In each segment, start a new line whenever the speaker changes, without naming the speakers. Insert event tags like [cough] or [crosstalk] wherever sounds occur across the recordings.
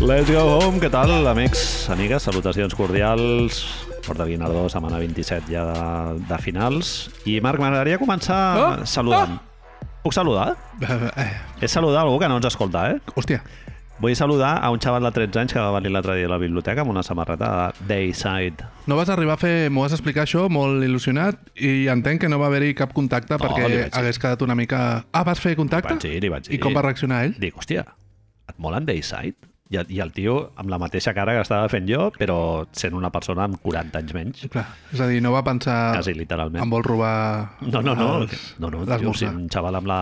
Let's go home, què tal, amics, amigues? Salutacions cordials. Porta Guinardó, setmana 27 ja de, de finals. I Marc, m'agradaria començar
Oh,
saludant. Puc saludar? És saludar algú que no ens escolta, eh?
Eh, Hòstia,
Vull saludar a un xaval de 13 anys que va venir l'altre dia a la biblioteca amb una samarreta de Dayside.
no vas arribar a fer... M'ho vas explicar això molt il·lusionat i entenc que no va haver-hi cap contacte perquè
li vaig dir.
hagués quedat una mica... Ah, vas fer contacte?
Vaig dir, li vaig dir.
I com va reaccionar ell?
Dic, hòstia, et molen Dayside? I, el- I el tio amb la mateixa cara que estava fent jo, però sent una persona amb 40 anys menys.
Clar, és a dir, no va pensar...
Quasi literalment.
Em vol robar...
No, no, no.
els-
no, no tio, sí,
l'esmorzar.
un xaval amb la...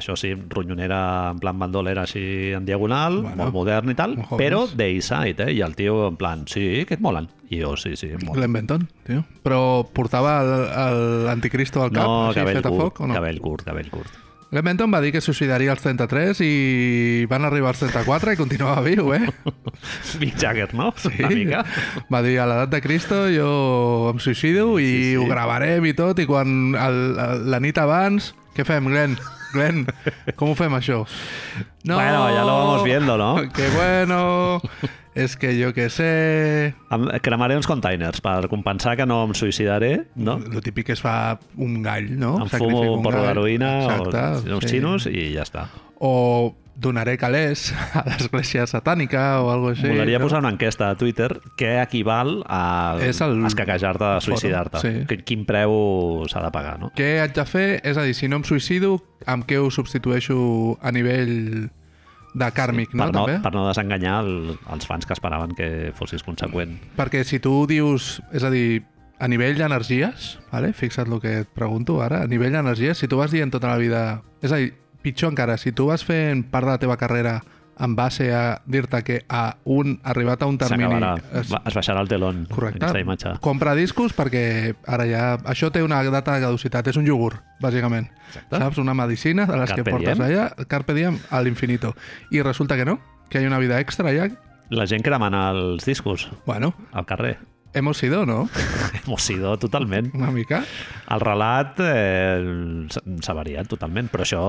Això sí, ronyonera en plan bandolera així en diagonal,
Bueno,
bueno, molt modern i tal,
un hobby.
però Dayside, eh? I el tio en plan, sí, que et molen. I jo, sí, sí, em molen.
L'inventon, tio. Però portava el- el- l'anticristo al cap,
No,
així,
cabell
fet a
curt,
foc, o no?
cabell curt, cabell curt. [laughs]
L'Edmonton va dir que suicidaria als 33 i van arribar als 34 i continuava viu,
[laughs]
eh?
Mick Jagger, no? Sí. Una mica.
Va dir, a l'edat de Cristo jo em suïcido i
Sí, sí.
ho gravarem i tot, i quan el, el, la nit abans... Què fem, Glenn? Glenn, com ho fem, això?
Bueno, ya lo vamos viendo, ¿no?
[laughs] Que bueno, es que yo que sé...
Em cremaré uns containers per compensar que no em suïcidaré, no?
Lo típic que es fa un gall, no?
Em
Sacrifica
fumo un porro
gall.
d'heroïna o
Exacte,
uns
sí.
xinos i ja està.
O donaré calés a l'església satànica o alguna cosa així.
M'agradaria
no?
posar una enquesta a Twitter que equival a
És el-
escaquejar-te
el
de
fòrum,
suïcidar-te.
sí.
Sí. Quin preu s'ha de pagar, no?
Què haig de fer? És a dir, si no em suïcido, amb què ho substitueixo a nivell de kàrmic, no?
per, no
També?
per no desenganyar el, els fans que esperaven que fossis conseqüent.
Perquè si tu dius... És a dir, a nivell d'energies, vale? fixa't el que et pregunto ara, a nivell d'energies, si tu vas dient tota la vida... És a dir, pitjor encara, si tu vas fent part de la teva carrera en base a dir-te que a un arribat a un termini... eh,
S'acabarà.
es-
Es... es baixarà el telón.
Correcte.
Aquesta imatge.
Compra discos perquè ara ja... Això té una data de caducitat, és un iogurt, bàsicament. Exacte. Saps? Una medicina de les
Carpe
que portes
diem.
allà, carpe diem, a l'infinito. I resulta que no, que hi ha una vida extra allà.
La gent cremant els discos
Bueno,
al carrer. [laughs]
hemos ido, ¿no?
Hemos sido totalment.
Una mica.
El relat eh, s'ha- s'ha variat totalment, però això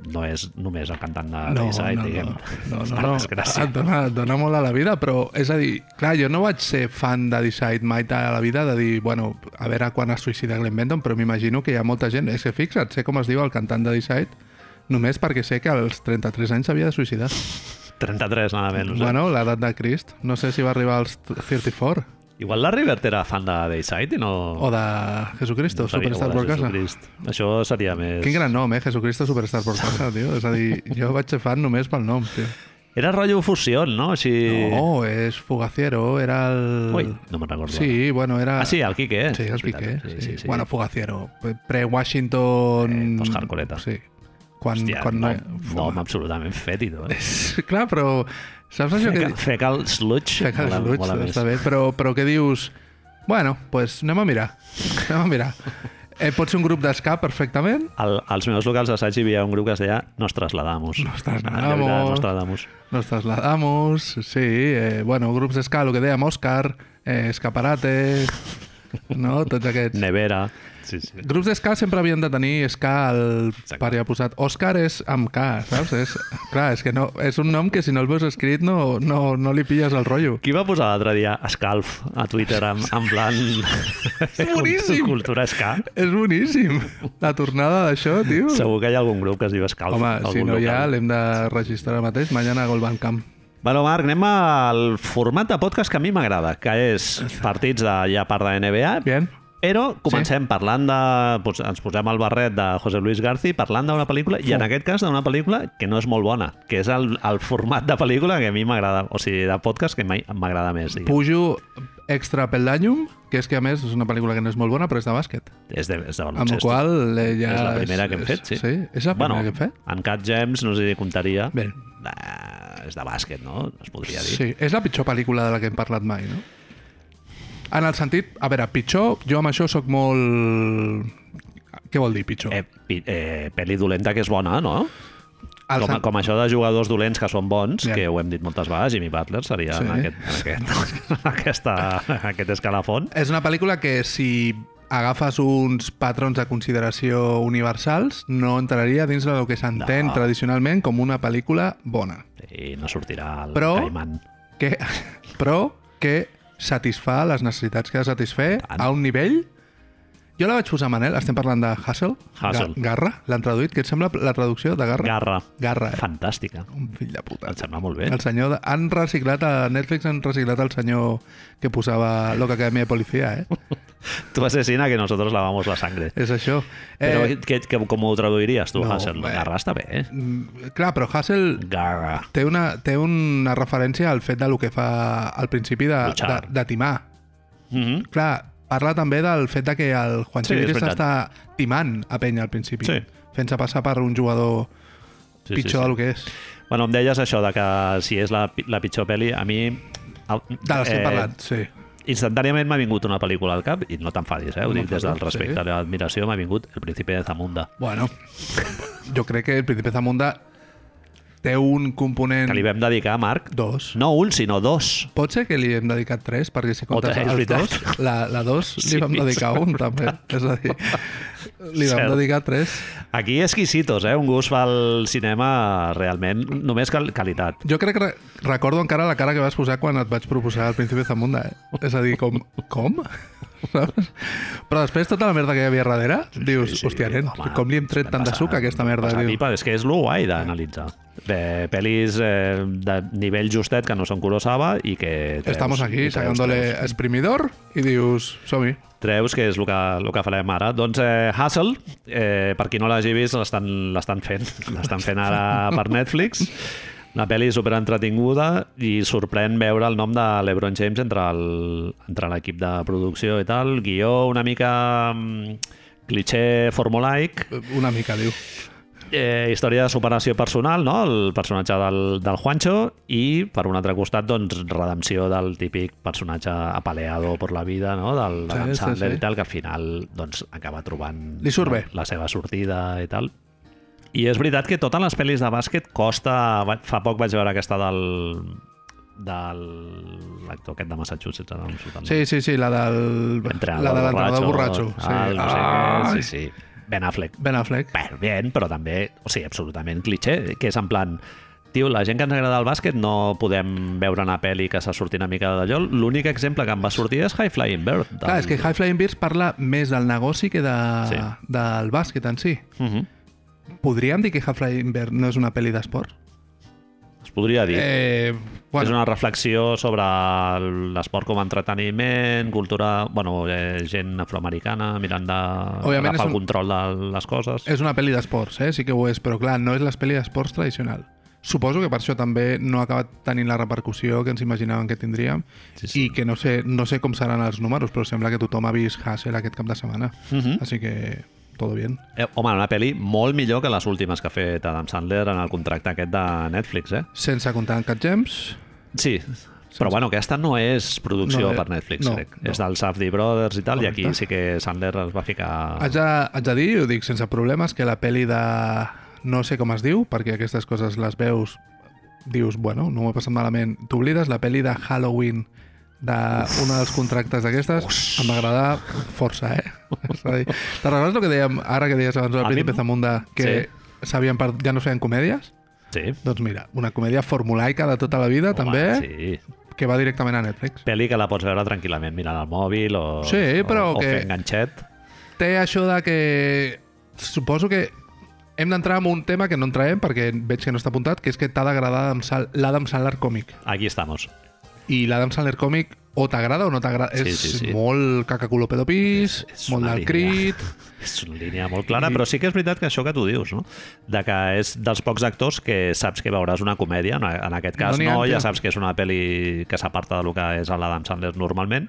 no és només el cantant de
No,
Dayside,
no,
diguem.
no, no, no,
[laughs] Per
no.
desgràcia.
Et dona, et dona molt a la vida, però és a dir, clar, jo no vaig ser fan de Decide mai tant a la vida, de dir, bueno, a veure quan es suïcida Glenn Benton, però m'imagino que hi ha molta gent, eh, és que fixa't, sé com es diu el cantant de Decide, només perquè sé que als 33 anys s'havia de suïcidar.
33, nada menys. eh?
Bueno, l'edat de Crist. No sé si va arribar als 34
Igual la Rivert era fan de Dayside i no...
o de Jesucristo,
no sabia,
Oh, Superstar
o de
por casa.
Jesucrist. Això seria més...
Quin gran nom, eh? Jesucristo Superstar por casa, tio. És a dir, jo vaig ser fan només pel nom, tio.
Era rotllo fusió, no? Així...
No, és Fugaciero, era el...
Ui, no me'n recordo.
Sí, bueno, era...
Ah, sí, el Quique. eh?
Sí, el
És veritat,
Piqué.
Sí, sí, sí.
Bueno, Fugaciero. Pre-Washington...
Eh, post-hardcoreta.
Sí. Quan,
Hòstia,
quan
no,
Fuga. [laughs]
nom absolutament fètido, eh?
Clar, però... Saps [laughs] això que...
Fecal, fecal sludge.
Aixeca els
mola-
ulls,
mola més.
està bé, però, però què dius? Bueno, doncs pues anem a mirar. [laughs] Anem a mirar. Eh, pot ser un grup d'escap perfectament.
Al, als meus locals d'assaig hi havia un grup que es deia Nos trasladamos.
Nos trasladamos.
De veritat, Nos trasladamos.
Nos trasladamos, sí, eh, bueno, grups d'escap, el que dèiem, Òscar, eh, Escaparate, no? Tots aquests.
Nevera. Sí, sí.
Grups d'esca sempre havien de tenir esca al pare ha posat. Òscar és amb K, saps? És, clar, és que no, és un nom que si no el veus escrit no, no, no li pilles el rotllo.
Qui va posar l'altre dia Escalf a Twitter en, en
[laughs]
plan... És
boníssim.
[laughs] Cultura esca.
És boníssim, la tornada d'això, tio.
Segur que hi ha algun grup que es diu Escalf.
Mm. Home,
algun
si no hi ha,
local.
l'hem de registrar ara mateix. Mañana a Golbancamp.
Bueno, Marc, anem al format de podcast que a mi m'agrada, que és partits de ja part de NBA,
Bien.
però comencem parlant de... Doncs ens posem al barret de José Luis Garci parlant d'una pel·lícula, i en aquest cas d'una pel·lícula que no és molt bona, que és el, el format de pel·lícula que a mi m'agrada, o sigui, de podcast que mai- m'agrada més. diguem.
Pujo extra Peldanyum, que és que a més és una pel·lícula que no és molt bona, però és de bàsquet.
És de, és de
Amb la
baloncesto.
qual cosa eh, ja...
és la primera que hem fet, sí.
Sí, és la primera que hem fet.
En Cat James, no sé si comptaria.
Bé.
Ah, és de bàsquet, no? Es podria dir.
Sí, és la pitjor pel·lícula de la que hem parlat mai, no? En el sentit, a veure, pitjor, jo amb això sóc molt... Què vol dir pitjor?
Eh, pi- eh, pel·li dolenta que és bona, no?
El
Com,
sen-
com això de jugadors dolents que són bons,
Ja.
que ho hem dit moltes vegades, Jimmy Butler seria
Sí.
en, aquest, en,
[laughs]
aquest, en, aquesta, en aquest escalafon.
És una pel·lícula que si agafes uns patrons de consideració universals no entraria dins del que s'entén
No.
tradicionalment com una pel·lícula bona.
I no sortirà el
Però-
Caiman.
que, [laughs] però que satisfà les necessitats que ha de satisfer
Tant.
a un nivell... Jo la vaig posar, Manel, estem parlant de Hassel,
Hustle.
Garra, l'han traduït, què et sembla la traducció de Garra?
Garra.
Garra, eh?
Fantàstica.
Un fill de puta.
Em sembla molt bé.
El senyor... De... Han reciclat, a Netflix han reciclat el senyor que posava Loca Academia de Policía,
[laughs]
eh?
Tu asesina que nosotros lavamos la sangre.
És això.
Però
Eh,
que, que, com ho traduiries tu,
no,
no, Hassel?
bé.
Garra està bé, eh?
mm, clar, però Hassel
Garra.
té una, té una referència al fet de lo que fa al principi de, de,
Luchar.
de timar.
Mm -hmm.
Clar, parla també del fet de que el Juan
Sí,
sí,
és veritat.
està timant a penya al principi,
Sí.
fent-se passar per un jugador
Sí,
sí, pitjor sí, sí. del que és.
Bueno, em deies això de que si és la, pi- la pitjor pel·li, a mi... El,
De la que eh, parlat, sí.
Instantàniament m'ha vingut una pel·lícula al cap, i no t'enfadis, eh? Ho
No
dic des del
m'enfado, sí.
respecte a l'admiració, m'ha vingut El príncipe de Zamunda.
Bueno, jo crec que el Príncipe Zamunda té un component...
Que li vam dedicar, Marc,
Dos.
no un, sinó dos.
Pot ser que li hem dedicat tres, perquè si comptes
Otra, és
els
veritat.
dos, la, la dos li
Sí,
vam dedicar un, també. És a dir, li vam
Cert.
dedicar tres.
Aquí exquisitos, eh? Un gust pel cinema realment només cal qualitat.
Jo crec que re- recordo encara la cara que vas posar quan et vaig proposar el Príncipe Zamunda, eh? És a dir, com... Com? [laughs] Saps? Però després tota la merda que hi havia darrere, dius, sí, hòstia, nen,
home,
com li hem tret
ens vam
tant de
passar-
suc a aquesta merda?
ens vam passar
Diu.
pipa, és que és lo guai d'analitzar. De pel·lis eh, de nivell justet que no són Kurosawa i que... Treus,
Estamos
i
aquí
treus,
sacándole
treus.
exprimidor i dius, som-hi.
treus, que és el que, el que farem ara. Doncs eh, Hustle, eh, per qui no l'hagi vist, l'estan l'estan fent. [laughs] L'estan fent ara per Netflix. Una pel·li super entretinguda i sorprèn veure el nom de l'Ebron James entre el- entre l'equip de producció i tal. Guió una mica mm, cliché formulaic,
Una mica, diu.
eh, història de superació personal, no? el personatge del, del Juancho, i per un altre costat, doncs, redempció del típic personatge apaleado per la vida, no? del
Sí,
Adam
sí,
Sandler
sí.
i tal, que al final doncs, acaba trobant
Li surt bé.
la seva sortida i tal. I és veritat que totes les pel·lis de bàsquet costa... va- Fa poc vaig veure aquesta del de l'actor aquest de Massachusetts ara no em surt el nom.
Sí, sí, sí, la del... la
Entrenador
de l'entrenador borratxo.
borratxo,
Sí.
tal, no sé
Ah,
què, sí, sí. Ben Affleck
Ben Affleck.
bueno, bien, però també, o sigui, absolutament cliché, que és en plan, tio, la gent que ens agrada el bàsquet no podem veure una pel·li que se surti una mica d'allò. L'únic exemple que em va sortir és High Flying Bird. Del...
Clar, és que High Flying Birds parla més del negoci que de,
Sí.
sí. del bàsquet en si.
Uh -huh.
Podríem dir que High Flying Birds no és una pel·li d'esport?
Es podria dir. Eh,
Eh,
bueno. És
bueno,
una reflexió sobre l'esport com a entreteniment, cultura... Bueno, eh, gent afroamericana mirant de...
Òbviament
agafar
és
el
un-
control de les coses.
és una pel·li d'esports, eh? sí que ho és, però clar, no és les pel·li d'esports tradicional. Suposo que per això també no ha acabat tenint la repercussió que ens imaginàvem que tindríem
Sí, sí.
sí, sí. i que no sé, no sé com seran els números, però sembla que tothom ha vist Hassel aquest cap de setmana. Uh
Mhm.
-huh. Així que, todo bien.
Eh, home, una pel·li molt millor que les últimes que ha fet Adam Sandler en el contracte aquest de Netflix, eh?
Sense comptar en Cat James,
Sí, però bueno, aquesta no és producció
No, eh,
per Netflix,
no,
crec.
no.
És del Safdie Brothers i tal, i
Correcte. Ah,
aquí sí que Sandler es va ficar...
Haig de, haig de dir, i ho dic sense problemes, que la pel·li de... No sé com es diu, perquè aquestes coses les veus, dius, bueno, no m'ho he passat malament. T'oblides la pel·li de Halloween d'un dels contractes d'aquestes em va agradar força, eh? [laughs] És a dir, Te recordes el que dèiem ara que deies abans
A
del
mi-
Príncipe Zamunda que sabien per... ja no feien comèdies?
Sí.
Doncs mira, una comèdia formulaica de tota la vida, també,
Sí.
que va directament a Netflix.
Pel·li que la pots veure tranquil·lament mirant el mòbil o,
Sí, però
o, o
que-
fent ganxet.
té això de que... Suposo que hem d'entrar en un tema que no entrarem perquè veig que no està apuntat, que és que t'ha d'agradar Adam Sal- l'Adam Sandler còmic.
Aquí estamos.
I l'Adam Sandler còmic o t'agrada o no t'agrada.
Sí,
és
sí, sí.
molt cacaculo pedopís,
És
molt
una
del
línia.
crit...
[laughs] És una línia molt clara, però sí que és veritat que això que tu dius, no? De que és dels pocs actors que saps que veuràs una comèdia, en- en aquest cas
No n'hi
no,
ha,
ja
clar.
saps que és una pel·li que s'aparta del que és l'Adam Sandler normalment,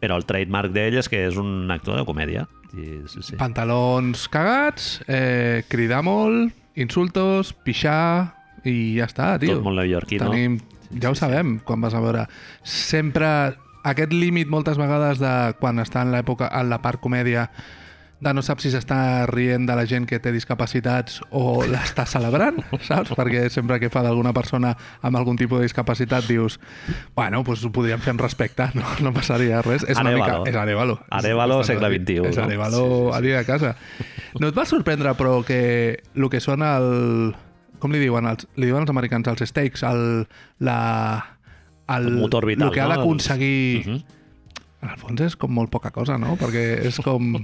però el trademark d'ell és que és un actor de comèdia. I, sí, sí.
Pantalons cagats, eh, cridar molt, insultos, pixar i ja està, tio.
Tot molt neoyorquí, no?
Tenim, ja ho sabem, quan vas a veure. Sempre aquest límit moltes vegades de quan està en l'època, en la part comèdia, de no saps si s'està rient de la gent que té discapacitats
[laughs]
o l'està celebrant, saps? Perquè sempre que fa d'alguna persona amb algun tipus de discapacitat dius, bueno, doncs ho podríem fer amb respecte, no, no passaria res. És una
Arevalo.
mica... És Arevalo.
Arevalo, segle XXI,
És
no?
Arevalo
Sí, sí,
a dia de casa. No et va sorprendre, però, que el que són el... Com li diuen? Els, li diuen els americans, els steaks, el, la, el,
motor vital,
el que ha
no?
d'aconseguir...
Mhm.
En el fons és com molt poca cosa, no? Perquè és
[laughs]
com...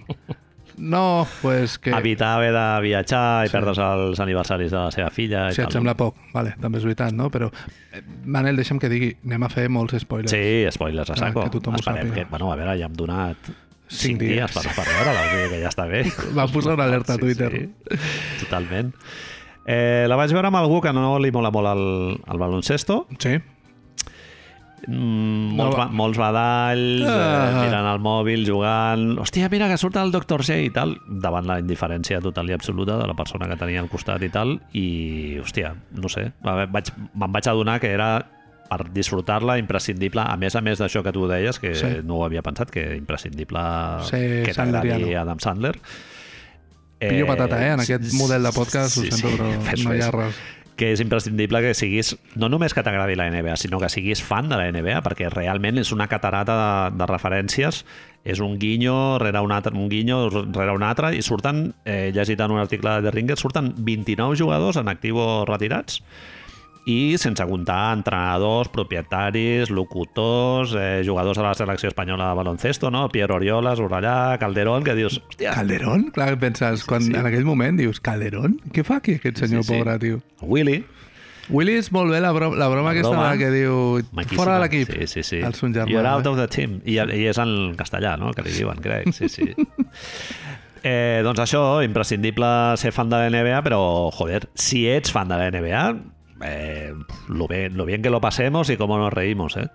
No, pues que...
Evitar haver de viatjar i
Sí.
perdre's els aniversaris de la seva filla i
Si et
tal.
sembla poc, vale, també és veritat, no? Però, eh, Manel, deixa'm que digui, anem a fer molts spoilers.
Sí, spoilers a
doncs. Clar,
saco.
que tothom ho
Esperem
sàpiga.
que, bueno, a veure, ja hem donat 5
Cinc
dies,
dies.
per, per veure-la, o sigui que ja està
[laughs]
bé.
Vam posar una alerta a Twitter.
Sí, totalment. Eh, la vaig veure amb algú que no li mola molt el, el baloncesto.
Sí,
Mm,
No
molts,
va-
ba molts badalls, eh,
Ah.
mirant el mòbil, jugant... Hòstia, mira que surt el Dr. J i tal, davant la indiferència total i absoluta de la persona que tenia al costat i tal, i, hòstia, no sé, va- vaig, me'n vaig adonar que era per disfrutar-la imprescindible, a més a més d'això que tu deies, que sí.
Sí.
no ho havia pensat, que imprescindible
Ser
que t'agradi
sanderiano.
Adam Sandler.
pillo patata, eh? En aquest
sí,
model de podcast,
sí,
ho sento,
sí, [laughs]
però
fes,
no hi
fes
ha res.
que és imprescindible que siguis, no només que t'agradi la NBA, sinó que siguis fan de la NBA, perquè realment és una catarata de, de referències, és un guinyo rere un altre, un guinyo rere un altre, i surten, eh, llegit en un article de The Ringer, surten 29 jugadors en actiu o retirats, i sense comptar entrenadors, propietaris, locutors, eh, jugadors de la selecció espanyola de baloncesto, no? Pierre Oriola, Zorrallà, Calderón, que dius, hòstia,
Calderón? Clar, que penses, quan,
sí.
en aquell moment dius, Calderón? Què fa aquí aquest senyor
sí.
pobre, tio?
Willy,
Willy és molt bé la broma, la broma
La
aquesta
broma.
de que diu
Maquíssima.
fora de l'equip,
Sí, sí, sí.
el son germà.
You're out
eh?
of the team. I, I és en castellà, no?, que li diuen, crec. Sí,
[laughs]
sí. Eh, doncs això, imprescindible ser fan de la NBA, però, joder, si ets fan de la NBA, eh, lo, bien, lo bien que lo pasemos y cómo nos reímos, eh?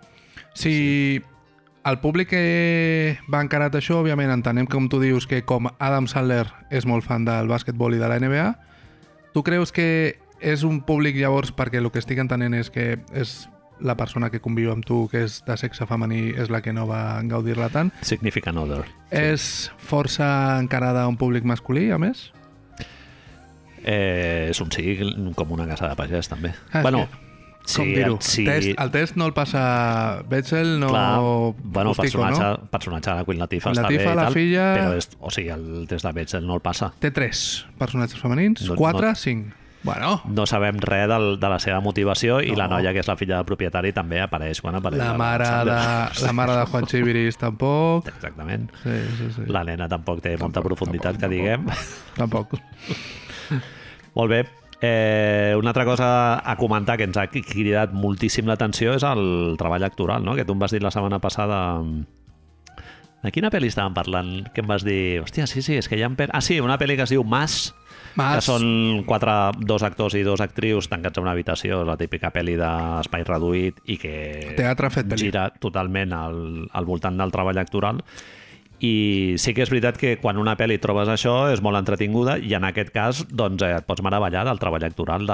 Si el públic que va encarat això, òbviament entenem com tu dius que com Adam Sandler és molt fan del bàsquetbol i de la NBA, tu creus que és un públic llavors, perquè el que estic entenent és que és la persona que conviu amb tu, que és de sexe femení, és la que no va gaudir-la tant.
Significant other.
Sí. És força encarada a un públic masculí, a més?
Eh, és un sí com una casa de pagès, també.
Ah,
bueno,
Sí, com dir-ho?
Sí,
Test, el test no el passa Betzel, no
Clar, bueno,
Bustico,
personatge,
no?
personatge de Queen Latifah
Queen
està
Latifah,
bé i
la
tal,
filla-
però és, o sigui, el test de Betzel no el passa.
Té tres personatges femenins,
No-
no, quatre,
no-
no. cinc. Bueno,
no sabem res del, de la seva motivació i
No.
la noia que és la filla del propietari també apareix quan apareix
la
el [laughs]
mare, de,
Sandler.
la mare de Juan
[laughs]
Chiviris tampoc.
exactament
Sí, sí, sí.
la nena tampoc té molta
Tampoc,
profunditat
tampoc,
que diguem
Tampoc.
molt bé Eh, una altra cosa a comentar que ens ha cridat moltíssim l'atenció és el treball actoral, no? que tu em vas dir la setmana passada mm, de quina pel·li estàvem parlant? que em vas dir, hòstia, sí, sí, és que hi ha pel... ah sí, una pel·li que es diu Mas que
Mas,
són quatre, dos actors i dos actrius tancats en una habitació, la típica pel·li d'espai reduït i que
teatre fet pel·li.
gira totalment al, al voltant del treball actoral i sí que és veritat que quan una pel·li trobes això és molt entretinguda i en aquest cas doncs, eh, et pots meravellar del treball actoral de...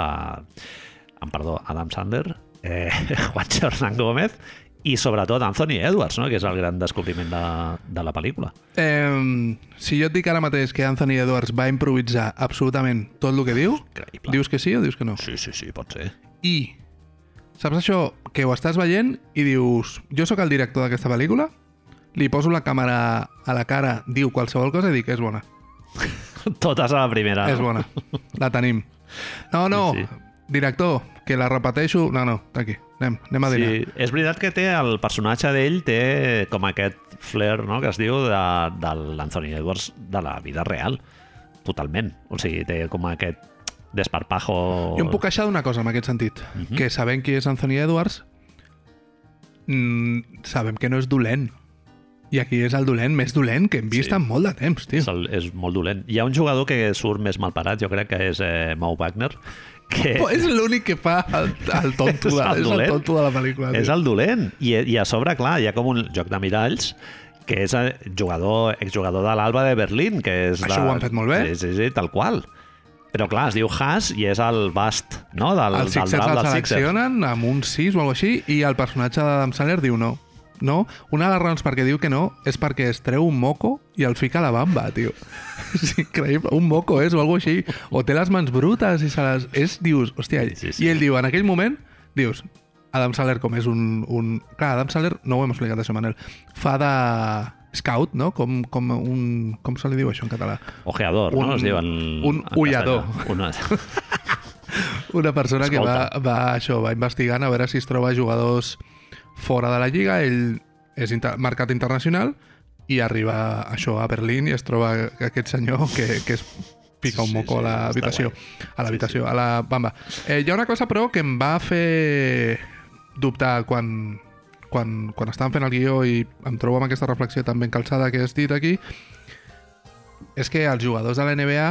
Em perdó, Adam Sandler, eh, [laughs] Juancho Hernán Gómez i sobretot Anthony Edwards, no? que és el gran descobriment de, de la pel·lícula.
Eh, si jo et dic ara mateix que Anthony Edwards va improvisar absolutament tot el que diu,
Increïble.
dius que sí o dius que no?
Sí, sí, sí, pot ser.
I saps això que ho estàs veient i dius, jo sóc el director d'aquesta pel·lícula, li poso la càmera a la cara, diu qualsevol cosa i dic, és bona,
Totes a la primera.
ah. és
no?
bona, la tenim. No, no,
Sí,
sí,
sí.
director, que la repeteixo... No, no, tranqui, anem, anem a dinar.
Sí, és veritat que té el personatge d'ell té com aquest flair no, que es diu de, de l'Anthony Edwards de la vida real, totalment. O sigui, té com aquest desparpajo...
Jo em puc queixar d'una cosa en aquest sentit, uh
Mhm.
-huh. que sabent qui és Anthony Edwards, mm, sabem que no és dolent. I aquí és el dolent més dolent que hem vist
Sí.
sí. en molt de temps, tio.
és, el, és molt dolent. Hi ha un jugador que surt més malparat, jo crec que és eh, Mo Wagner, que
Però és l'únic que fa el,
[laughs]
el tonto,
És
de,
el
és el
dolent.
tonto de la pel·lícula. tio.
és el dolent. I, I a sobre, clar, hi ha com un joc de miralls que és eh, jugador, exjugador de l'Alba de Berlín, que és
Això
de...
ho han fet molt bé.
Sí, sí, sí, tal qual. Però clar, es diu Haas i és el bast, no? Del,
el
del
Sixers
draft
el
dels Sixers.
seleccionen amb un 6 o alguna així i el personatge d'Adam Sandler diu no. No, una de les raons perquè diu que no és perquè es treu un moco i el fica a la bamba, tio. [laughs] És increïble. Un moco és o alguna així. O té les mans brutes i se les... És, dius, hòstia,
Sí,
sí,
sí.
sí. i ell diu, en aquell moment, dius, Adam Sandler com és un... un... Clar, Adam Sandler, no ho hem explicat això, Manel, fa de scout, no? Com, com un... Com se li diu això en català?
Ojeador,
Un-
no? Es diuen...
un ullador. [laughs]
Una...
Una persona
Escolta.
que va, va, això, va investigant a veure si es troba jugadors fora de la Lliga, ell és inter mercat internacional i arriba això a Berlín i es troba aquest senyor que, que es pica
Sí,
un
sí, sí,
moco a
està
l'habitació.
guai.
A l'habitació, a la bamba. Eh, hi ha una cosa, però, que em va fer dubtar quan, quan, quan estàvem fent el guió i em trobo amb aquesta reflexió tan ben calçada que has dit aquí, és que els jugadors de la NBA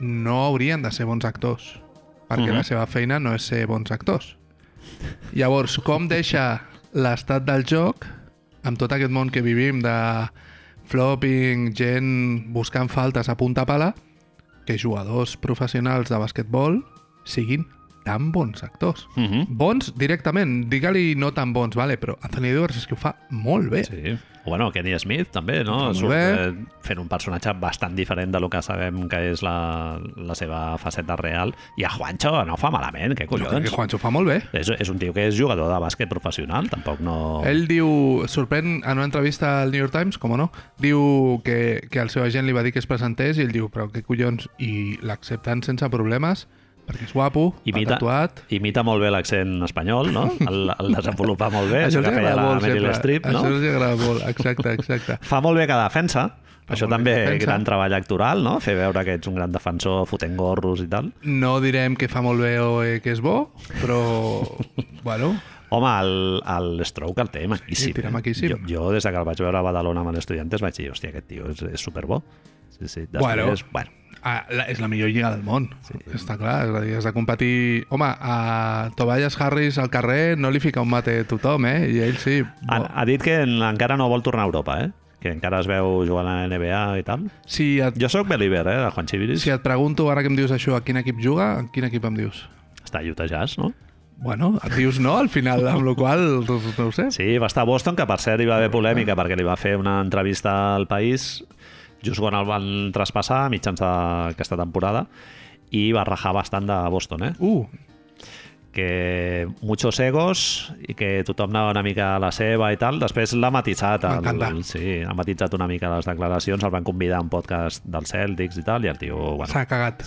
no haurien de ser bons actors, perquè
Mhm.
la seva feina no és ser bons actors. Llavors, com deixa l'estat del joc amb tot aquest món que vivim de flopping, gent buscant faltes a punta pala, que jugadors professionals de basquetbol siguin tan bons actors.
Mhm.
Bons directament, digue-li no tan bons, vale, però Anthony Edwards és que ho fa molt bé. Sí.
Sí. O bueno, Kenny Smith també,
Fa
no?
molt
Surt
bé.
eh, fent un personatge bastant diferent de lo que sabem que és la, la seva faceta real. I a Juancho no fa malament, què collons?
Que Juancho fa molt bé.
És, és un tio que és jugador de bàsquet professional, tampoc no...
Oh. Ell diu, sorprèn en una entrevista al New York Times, com no, diu que, que el seu agent li va dir que es presentés i ell diu, però què collons, i l'accepten sense problemes, perquè és guapo, va
Imita,
tatuat...
imita molt bé l'accent espanyol,
[laughs]
no? El, el desenvolupa molt bé,
Eh,
això
Això els
que feia
agrada
la
molt,
Meryl
sempre.
Streep, no?
Això els agrada molt, exacte, exacte.
Fa molt bé que defensa,
Fa
això
molt bé
també
que defensa.
gran treball actoral, no? Fer veure que ets un gran defensor fotent gorros i tal.
No direm que fa molt bé o eh, que és bo, però, bueno,
Home, el, el Stroke el té maquíssim.
Sí, tira
eh?
maquíssim.
Jo, jo, des de que el vaig veure a Badalona amb els estudiantes, vaig dir, hòstia, aquest tio és, és superbo. Sí, sí.
Bueno.
Després, bueno.
a, la, és la millor lliga del món, sí. està clar, és a dir, has de competir... Home, a Tobias Harris al carrer no li fica un mate a tothom, eh? I ell sí...
Ha, ha dit que en- encara no vol tornar a Europa, eh? que encara es veu jugant a la NBA i tal.
Si et
Jo sóc believer, eh, de Juan Chiviris.
Si et pregunto ara que em dius això, a quin equip juga, a quin equip em dius?
Està a Utah Jazz, no?
Bueno, et dius no al final, amb la qual cosa no ho sé.
Sí, va estar a Boston, que per cert hi va haver polèmica perquè li va fer una entrevista al País just quan el van traspassar a mitjans d'aquesta temporada i va rajar bastant de Boston, eh?
Uh,
que muchos egos i que tothom anava una mica a la seva i tal. Després l'ha matisat.
M'encanta.
El, sí, ha matisat una mica les declaracions, el van convidar a un podcast dels Celtics i tal, i el tio bueno,
s'ha cagat.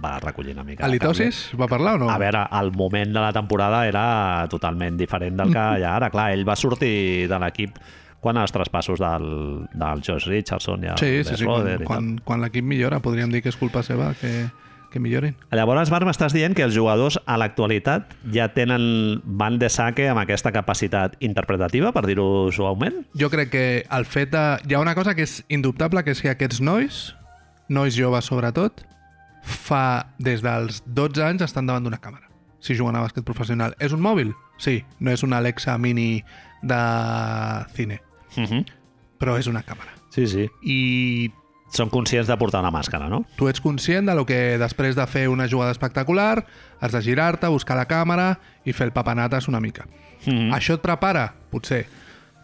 va recollir una mica.
A l'Itosis va parlar o no?
A veure, el moment de la temporada era totalment diferent del que hi ha ara. Clar, ell va sortir de l'equip quan els traspassos del, del Josh Richardson i el
sí, sí, sí,
Schroeder i
quan,
tal.
quan, quan l'equip millora, podríem dir que és culpa seva que, que millorin.
Llavors, Marc, m'estàs dient que els jugadors a l'actualitat ja tenen van de saque amb aquesta capacitat interpretativa, per dir-ho suaument?
Jo crec que el fet de... Hi ha una cosa que és indubtable, que és que aquests nois, nois joves sobretot, fa des dels 12 anys estan davant d'una càmera, si juguen a bàsquet professional. És un mòbil? Sí, no és una Alexa mini de cine,
Uh -huh.
però és una càmera.
Sí, sí.
i
Són conscients de portar una màscara, no?
tu ets conscient de lo que després de fer una jugada espectacular has de girar-te, buscar la càmera i fer el papanates una mica. Mm.
Mm.
Això et prepara? Potser.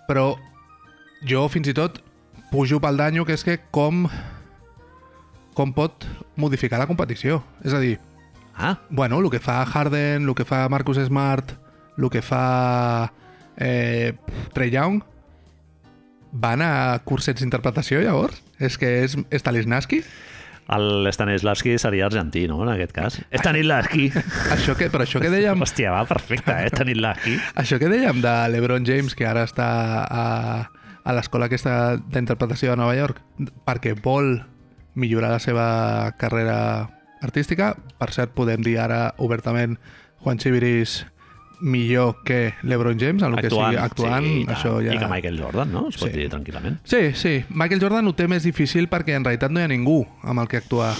Però jo fins i tot pujo pel danyo que és que com com pot modificar la competició. És a dir,
Ah,
bueno, el que fa Harden, el que fa Marcus Smart, el que fa eh, Trey Young, van a cursets d'interpretació llavors? És que és Stanislavski?
el Stanislavski seria argentí, no?, en aquest cas. Stanislavski!
Això que, però això que dèiem,
Hòstia, va, perfecte, eh? Stanislavski.
això que dèiem de l'Ebron James, que ara està a, a l'escola aquesta d'interpretació de Nova York, perquè vol millorar la seva carrera artística. Per cert, podem dir ara obertament Juan Chiviris millor que l'Ebron James, en el que sigui actuant.
sí, i tant.
això ja...
I que Michael Jordan, no? Es pot
Sí.
dir tranquil·lament.
Sí, sí. Michael Jordan ho té més difícil perquè en realitat no hi ha ningú amb el que actuar.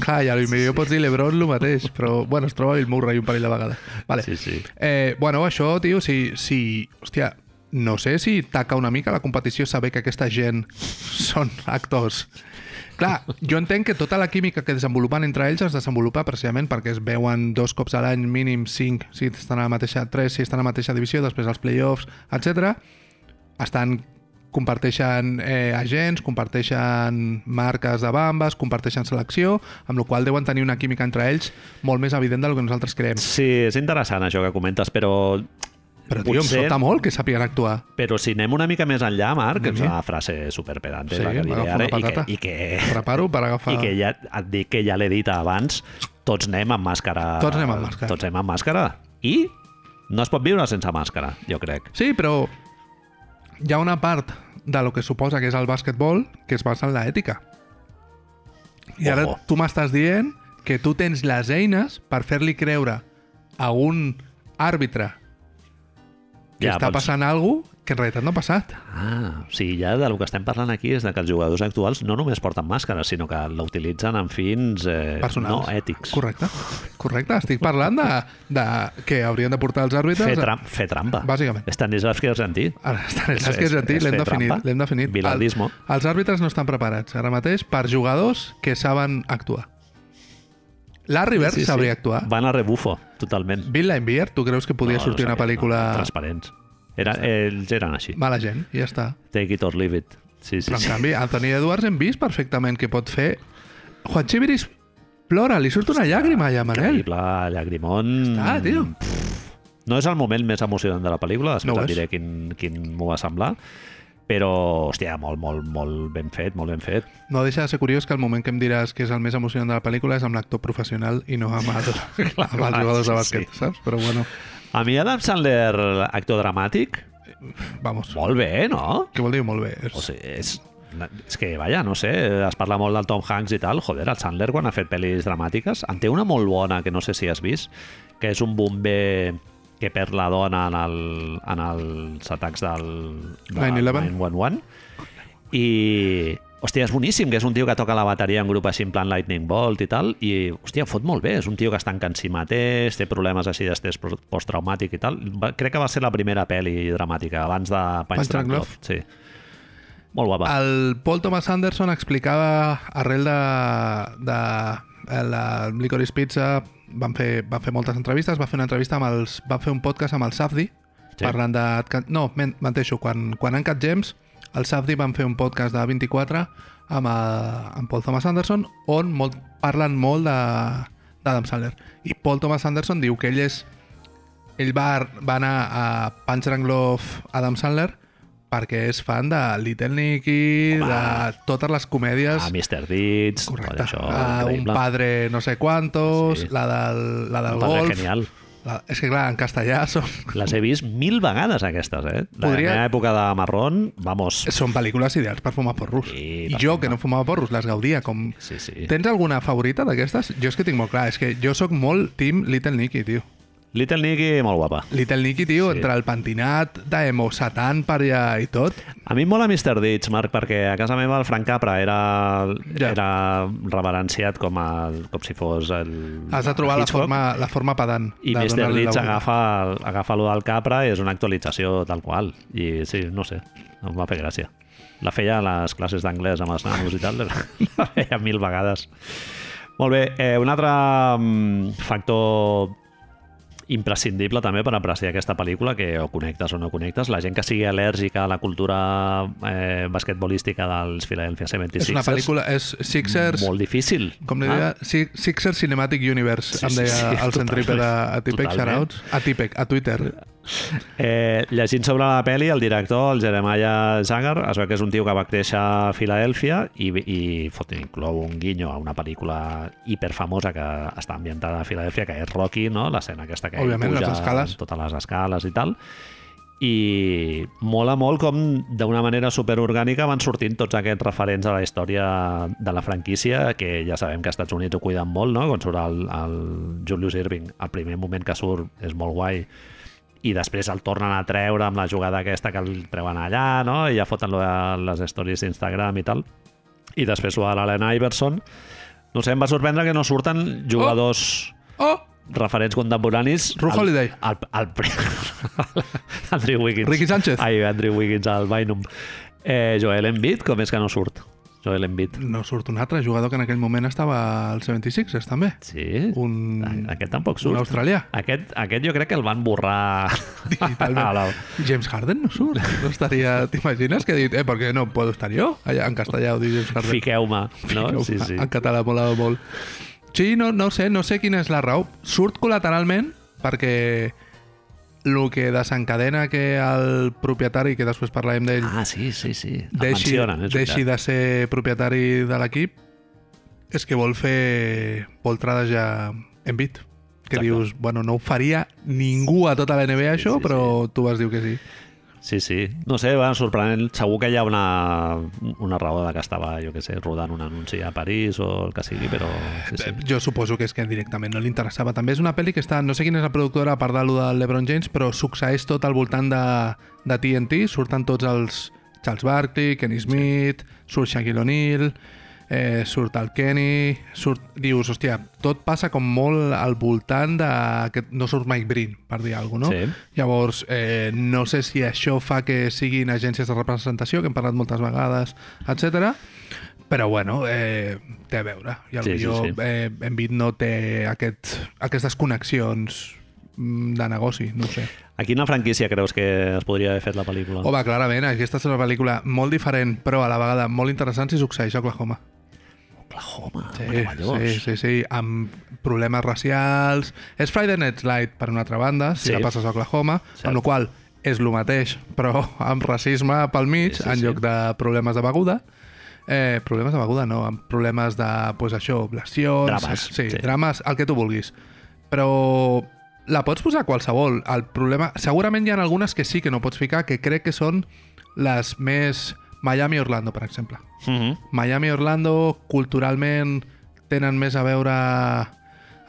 Clar, i potser sí. pots dir LeBron el mateix, però bueno, es troba Bill Murray un parell de vegades. Vale.
Sí, sí.
Eh, bueno, això, tio, si, si... Hòstia, no sé si taca una mica la competició saber que aquesta gent són actors. Clar, jo entenc que tota la química que desenvolupen entre ells es desenvolupa precisament perquè es veuen dos cops a l'any, mínim cinc, si estan a la mateixa, tres, si estan a la mateixa divisió, després als playoffs, etc. Estan comparteixen eh, agents, comparteixen marques de bambes, comparteixen selecció, amb la qual deuen tenir una química entre ells molt més evident del que nosaltres creem.
Sí, és interessant això que comentes, però
Però, tio,
Potser-
em sobta molt que sàpiguen actuar.
Però si anem una mica més enllà, Marc, que és
Sí.
una frase superpedante,
Sí,
la que diré
m'agafa
ara,
una
i que,
patata.
i que,
Preparo per agafar...
i que ja et dic que ja l'he dit abans, tots anem amb màscara.
Tots anem amb màscara.
Tots anem amb màscara. I No es pot viure sense màscara, jo crec.
Sí, però hi ha una part de lo que suposa que és el bàsquetbol que es basa en l'ètica. I ara
Ojo.
tu m'estàs dient que tu tens les eines per fer-li creure a un àrbitre que ja, està
doncs-
passant alguna cosa que en realitat no ha passat.
Ah, o sigui, ja del que estem parlant aquí és de que els jugadors actuals no només porten màscara, sinó que la utilitzen amb fins eh, no
Personals.
ètics.
Correcte, correcte. Estic parlant de, de que haurien de portar els àrbitres...
Fer, tram fer trampa.
Bàsicament.
Stanislavski argentí.
Ara,
És-
Stanislavski
és-
argentí,
és
l'hem
fer
definit.
trampa.
L'hem definit.
Vilardismo.
El, els àrbitres no estan preparats ara mateix per jugadors que saben actuar. Larry Bird sí, sí, sabria actuar. Va.
Van a rebufo, totalment.
Bill Laimbeer, tu creus que podia no, sortir
sabia,
una pel·lícula
No, transparents. Era, ells eren així.
mala gent? I ja està.
Take it or leave it. Sí, sí,
Però en
sí.
canvi, Anthony Edwards hem vist perfectament que pot fer... Juan Chiviris plora, li surt una llàgrima allà, Manel.
Increïble, llagrimón...
Ah, tio.
No és el moment més emocionant de la pel·lícula, després
No ho
no et
és.
diré quin, quin m'ho va semblar, però, hòstia, molt, molt, molt ben fet, molt ben fet.
No deixa de ser curiós que el moment que em diràs que és el més emocionant de la pel·lícula és amb l'actor professional i no
[laughs]
amb, el, amb els
clar,
jugadors de
sí,
bàsquet,
sí.
saps? Però bueno,
A mi Adam Sandler, actor dramàtic,
vamos.
molt bé, no?
Que vol dir molt bé. És...
O sigui, és, és que, vaja, no sé, es parla molt del Tom Hanks i tal. Joder, el Sandler, quan ha fet pel·lis dramàtiques, en té una molt bona, que no sé si has vist, que és un bomber que perd la dona en, el, en els atacs del... del
9/11.
911. I... Hòstia, és boníssim, que és un tio que toca la bateria en grup així en plan Lightning Bolt i tal, i, hòstia, fot molt bé. És un tio que es tanca en si mateix, té problemes així d'estrès pro- posttraumàtic i tal. Va, crec que va ser la primera pel·li dramàtica, abans de Punch
Punch-Drunk
Drunk Love. Sí. Molt guapa.
El Paul Thomas Anderson explicava arrel de, de, de la Licorice Pizza van fer, van fer moltes entrevistes, va fer una entrevista amb els, van fer un podcast amb el Safdi
Sí.
sí. parlant de... No, men- menteixo, quan, quan han cat James, el Safdi van fer un podcast de 24 amb, el, amb Paul Thomas Anderson on molt, parlen molt de- d'Adam Sandler. I Paul Thomas Anderson diu que ell és ell va, va anar a Punch Drunk Love Adam Sandler perquè és fan de Little Nicky,
Home.
de totes les comèdies...
Ah, Mr. Deeds.
Correcte.
Això,
Ah, un
increïble.
padre no sé quantos,
Sí.
sí. la del, la del
Un padre
golf...
genial.
La, és que clar, en castellà són,
Les he vist mil vegades, aquestes, eh? De
Podria-
la meva època de marrón, vamos...
són pel·lícules ideals per fumar porros.
Sí,
I
per
jo,
fumar.
que no fumava porros, les gaudia com...
Sí, sí.
Tens alguna favorita d'aquestes? Jo és que tinc molt clar, és que jo sóc molt team Little Nicky, tio.
Little Nicky, molt guapa.
Little Nicky,
Sí.
tio, sí. entre el pentinat d'emo satan per allà i tot,
A mi em mola Mr. Deeds, Marc, perquè a casa meva el Frank Capra era,
Ja.
era reverenciat com, a, com si fos el
has de trobar la
Hitchcock.
forma, la forma pedant.
I
de
Mr.
donar-li
Deeds
la volta.
agafa, agafa allò del Capra i és una actualització tal qual. I sí, no sé, em va fer gràcia. La feia a les classes d'anglès amb els nanos i tal, [laughs] la feia mil vegades. Molt bé, eh, un altre mm, factor imprescindible també per apreciar aquesta pel·lícula que o connectes o no connectes, la gent que sigui al·lèrgica a la cultura eh, basquetbolística dels Philadelphia 76ers
És una pel·lícula, és Sixers,
molt difícil Ah.
com li deia, Si- Sixers Cinematic Universe,
Sí,
em
sí,
deia
sí,
el centrípede
totalment.
a Tipec,
Totalment.
shoutouts, a Tipec, a Twitter.
Eh, llegint sobre la pel·li, el director, el Jeremiah Zagar, es veu que és un tio que va créixer a Filadèlfia i, i fot, inclou un guinyo a una pel·lícula hiperfamosa que està ambientada a Filadèlfia, que és Rocky, no? l'escena aquesta que ell
Òbviament,
puja
les escales.
amb totes les escales i tal i mola molt com d'una manera superorgànica van sortint tots aquests referents a la història de la franquícia, que ja sabem que als Estats Units ho cuiden molt, no? quan surt el, el Julius Irving, el primer moment que surt és molt guai, i després el tornen a treure amb la jugada aquesta que el treuen allà, no? i ja foten lo de les stories d'Instagram i tal, i després ho de l'Allen Iverson, no sé, em va sorprendre que no surten jugadors
Oh!
referents contemporanis...
Ru
al-
Holiday.
Al, al, [laughs] Andrew Wiggins.
Ricky Sánchez.
Ai, Andrew Wiggins al Bynum. Eh, Joel Embiid, com és que no surt? Joel Embiid.
No surt un altre jugador que en aquell moment estava al 76ers, també.
Sí?
Un,
A- Aquest tampoc
un
Ah, surt.
australià.
Aquest, aquest jo crec que el van borrar...
Digitalment.
[laughs] A la-
James Harden no surt.
[laughs]
No estaria... T'imagines que ha dit, eh, per què no puedo estar jo? Allà, en castellà ho diu James Harden.
Fiqueu-me, no? Sí, sí.
En català molava molt. Sí, no, no ho sé, no sé quina és la raó. Surt col·lateralment perquè el que desencadena que el propietari, que després parlarem d'ell,
Ah, sí, sí, sí. El
deixi,
mencionen, és
deixi
veritat.
de ser propietari de l'equip és que vol fer... vol tradejar en bit. que
Exacte.
dius, bueno, no ho faria ningú a tota la NBA això,
sí, sí.
però tu vas dir que sí.
Sí, sí. No sé, va, sorprenent. Segur que hi ha una, una raó de que estava, jo què sé, rodant un anunci a París o el que sigui, però... Sí, sí.
Eh, Jo suposo que és que directament no li interessava. També és una pel·li que està, no sé quina és la productora a part de lo del LeBron James, però succeeix tot al voltant de, de TNT, surten tots els Charles Barkley, Kenny Smith, surt Shaquille O'Neal, eh, surt el Kenny, surt, dius, hòstia, tot passa com molt al voltant de... que no surt Mike Breen, per dir alguna cosa, no?
Sí.
Llavors, eh, no sé si això fa que siguin agències de representació, que hem parlat moltes vegades, etc. Però bueno, eh, té a veure. I
Sí, sí,
potser sí,
sí.
sí, Eh, Envid no té aquest, aquestes connexions mm, de negoci, no ho sé.
A quina franquícia creus que es podria haver fet la pel·lícula?
Home, clarament, aquesta és una pel·lícula molt diferent, però a la vegada molt interessant si succeeix a Oklahoma.
Oklahoma,
Sí,
meravellós.
sí, sí, sí, amb problemes racials... És Friday Night Light, per una altra banda, si
Sí.
sí. la passes a Oklahoma,
Cert.
Cert. amb la qual cosa és el mateix, però [laughs] amb racisme pel mig,
Sí,
sí,
sí,
sí, en
sí.
lloc de problemes de beguda. Eh, problemes de beguda, no, amb problemes de, pues, això, oblacions...
Drames,
Sí,
sí.
sí, drames, el que tu vulguis. Però la pots posar a qualsevol. El problema... Segurament hi ha algunes que sí que no pots ficar, que crec que són les més... Miami-Orlando, per exemple.
Mhm.
Miami i Orlando culturalment tenen més a veure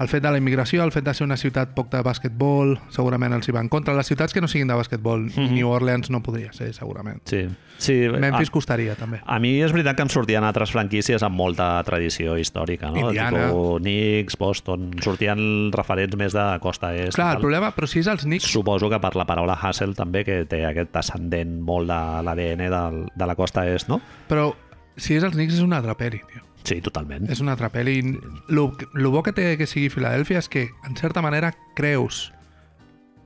el fet de la immigració, el fet de ser una ciutat poc de bàsquetbol, segurament els hi va en contra. Les ciutats que no siguin de bàsquetbol, New Orleans no podria ser, segurament.
sí. sí.
Memphis
a,
costaria, també.
a mi és veritat que em sortien altres franquícies amb molta tradició històrica, no?
Indiana.
Tipo Knicks, Boston... Sortien referents més de costa est.
Clar,
i
el
tal.
problema, però si és els Knicks...
Suposo que per la paraula Hassel també, que té aquest ascendent molt de l'ADN del- de la costa est, no?
Però si és els Knicks és un atraperi, tio.
Sí, totalment.
És un atraperi. El bo que té que sigui Filadèlfia és que, en certa manera, creus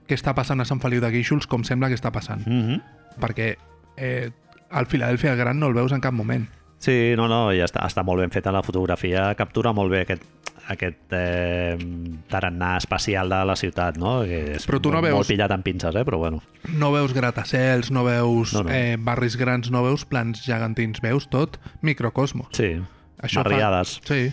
que està passant a Sant Feliu de Guíxols com sembla que està passant.
Mhm.
perquè eh, el Philadelphia Gran no el veus en cap moment.
Sí, no, no, i està, està molt ben feta la fotografia, captura molt bé aquest, aquest eh, tarannà especial de la ciutat, no? Que és
Però tu no
molt, molt
veus-
pillat amb pinces, eh? però bueno.
No veus gratacels, no veus
No, no.
Eh, barris grans, no veus plans gegantins, veus tot microcosmos.
Sí,
Això fa-
barriades.
Sí.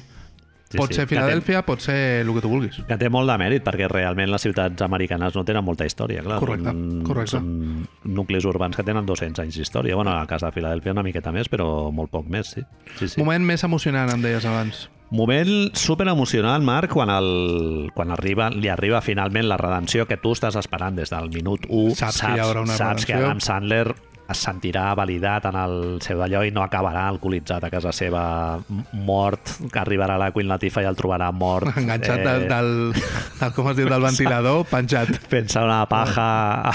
Sí,
sí pot
sí.
ser Filadèlfia, pot ser el que tu vulguis.
Que té, que té molt de mèrit, perquè realment les ciutats americanes no tenen molta història, clar.
Correcte,
són,
correcte.
Són nuclis urbans que tenen 200 anys d'història. Bueno, a casa de Filadèlfia una miqueta més, però molt poc més, sí. sí, sí.
Moment més emocionant, em deies abans.
Moment super emocionant, Marc, quan, el, quan arriba, li arriba finalment la redempció que tu estàs esperant des del minut 1.
Saps que hi haurà una
saps que
redempció.
Adam Sandler es sentirà validat en el seu d'allò i no acabarà alcoholitzat a casa seva m- mort, que arribarà la Queen Latifah i el trobarà mort.
Enganxat eh... del, del, del, com es diu, del
[laughs]
ventilador, penjat.
Pensa una paja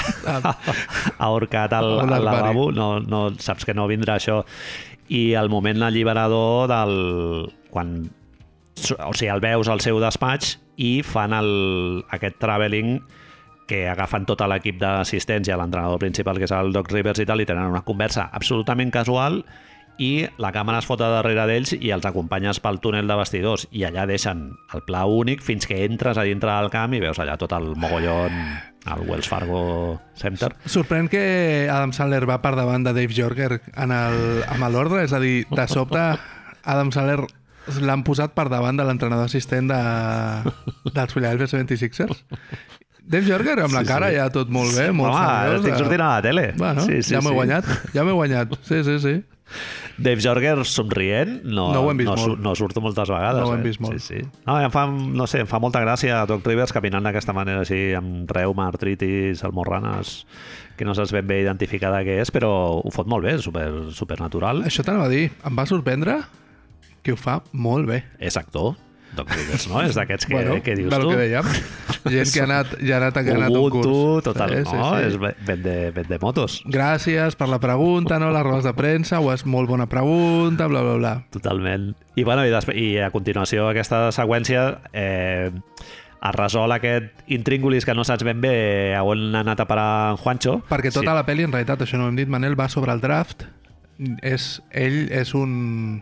ahorcat al,
A un
al
armari.
lavabo, no, no, saps que no vindrà això. I el moment alliberador del... quan o sigui, el veus al seu despatx i fan el, aquest traveling que agafen tot l'equip d'assistència, l'entrenador principal, que és el Doc Rivers i tal, i tenen una conversa absolutament casual i la càmera es fota darrere d'ells i els acompanyes pel túnel de vestidors i allà deixen el pla únic fins que entres a dintre del camp i veus allà tot el mogollon al Wells Fargo Center.
Sorprèn que Adam Sandler va per davant de Dave Jorger en el, amb l'ordre, és a dir, de sobte Adam Sandler l'han posat per davant de l'entrenador assistent de, dels Philadelphia 76ers. Dave Jorger amb la
Sí, sí.
cara ja tot molt bé, molt
Home,
seriós. eh?
estic sortint a la tele.
Bueno, sí, sí, ja m'he guanyat, ja m'he guanyat. Sí, sí, sí.
Dave Jorger somrient no,
No ho hem vist
no, su-
molt.
no surto moltes vegades.
No ho hem
eh?
vist molt.
Sí, sí. No, em fa, no sé, em fa molta gràcia Doc Rivers caminant d'aquesta manera així, amb reuma, artritis, almorranes, que no saps ben bé identificada què és, però ho fot molt bé, super, supernatural.
Això t'anava a dir, em va sorprendre que ho fa molt bé.
És actor, Doc Rivers, no? És d'aquests que,
bueno,
que dius
del
tu.
que dèiem. Gent que ha anat, ja ha anat, que ha anat a un curs.
Ubuntu, total,
Sí, sí,
no?
sí.
És ben- ben de, ben de motos.
Gràcies per la pregunta, no? Les rodes de premsa, o és molt bona pregunta, bla, bla, bla.
Totalment. I, bueno, i, després, i a continuació aquesta seqüència eh, es resol aquest intríngulis que no saps ben bé a on ha anat a parar en Juancho.
Perquè tota sí. la pel·li, en realitat, això no ho hem dit, Manel, va sobre el draft. És, ell és un,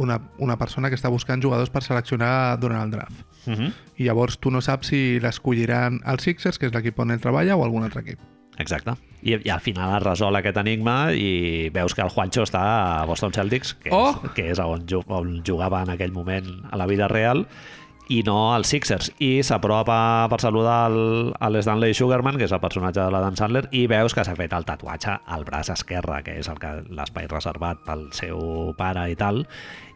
una, una persona que està buscant jugadors per seleccionar durant el draft.
Uh -huh.
I llavors tu no saps si l'escolliran els Sixers, que és l'equip on ell treballa, o algun altre equip.
Exacte. I, I al final es resol aquest enigma i veus que el Juancho està a Boston Celtics, que,
Oh!
és, que és on, ju on jugava en aquell moment a la vida real, i no als Sixers. I s'apropa per saludar el, el Stanley Sugarman, que és el personatge de l'Adam Sandler, i veus que s'ha fet el tatuatge al braç esquerre, que és el que l'espai reservat pel seu pare i tal,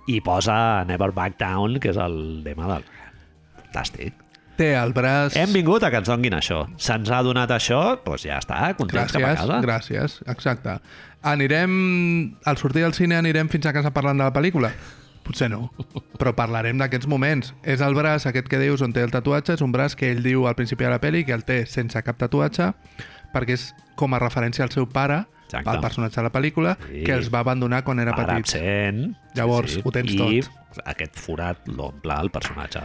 i posa Never Back Down, que és el de del... Fantàstic.
Té el braç...
Hem vingut a que ens donguin això. Se'ns ha donat això, doncs ja està, contents cap a
Gràcies,
casa.
gràcies, exacte. Anirem, al sortir del cine anirem fins a casa parlant de la pel·lícula? Potser no, però parlarem d'aquests moments. És el braç aquest que dius on té el tatuatge, és un braç que ell diu al principi de la pel·li que el té sense cap tatuatge, perquè és com a referència al seu pare,
Exacte.
al personatge de la pel·lícula,
Sí.
que els va abandonar quan era
Pare
petit.
absent.
Llavors, ho tens
I
tot.
aquest forat l'omple el personatge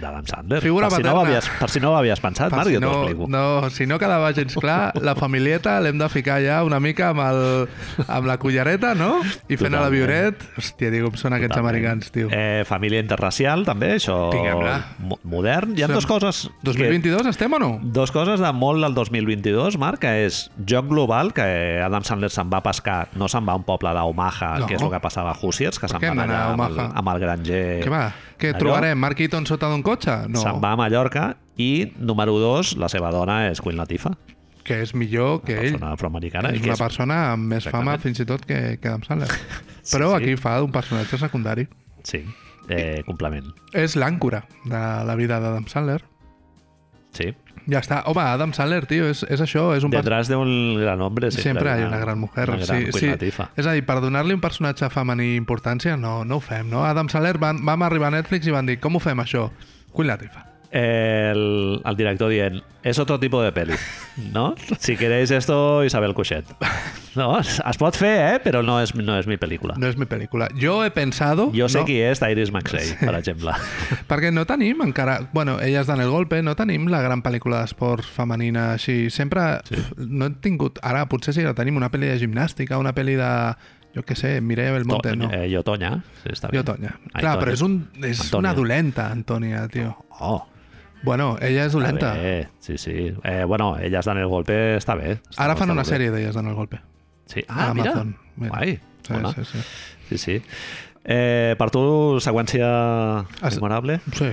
d'Adam Sandler.
Figura
per, si no ho
paterna.
havies, per si no ho havies pensat,
Per
Marc,
si
jo t'ho
no,
explico.
no, si no quedava gens clar, la familieta l'hem de ficar ja una mica amb, el, amb la cullereta, no? I fent a la
Totalment.
Vioret. Hòstia, diu, com són aquests
Totalment.
americans, tio.
Eh, família interracial, també, això
Tinguem-la.
mo- modern. Hi ha
Som-
dues coses... que-
2022 estem o no?
Dos coses de molt del 2022, Marc, que és joc global, que Adam Sandler se'n va a pescar, no se'n va a un poble d'Omaha,
No.
que és el que passava a Hoosiers, que se'n va
què hem d'anar
allà
a
amb el,
Omaha?
amb el granger...
Què va? Què
Allò?
trobarem? Mark Eaton sota d'un cotxe? No.
Se'n va a Mallorca i, número dos, la seva dona és Queen Latifah,
Que és millor que ell.
persona afroamericana. i
És
que
una persona amb més fama
Exactament.
fins i tot que, que Adam Sandler. Però
[laughs] sí.
aquí fa d'un personatge secundari.
Sí, eh, complement.
És l'àncora de la vida d'Adam Sandler.
Sí.
Ja està. Home, Adam Sandler, tio, és, és això. És un per-
Detrás de un gran hombre
Sempre,
siempre,
hi ha una gran mujer.
Una gran Queen Latifah.
És a dir, per donar-li un personatge femení importància, no, no ho fem, no? Adam Sandler van, vam arribar a Netflix i van dir, com ho fem, això? Queen Latifah.
el, al director dient, es otro tipo de peli, ¿no? Si queréis esto, Isabel Cuixet. No, es pot fer, eh? Però no és, no és mi pel·lícula.
No és mi pel·lícula. Jo he pensado...
Jo sé
no,
qui és Iris McShay, per
[laughs]
exemple.
Perquè no tenim encara... Bueno, elles dan el golpe, no tenim la gran pel·lícula d'esports femenina així. Sempre sí. no hem tingut... Ara, potser sí que tenim una pel·li de gimnàstica, una pel·li de... Jo què sé, Mireia Belmonte,
To-
no.
eh, jo Tonya. Sí, està bé. Ah,
Jo, Tonya.
Ai,
Clar,
Tonya.
però és, un, és
Antonia.
una dolenta, Antònia, tio.
Oh,
Bueno, ella és
està
dolenta.
bé. Sí, sí. Eh, bueno, elles dan el golpe, està bé. Està
Ara
està
fan una
molt bé.
sèrie d'elles en el golpe.
Sí. Ah,
a
mira.
Amazon. Mira.
Guai.
Sí,
Bona.
sí, sí.
Sí, sí. Eh, per tu, seqüència
Es-
memorable?
Sí,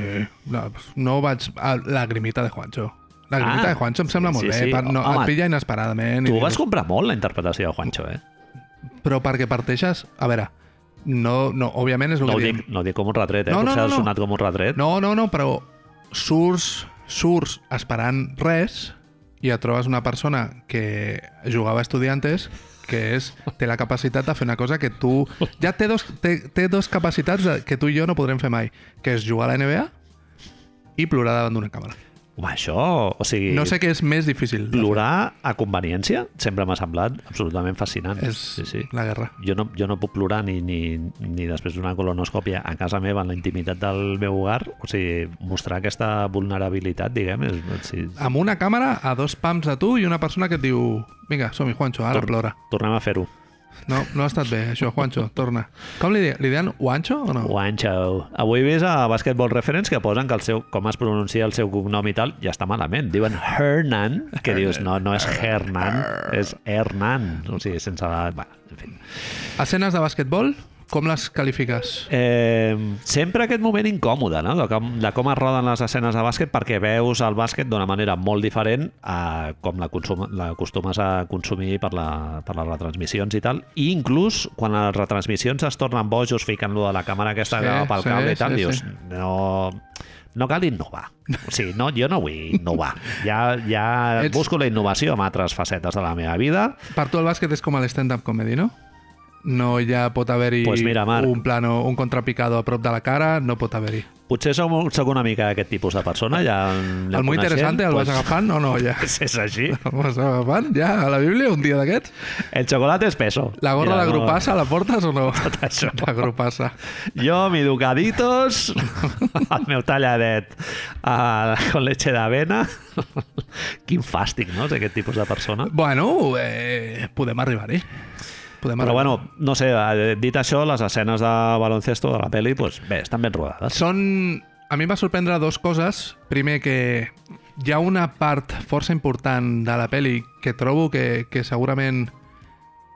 no, no vaig... a La grimita de Juancho. La grimita
Ah,
de Juancho em sembla
sí,
molt
sí,
bé.
sí.
Per, no,
Home,
et pilla inesperadament. i
Tu
dius,
vas comprar molt la interpretació de Juancho, eh?
Però perquè parteixes... A veure, no, no, òbviament és el
No ho
que
dic,
dic.
no ho dic com un retret, eh?
No, no,
Potser
no,
ha
no.
sonat com un retret.
No, no, no, però surts, surts esperant res i et trobes una persona que jugava a estudiantes que és, té la capacitat de fer una cosa que tu... Ja té dos, té, té dos capacitats de- que tu i jo no podrem fer mai, que és jugar a la NBA i plorar davant d'una càmera.
Home, això... O sigui,
No sé què és més difícil. de
plorar a conveniència sempre m'ha semblat absolutament fascinant.
És
Sí, sí.
la guerra.
Jo no, jo no puc plorar ni, ni, ni després d'una colonoscòpia a casa meva, en la intimitat del meu hogar. O sigui, mostrar aquesta vulnerabilitat, diguem, és, sí,
Amb una càmera a dos pams de tu i una persona que et diu vinga, som-hi, Juancho, ara
Tor-
plora.
tornem a fer-ho.
No, no ha estat bé, això, Juancho, torna. Com li, di- li deien Juancho o no?
Guancho. Avui he vist a Basketball Reference que posen que el seu, com es pronuncia el seu cognom i tal, ja està malament. Diuen Hernan, que dius, no, no és Hernan, és Hernan. O sigui, sense la... Va, en fi.
Escenes de basquetbol, com les qualifiques?
Eh, sempre aquest moment incòmode, no? De com, de com es roden les escenes de bàsquet perquè veus el bàsquet d'una manera molt diferent a com la consum- l'acostumes a consumir per, la, per les retransmissions i tal. I inclús quan les retransmissions es tornen bojos ficant-lo de la càmera aquesta
Sí,
que va pel
sí,
cable i tal,
sí,
dius,
sí.
no, no cal innovar. O sigui, no, jo no vull innovar. Ja, ja
[laughs] Ets-
busco la innovació en altres facetes de la meva vida
Per tu el bàsquet és com el stand-up comedy, no? No ja pot haver-hi
Pues mira, Marc.
un plano, un contrapicado a prop de la cara, no pot haver-hi.
Potser sóc, sóc una mica d'aquest tipus de persona, ja anem
El molt
coneixent,
interessant el vas
doncs-
agafant o no, ja?
És així.
El vas agafant, ja, a la Bíblia, un dia d'aquests?
El xocolate és peso.
La gorra
Mira,
de grupassa la portes o no?
[laughs] Tot això.
La grupassa.
Jo, mi ducaditos, [laughs] el meu talladet uh, con leche d'avena. Quin fàstic, no?, és aquest tipus de persona.
Bueno, eh, podem arribar-hi. Podem
Però
arribar
bueno, no sé, eh, dit això, les escenes de baloncesto de la pel·li, doncs bé, estan ben rodades.
Són... A mi em va sorprendre dos coses. Primer, que hi ha una part força important de la peli que trobo que, que segurament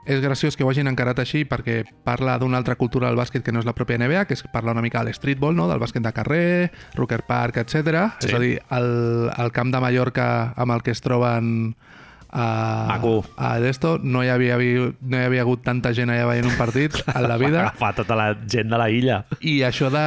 és graciós que ho hagin encarat així perquè parla d'una altra cultura del bàsquet que no és la pròpia NBA, que és que parla una mica de l'streetball, no? del bàsquet de carrer, Rucker Park, etc.
Sí.
Sí. És a dir, el, el camp de Mallorca amb el que es troben a,
Maco.
a d'esto, no hi, havia, havi- no hi havia hagut tanta gent allà veient un partit en la
[laughs]
vida.
Agafar tota la gent de la illa.
I això de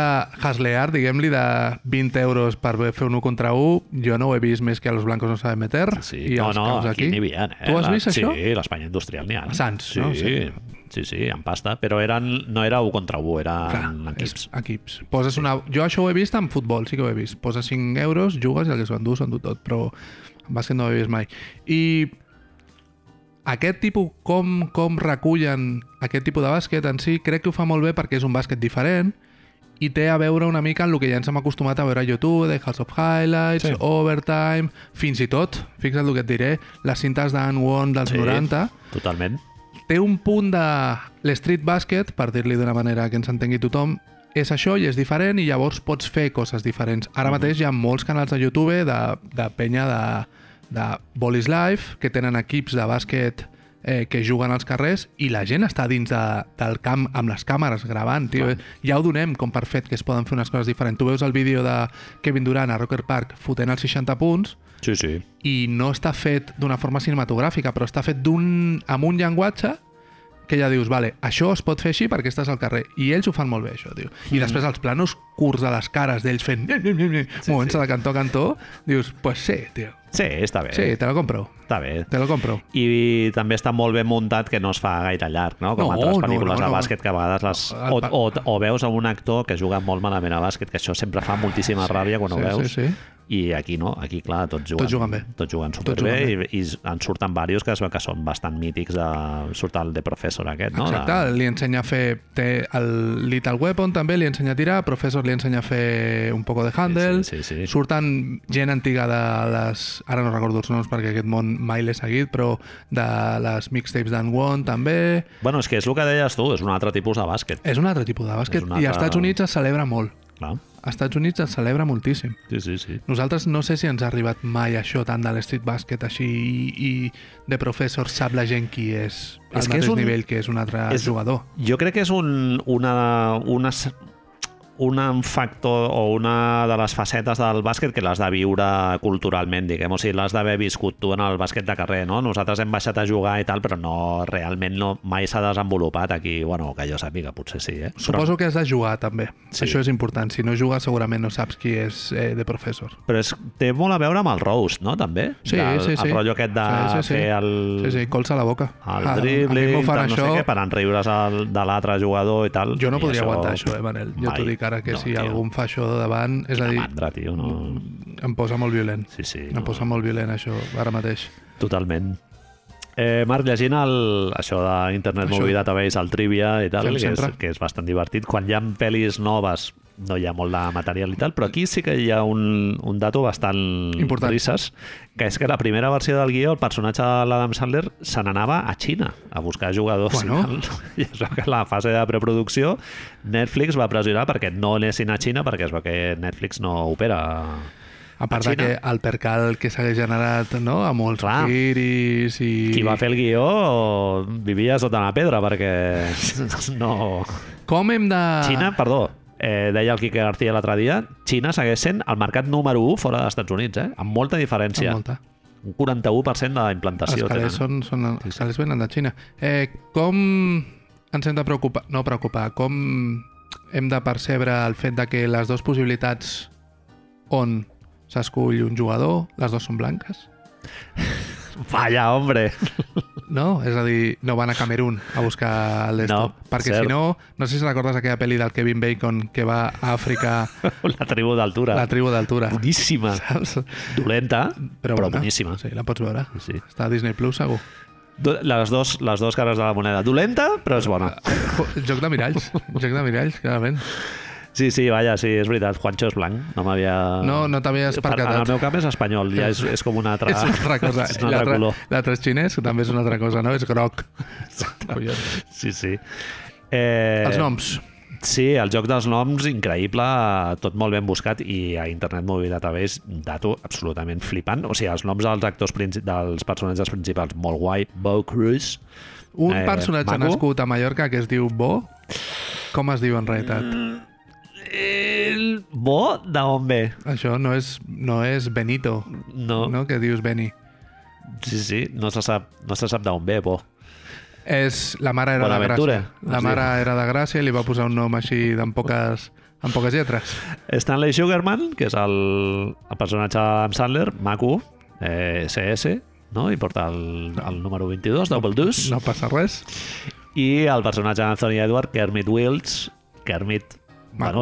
haslear, diguem-li, de 20 euros per fer un 1 contra 1, jo no ho he vist més que a los blancos no saben meter.
Sí,
i
no,
els
no,
caus
aquí, n'hi havia. Eh?
Tu has
La-
vist això?
Sí, l'Espanya industrial n'hi ha.
A Sants,
sí,
no?
Sí,
Sí.
sí, sí, en pasta. Però eren, no era 1 contra 1, eren equips.
és equips. Poses una... Jo això ho he vist en futbol, sí que ho he vist. Poses 5 euros, jugues i el que s'ho endú, s'ho endú tot, però en bàsquet no ho he vist mai. I aquest tipus, com, com recullen aquest tipus de bàsquet en si, crec que ho fa molt bé perquè és un bàsquet diferent i té a veure una mica amb el que ja ens hem acostumat a veure a YouTube, de House of Highlights,
Sí.
sí. Overtime, fins i tot, fixa't el que et diré, les cintes d'en Won dels
Sí.
sí. 90,
Totalment.
té un punt de l'street basket, per dir-li d'una manera que ens entengui tothom, és això i és diferent i llavors pots fer coses diferents. Ara mateix hi ha molts canals de YouTube de, de penya de, de Bolis Life que tenen equips de bàsquet eh, que juguen als carrers i la gent està dins de, del camp amb les càmeres gravant, tio. Ja ho donem com per fet que es poden fer unes coses diferents. Tu veus el vídeo de Kevin Durant a Rocker Park fotent els 60 punts
Sí, sí.
i no està fet d'una forma cinematogràfica, però està fet d'un amb un llenguatge que ja dius, vale, això es pot fer així perquè estàs al carrer. I ells ho fan molt bé, això, tio. I després els planos curts de les cares d'ells fent sí, movent-se de cantó a cantó, dius, pues sí, tio.
Sí, està bé.
Sí, te lo compro,
Està bé.
te lo compro.
I també està molt ben muntat que no es fa gaire llarg, no? Com
No,
altres
no,
pel·lícules
no,
de
no. Ah,
bàsquet que a vegades les...
El
O,
pa-
o, o veus a un actor que juga molt malament a bàsquet, que això sempre fa moltíssima ràbia quan
sí,
ho veus.
sí, sí.
I aquí no, aquí clar, tots juguen,
Tots juguen bé.
Tots juguen superbé
Tots juguen
I, i en surten diversos que es veu que són bastant mítics de... Surt el de professor aquest, no?
Exacte,
De...
li ensenya a fer té el Little Weapon, també li ensenya a tirar, Professor li ensenya a fer un poco de handle,
Sí, sí, sí.
surten gent antiga de les... Ara no recordo els noms perquè aquest món mai l'he seguit, però de les mixtapes d'en Won també...
Bueno, és que és el que deies tu, és un altre tipus de bàsquet.
És un altre tipus de bàsquet
És un
altre... i
altre-
als Estats Units es celebra molt.
Clar.
Als Estats Units es celebra moltíssim.
Sí, sí, sí.
Nosaltres no sé si ens ha arribat mai això tant de l'street basket així i, i de professor sap la gent qui és al
És que és
mateix
un-
nivell que és un altre
és-
jugador.
Jo crec que és un, una, una, s- un factor o una de les facetes del bàsquet que l'has de viure culturalment, diguem. O sigui, l'has d'haver viscut tu en el bàsquet de carrer, no? Nosaltres hem baixat a jugar i tal, però no, realment no, mai s'ha desenvolupat aquí. Bueno, que jo sàpiga, potser sí, eh? Però,
Suposo que has de jugar, també.
Sí.
Sí. Això és important. Si no jugues, segurament no saps qui és eh, de professor.
però és, té molt a veure amb el roast, no? També?
Sí,
Del-
sí, sí.
El rotllo aquest de
Sí, sí, sí.
fer el...
Sí, sí, colza a la boca.
El
A- a mi
dribbling,
m'ho fan
tal, no
això,
sé què, per enriure's el, de l'altre jugador i tal.
Jo no
I
podria aguantar això, eh, Manel. Jo t'ho
Mai.
dic ara, que
No,
si
tio.
algú em fa això de davant, és a dir,
Mandra, tio, no...
em posa molt violent.
Sí, sí.
Em posa molt violent, això, ara mateix.
Totalment. Eh, Marc, llegint el, això d'internet
Això.
movida database, el trivia i tal,
Fem
que és,
sempre.
que és bastant divertit, quan hi ha pel·lis noves no hi ha molt de material i tal, però aquí sí que hi ha un, un dato bastant
Important.
risses, que és que la primera versió del guió, el personatge de l'Adam Sandler se n'anava a Xina a buscar jugadors. i
Bueno.
tal. [laughs] I es veu que en la fase de preproducció Netflix va pressionar perquè no anessin a Xina perquè es veu que Netflix no opera
A part
A Xina.
de que el percal que s'hagués generat no? a molts
Clar.
iris i...
Qui va fer el guió vivia sota la pedra, perquè [laughs] no...
Com hem de...
Xina, perdó, eh, deia el Quique García l'altre dia, Xina segueix sent el mercat número 1 fora dels Estats Units, eh? amb molta diferència.
Amb molta.
Un 41% de la
Els
implantació.
calés,
tenen.
són, són, els calés venen de Xina. Eh, com ens hem de preocupar... No preocupar, com hem de percebre el fet de que les dues possibilitats on s'escull un jugador, les dues són blanques?
Vaya, hombre! [laughs]
No, és a dir, no van a Camerún a buscar l'estop.
No,
perquè
cert.
si no, no sé si recordes aquella pel·li del Kevin Bacon que va
[laughs]
a Àfrica,
La tribu d'altura.
la tribu d'altura.
Boníssima.
Saps?
Dolenta, però, però
bona.
boníssima.
Sí, la pots veure.
Sí.
Està a Disney Plus, segur.
Do- Les, dos, les dos cares de la moneda. Dolenta, però és bona.
Joc de miralls, joc de miralls, clarament.
Sí, sí, vaja, sí, és veritat. Juancho és blanc. No m'havia...
No, no t'havies percatat.
En el meu cap és espanyol, ja és, és com una altra...
[laughs] És una altra cosa.
[laughs] és
I
un altre
l'altre-
color.
L'altre és xinès, que també és una altra cosa, no? És groc. Collons.
Sí, sí. Eh,
Els noms.
Sí, el joc dels noms, increïble, tot molt ben buscat i a Internet Movie Database, dato absolutament flipant. O sigui, els noms dels actors princi- dels personatges principals, molt guai. Bo Cruz.
Un
Eh,
personatge
maco.
nascut a Mallorca que es diu Bo, com es diu en realitat?
Mm. El... Bo, d'on ve?
Això no és, no és Benito,
No, no,
no? Que dius Beni.
sí, sí, no se sap, no se sap d'on ve, bo.
És, la mare era de
Bonaventura,
Gràcia. La
es
mare era de Gràcia i li va posar un nom així amb poques, amb poques lletres.
Stanley Sugarman, que és el, el personatge d'Adam Sandler, maco, eh, CS, no? i porta el, el número 22, Double Deuce.
No passa res.
I el personatge d'Anthony Edward, Kermit Wills, Kermit,
Maco.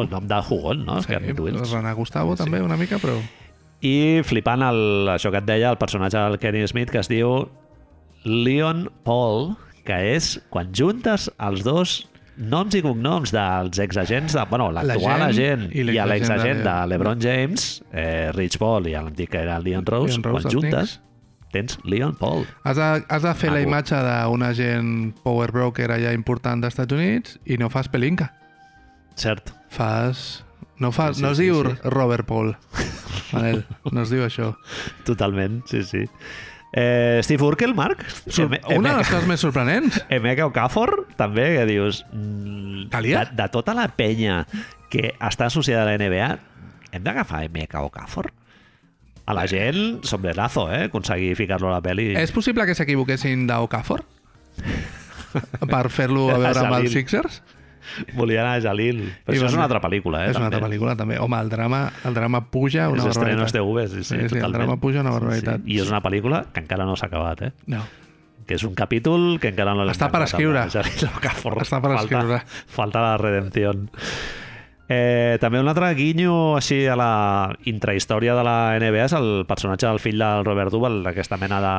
bueno, el nom de jugón, no? Sí, Kermit Wills.
René Gustavo sí. també una mica, però...
I flipant el, això que et deia, el personatge del Kenny Smith, que es diu Leon Paul, que és quan juntes els dos noms i cognoms dels exagents, de, bueno, l'actual agent,
L'agent i
i
l'exagent
l'exagent
de-
de LeBron James, eh, Rich Paul i l'antic que era Leon Rose,
Leon
Leon
Rose,
Rose quan
els
juntes tens Leon Paul.
Has de, has de fer la
Maco.
imatge d'un agent power broker allà important dels Estats Units i no fas pelinca.
Cert.
Fas... No, fas,
Sí, sí,
no es
sí,
diu
sí.
Robert Paul. Manel, no es diu
[laughs]
això.
Totalment, sí, sí. Eh, Steve Urkel, Marc?
Sur
Eme-
una de
Emeka-
les coses més sorprenents.
Emeka Okafor, també, que dius... mm,
Calia?
De, de tota la penya que està associada a la NBA, hem d'agafar Emeka Okafor? A la gent, sombrerazo, eh? Aconseguir ficar-lo a la pel·li.
Eh. És possible que s'equivoquessin d'Ocafor? per
[laughs]
fer-lo a veure amb els
Salil.
Sixers?
Volia anar a Jalil. Però
I
això
van-
és una altra pel·lícula, eh?
és una altra pel·lícula, també. Home, el drama, el drama puja una
Els estrenos
barbaritat.
TV, sí, sí,
Sí, sí, el
totalment.
drama puja una
Sí, sí.
barbaritat.
I és una pel·lícula que encara no s'ha acabat, eh?
No.
Que és un capítol que encara no l'hem
Està per
tancat,
escriure.
el de Jalil Okafor.
Està per
Falta-
escriure.
Falta la redempció. Eh, també un altre guinyo així a la intrahistòria de la NBA és el personatge del fill del Robert Duvall, aquesta mena de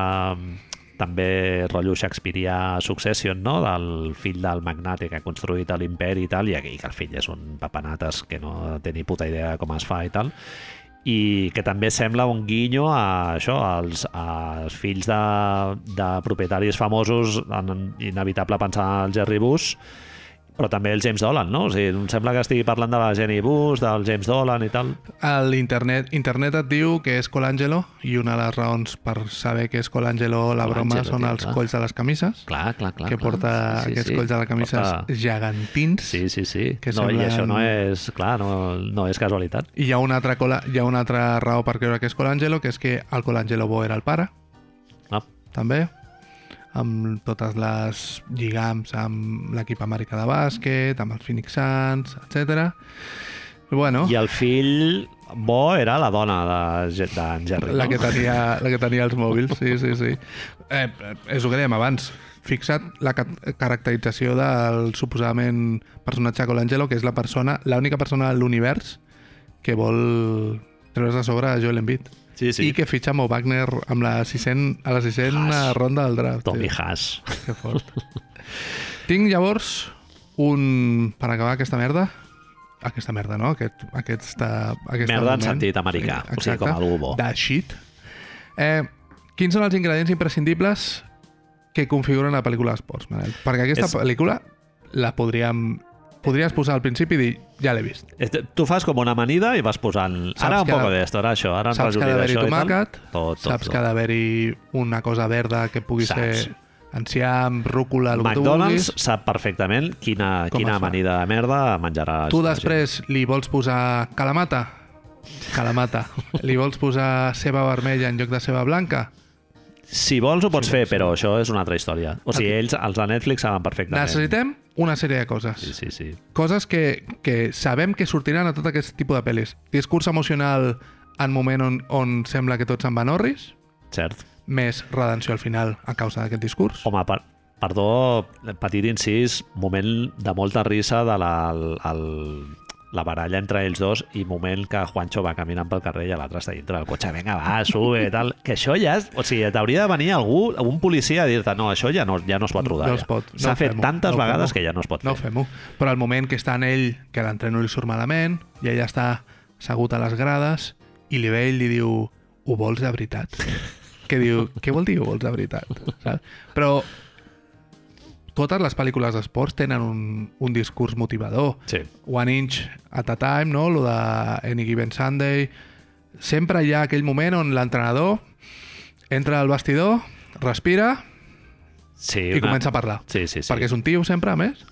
també rotllo Shakespearea Succession, no? del fill del magnate que ha construït l'imperi i tal, i, i que el fill és un papanates que no té ni puta idea de com es fa i tal i que també sembla un guinyo a això, als, als fills de, de propietaris famosos, en- inevitable pensar al Jerry Bush, però també el James Dolan, no? O sigui, em sembla que estigui parlant de la Jenny Bush, del James Dolan i tal.
L'internet internet et diu que és Colangelo i una de les raons per saber que és Colangelo la
Colangelo,
broma són
tio,
els
clar.
colls de les camises,
Clar, clar, clar.
que porta aquests colls de les camises gegantins.
Sí, sí, sí.
que
no, I
semblen-
això no és, clar, no, no és casualitat.
I hi ha, una altra cola, hi ha una altra raó per creure que és Colangelo, que és que el Colangelo Bo era el pare,
No.
també, amb totes les lligams amb l'equip americà de bàsquet, amb els Phoenix Suns, etc. Bueno,
I el fill bo era la dona d'en de, d'en Jerry,
la
no?
que, tenia, la que tenia els mòbils, sí, sí, sí. Eh, és el que dèiem abans. Fixa't la ca caracterització del suposadament personatge Colangelo, que és la persona, l'única persona de l'univers que vol treure's de sobre a Joel Embiid.
Sí,
Sí.
sí.
I que fitxa Mo Wagner amb la 600, a la 600
Haas.
ronda del draft.
Tommy
tio.
Haas.
Que fort. Tinc llavors un... Per acabar aquesta merda, aquesta merda, no? Aquest, aquesta, aquesta
Merda en sentit americà, o sigui, com algú bo.
De shit. Eh, quins són els ingredients imprescindibles que configuren la pel·lícula d'esports, Manel? Perquè aquesta
És-
pel·lícula la podríem... Podries posar al principi i dir, ja l'he vist.
Este- Eh, Tu fas com una amanida i vas posant...
Saps
ara un
que-
poc d'esto, ara això, ara un
saps que ha
rajolí
d'haver-hi
d'això i tal.
tomàquet,
Tot, tot,
Saps
tot.
que ha d'haver-hi una cosa verda que pugui
Saps.
ser enciam, rúcula, el que tu vulguis.
McDonald's sap perfectament quina,
Com
quina
es fa.
amanida de merda menjarà.
Tu
la
després li vols posar calamata?
[laughs]
Calamata. Li vols posar ceba vermella en lloc de ceba blanca?
gent. Si vols ho pots fer, però això és una altra història. O sigui, ells, els de Netflix, saben perfectament.
Necessitem una sèrie de coses.
Sí, sí, sí.
Coses que, que sabem que sortiran a tot aquest tipus de pel·lis. Discurs emocional en moment on, on sembla que tots se'n van orris,
Cert.
més redenció al final a causa d'aquest discurs.
Home, per, perdó, petit incís, moment de molta risa de la, el, el, la baralla entre ells dos i moment que Juancho va caminant pel carrer i l'altre està dintre del cotxe, vinga, va, sube, tal. Que això ja és... O sigui, t'hauria de venir algú, un policia, a dir-te, no, això ja no, ja no es pot rodar.
No es
ja.
pot.
S'ha
No
fet
fem-ho,
tantes
no
vegades
fem-ho.
que ja no es pot
No
fer.
fem-ho. Però el moment que està en ell, que l'entreno li surt malament, i ella està assegut a les grades, i li ve i li diu, ho vols
[laughs]
de veritat? que diu, què vol dir ho vols de veritat? Saps? Però totes les pel·lícules d'esports tenen un, un discurs motivador.
Sí.
One Inch at a Time, no? Lo de Any Given Sunday... Sempre hi ha aquell moment on l'entrenador entra al vestidor, respira
sí
i comença a parlar.
Sí, sí, sí.
Perquè és un tio, sempre, a més.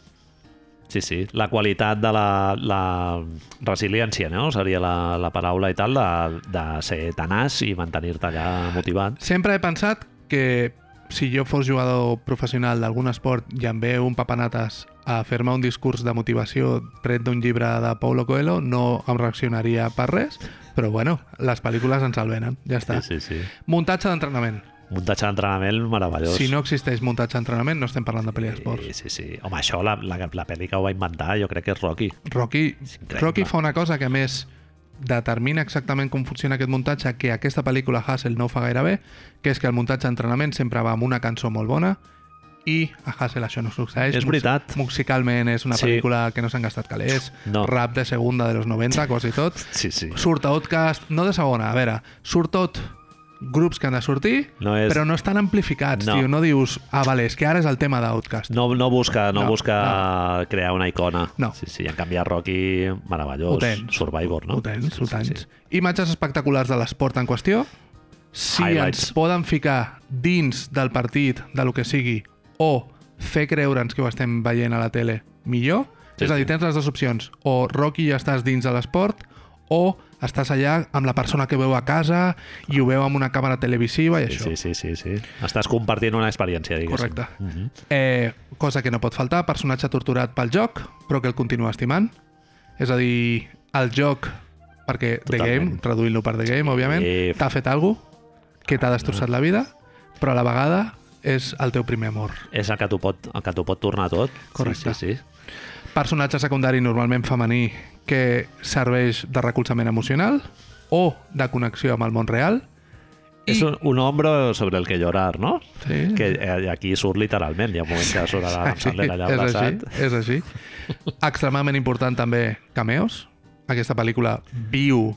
Sí, sí. La qualitat de la, la resiliència, no? Seria la, la paraula i tal, de, de ser tenaç i mantenir-te allà motivat.
Sempre he pensat que si jo fos jugador professional d'algun esport i em ve un papanates a fer-me un discurs de motivació tret d'un llibre de Paulo Coelho, no em reaccionaria per res, però bueno, les pel·lícules ens el venen, ja està.
Sí, sí, sí.
Muntatge d'entrenament.
Muntatge d'entrenament meravellós.
Si no existeix muntatge d'entrenament, no estem parlant de pel·li d'esports.
Sí, sí, sí. Home, això, la, la, la pel·li que ho va inventar, jo crec que és Rocky.
Rocky,
increïble.
Rocky fa una cosa que a més determina exactament com funciona aquest muntatge que aquesta pel·lícula Hassel no ho fa gaire bé que és que el muntatge d'entrenament sempre va amb una cançó molt bona i a Hassel això no succeeix
És veritat.
Mus- musicalment és una
Sí.
pel·lícula que no s'han gastat calés
No.
rap de segunda de los 90 quasi tot
Sí, sí.
surt a Outcast, no de segona, a veure surt tot grups que han de sortir
No és-
però no estan amplificats
No.
tio, no dius, ah vale, és que ara és el tema d'Outcast
No, no busca, no,
No,
no busca no. crear una icona.
No.
Sí, sí, en canvi a Rocky, meravellós.
Ho tens.
Survivor, no?
Ho tens, ho tens.
Sí, sí, sí.
Imatges espectaculars de l'esport en qüestió. Si
Highlights.
ens poden ficar dins del partit, de lo que sigui, o fer creure'ns que ho estem veient a la tele, millor.
Sí,
Sí, és a dir,
sí.
tens les dues opcions. O Rocky ja estàs dins de l'esport, o estàs allà amb la persona que veu a casa i ho veu amb una càmera televisiva i
Sí,
això.
sí, sí, sí, sí. Estàs compartint una experiència, diguéssim.
Correcte.
Mhm.
Eh, cosa que no pot faltar, personatge torturat pel joc, però que el continua estimant. És a dir, el joc, perquè The
Totalment.
Game, traduint-lo per The Game, òbviament,
Sí.
t'ha fet alguna que t'ha destrossat la vida, però a la vegada és el teu primer amor.
És el que t'ho pot, el que t'ho pot tornar tot.
Correcte.
Sí, sí, sí.
Personatge secundari normalment femení que serveix de recolzament emocional o de connexió amb el món real. I-
És un, un hombro sobre el que llorar, no?
Sí.
Que eh, aquí surt literalment, hi ha un moment que surt l'Adam Sandler allà
és
abraçat.
així, és
[laughs]
així. Extremadament important també cameos. Aquesta pel·lícula viu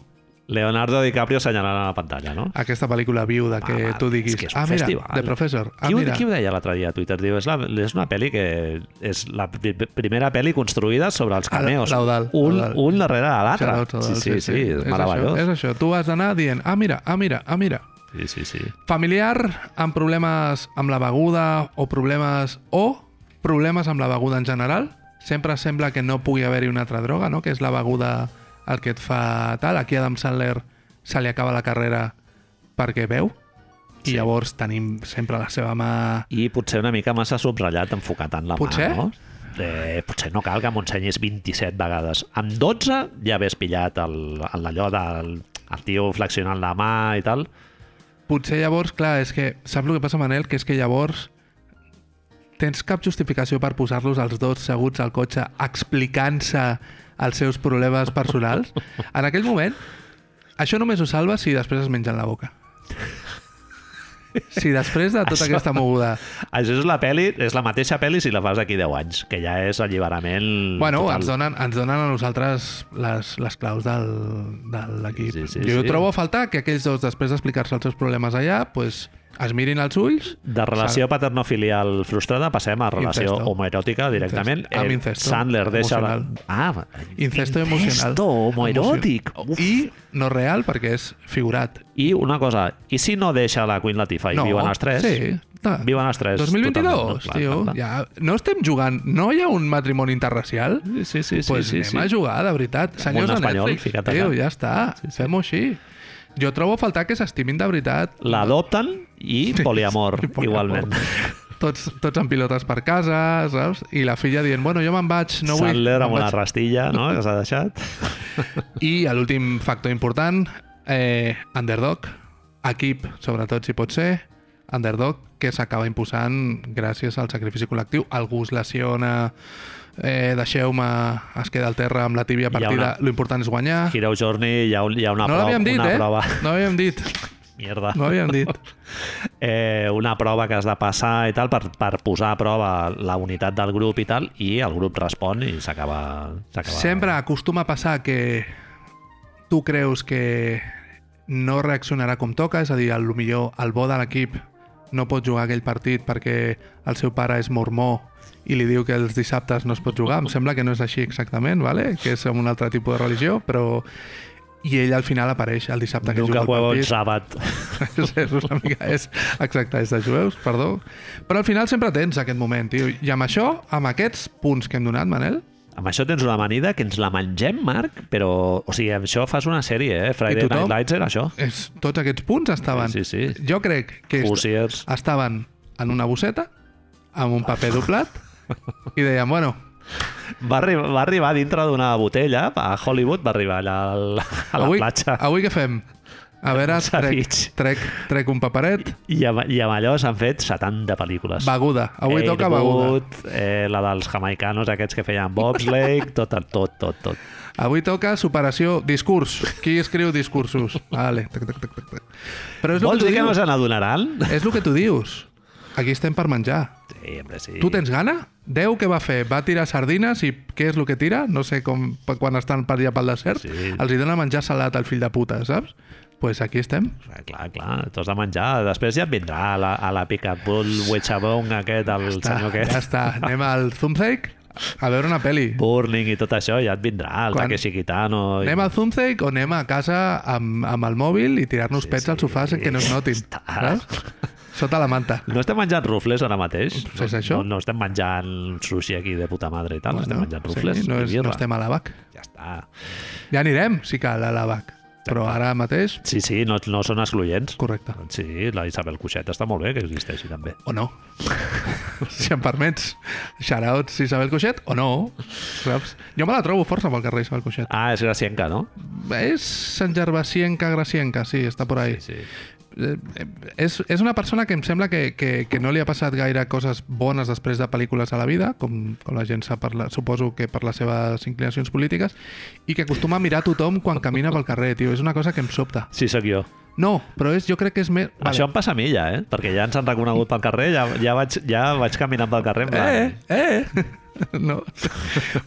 Leonardo DiCaprio assenyalant a la pantalla, no?
aquesta pel·lícula viu de que
Home,
tu diguis
és que és un
ah, mira,
festival."
The Professor, ah,
qui, ho,
mira,
qui ho deia l'altre dia a Twitter? Diu, és, la, és una pel·li que és la pri- primera pel·li construïda sobre els cameos.
l'Audal,
Un,
l'Audal.
un darrere de l'altre.
Shoutouts a
Sí,
dalt,
sí, sí, sí, és
És
meravellós.
Això, és això, tu has d'anar dient, ah, mira, ah, mira, ah, mira.
Sí, sí, sí.
Familiar amb problemes amb la beguda o problemes o problemes amb la beguda en general, sempre sembla que no pugui haver-hi una altra droga, no? que és la beguda el que et fa tal. Aquí Adam Sandler se li acaba la carrera perquè veu i
Sí.
llavors tenim sempre la seva mà
I potser una mica massa subratllat, enfocat en la
Potser?
mà, no? Eh, potser no cal que m'ho ensenyis 27 vegades. Amb 12 ja hagués pillat el- el- allò del el tio flexionant la mà i tal.
Potser llavors, clar, és que saps el que passa, Manel? Que és que llavors tens cap justificació per posar-los els dos seguts al cotxe explicant-se els seus problemes personals. En aquell moment, això només ho salva si després es mengen la boca. Si després de tota
Això- Mm,
aquesta moguda...
Això és la peli, és la mateixa pel·li si la fas d'aquí 10 anys, que ja és alliberament
Bueno,
total.
ens donen, ens donen a nosaltres les, les claus del, de l'equip.
Sí, sí,
jo
sí.
trobo a faltar que aquells dos, després d'explicar-se els seus problemes allà, pues, es mirin als ulls
De relació paternofilial frustrada passem a relació
Incesto.
homoeròtica directament.
Incesto. Amb incesto.
Sandler deixa... la-
Emocional.
Ah,
Incesto emocional.
Incesto homoeròtic.
Emocional.
Uf.
I no real, perquè és figurat.
I una cosa, i si no deixa la Queen Latifah i
no,
viuen els tres?
Sí. Ta.
Viuen els tres.
2022,
totalment,
tio.
no? Clar, clar, clar.
Ja, no estem jugant... No hi ha un matrimoni interracial?
Sí, sí, sí. sí,
pues
sí,
anem
sí.
a jugar, de veritat. Senyors de
espanyol,
Netflix,
fica't allà.
tio, ja està.
Sí, sí.
Fem-ho així. Jo trobo a faltar que s'estimin de veritat [laughs]
L'adopten i poliamor,
I poliamor.
igualment.
tots, tots amb pilotes per casa, saps? I la filla dient, bueno, jo me'n vaig, no vull...
Sandler
me'n
amb una
vaig".
rastilla, no?, que s'ha deixat.
I a l'últim factor important, eh, underdog, equip, sobretot si pot ser, underdog que s'acaba imposant gràcies al sacrifici col·lectiu. Algú es lesiona, eh, deixeu-me, es queda al terra amb la tíbia
Hi ha
partida,
una-
l'important és guanyar.
Hero Journey, hi ha, un, hi ha una,
no
prova,
l'havíem dit,
una
eh?
prova.
No l'havíem dit,
Mierda.
no l'havíem dit.
eh, una prova que has de passar i tal per, per posar a prova la unitat del grup i tal, i el grup respon i s'acaba... s'acaba-
Sempre acostuma a passar que tu creus que no reaccionarà com toca, és a dir, el millor el bo de l'equip no pot jugar aquell partit perquè el seu pare és mormó i li diu que els dissabtes no es pot jugar. Em sembla que no és així exactament, vale? que és un altre tipus de religió, però... I ell al final apareix el dissabte que
Diu que
juga el
huevo el
partit.
sàbat.
[laughs] és, és una mica... És, exacte, és de jueus, perdó. Però al final sempre tens aquest moment, tio. I amb això, amb aquests punts que hem donat, Manel,
Amb això tens una amanida que ens la mengem, Marc, però... O sigui, amb això fas una sèrie, eh? Friday
tothom?
Night Lights era això.
és, tots aquests punts estaven...
Sí, sí, sí.
Jo crec que est-
Hoosiers.
estaven en una bosseta, amb un paper doblat, i deien, bueno,
Va, arribar, va arribar dintre d'una botella a Hollywood, va arribar allà al, a la
avui,
platja.
avui què fem? A veure,
Un
trec,
ceviche.
trec, trec un paperet,
I amb, I amb allò s'han fet 70 pel·lícules.
beguda. Avui toca beguda.
Airwood, eh, la dels jamaicanos aquests que feien
[laughs]
bobsleigh, tot, tot, tot, tot.
Avui toca superació, discurs. Qui escriu discursos? Vale. Tac, tac, tac, tac, tac. Però és el
Vols
que tu
dir que no
dius.
se n'adonaran?
És el que tu dius. Aquí estem per menjar.
Sí, hombre, sí.
Tu tens gana? Déu què va fer? Va tirar sardines i què és el que tira? No sé com quan estan per allà pel desert.
Sí.
Els hi dona menjar salat al fill de puta, saps? pues aquí estem.
Ah, Clar, clar, t'ho has de menjar. Després ja et vindrà a la, a la picabull wechabong aquest, el ja
Està,
senyor
ja
aquest.
està. Anem al Thumbtake a veure una peli.
Burning i tot això, ja et vindrà el
Quan-
Taque Chiquitano. i-
Anem al Thumbtake o anem a casa amb, amb el mòbil i tirar-nos sí, pets al sofà sense que no es notin.
Està.
Saps? Sota la manta.
No estem menjant rufles ara mateix.
Pues és això.
No, no estem menjant sushi aquí de puta madre i tal. Bueno, Ah, estem menjant rufles
sí, no,
i
és,
birra.
no estem a l'ABAC.
Ja està.
Ja anirem, sí que a l'ABAC. Però ara mateix,
Sí, sí, no, no són excloients.
correcte.
Sí, la Isabel Cuixet està molt bé que existeixi també.
O no. [laughs] si em permets. Shoutouts Isabel Coixet o no. Saps? Jo me la trobo força pel carrer Isabel Coixet.
Ah, és gracienca, no?
És Sant Gervasienca, Gracienca, sí, està por ahí.
Sí, sí.
Eh, eh, és, és una persona que em sembla que, que, que no li ha passat gaire coses bones després de pel·lícules a la vida, com, com la gent sap, per la, suposo que per les seves inclinacions polítiques, i que acostuma a mirar tothom quan camina pel carrer, tio. És una cosa que em sobta.
Sí, sóc jo.
No, però és, jo crec que és més...
Vale. Això em passa a mi ja, eh? Perquè ja ens han reconegut pel carrer, ja, ja, vaig, ja vaig caminant pel carrer. en plan,
Eh, eh! [laughs] No.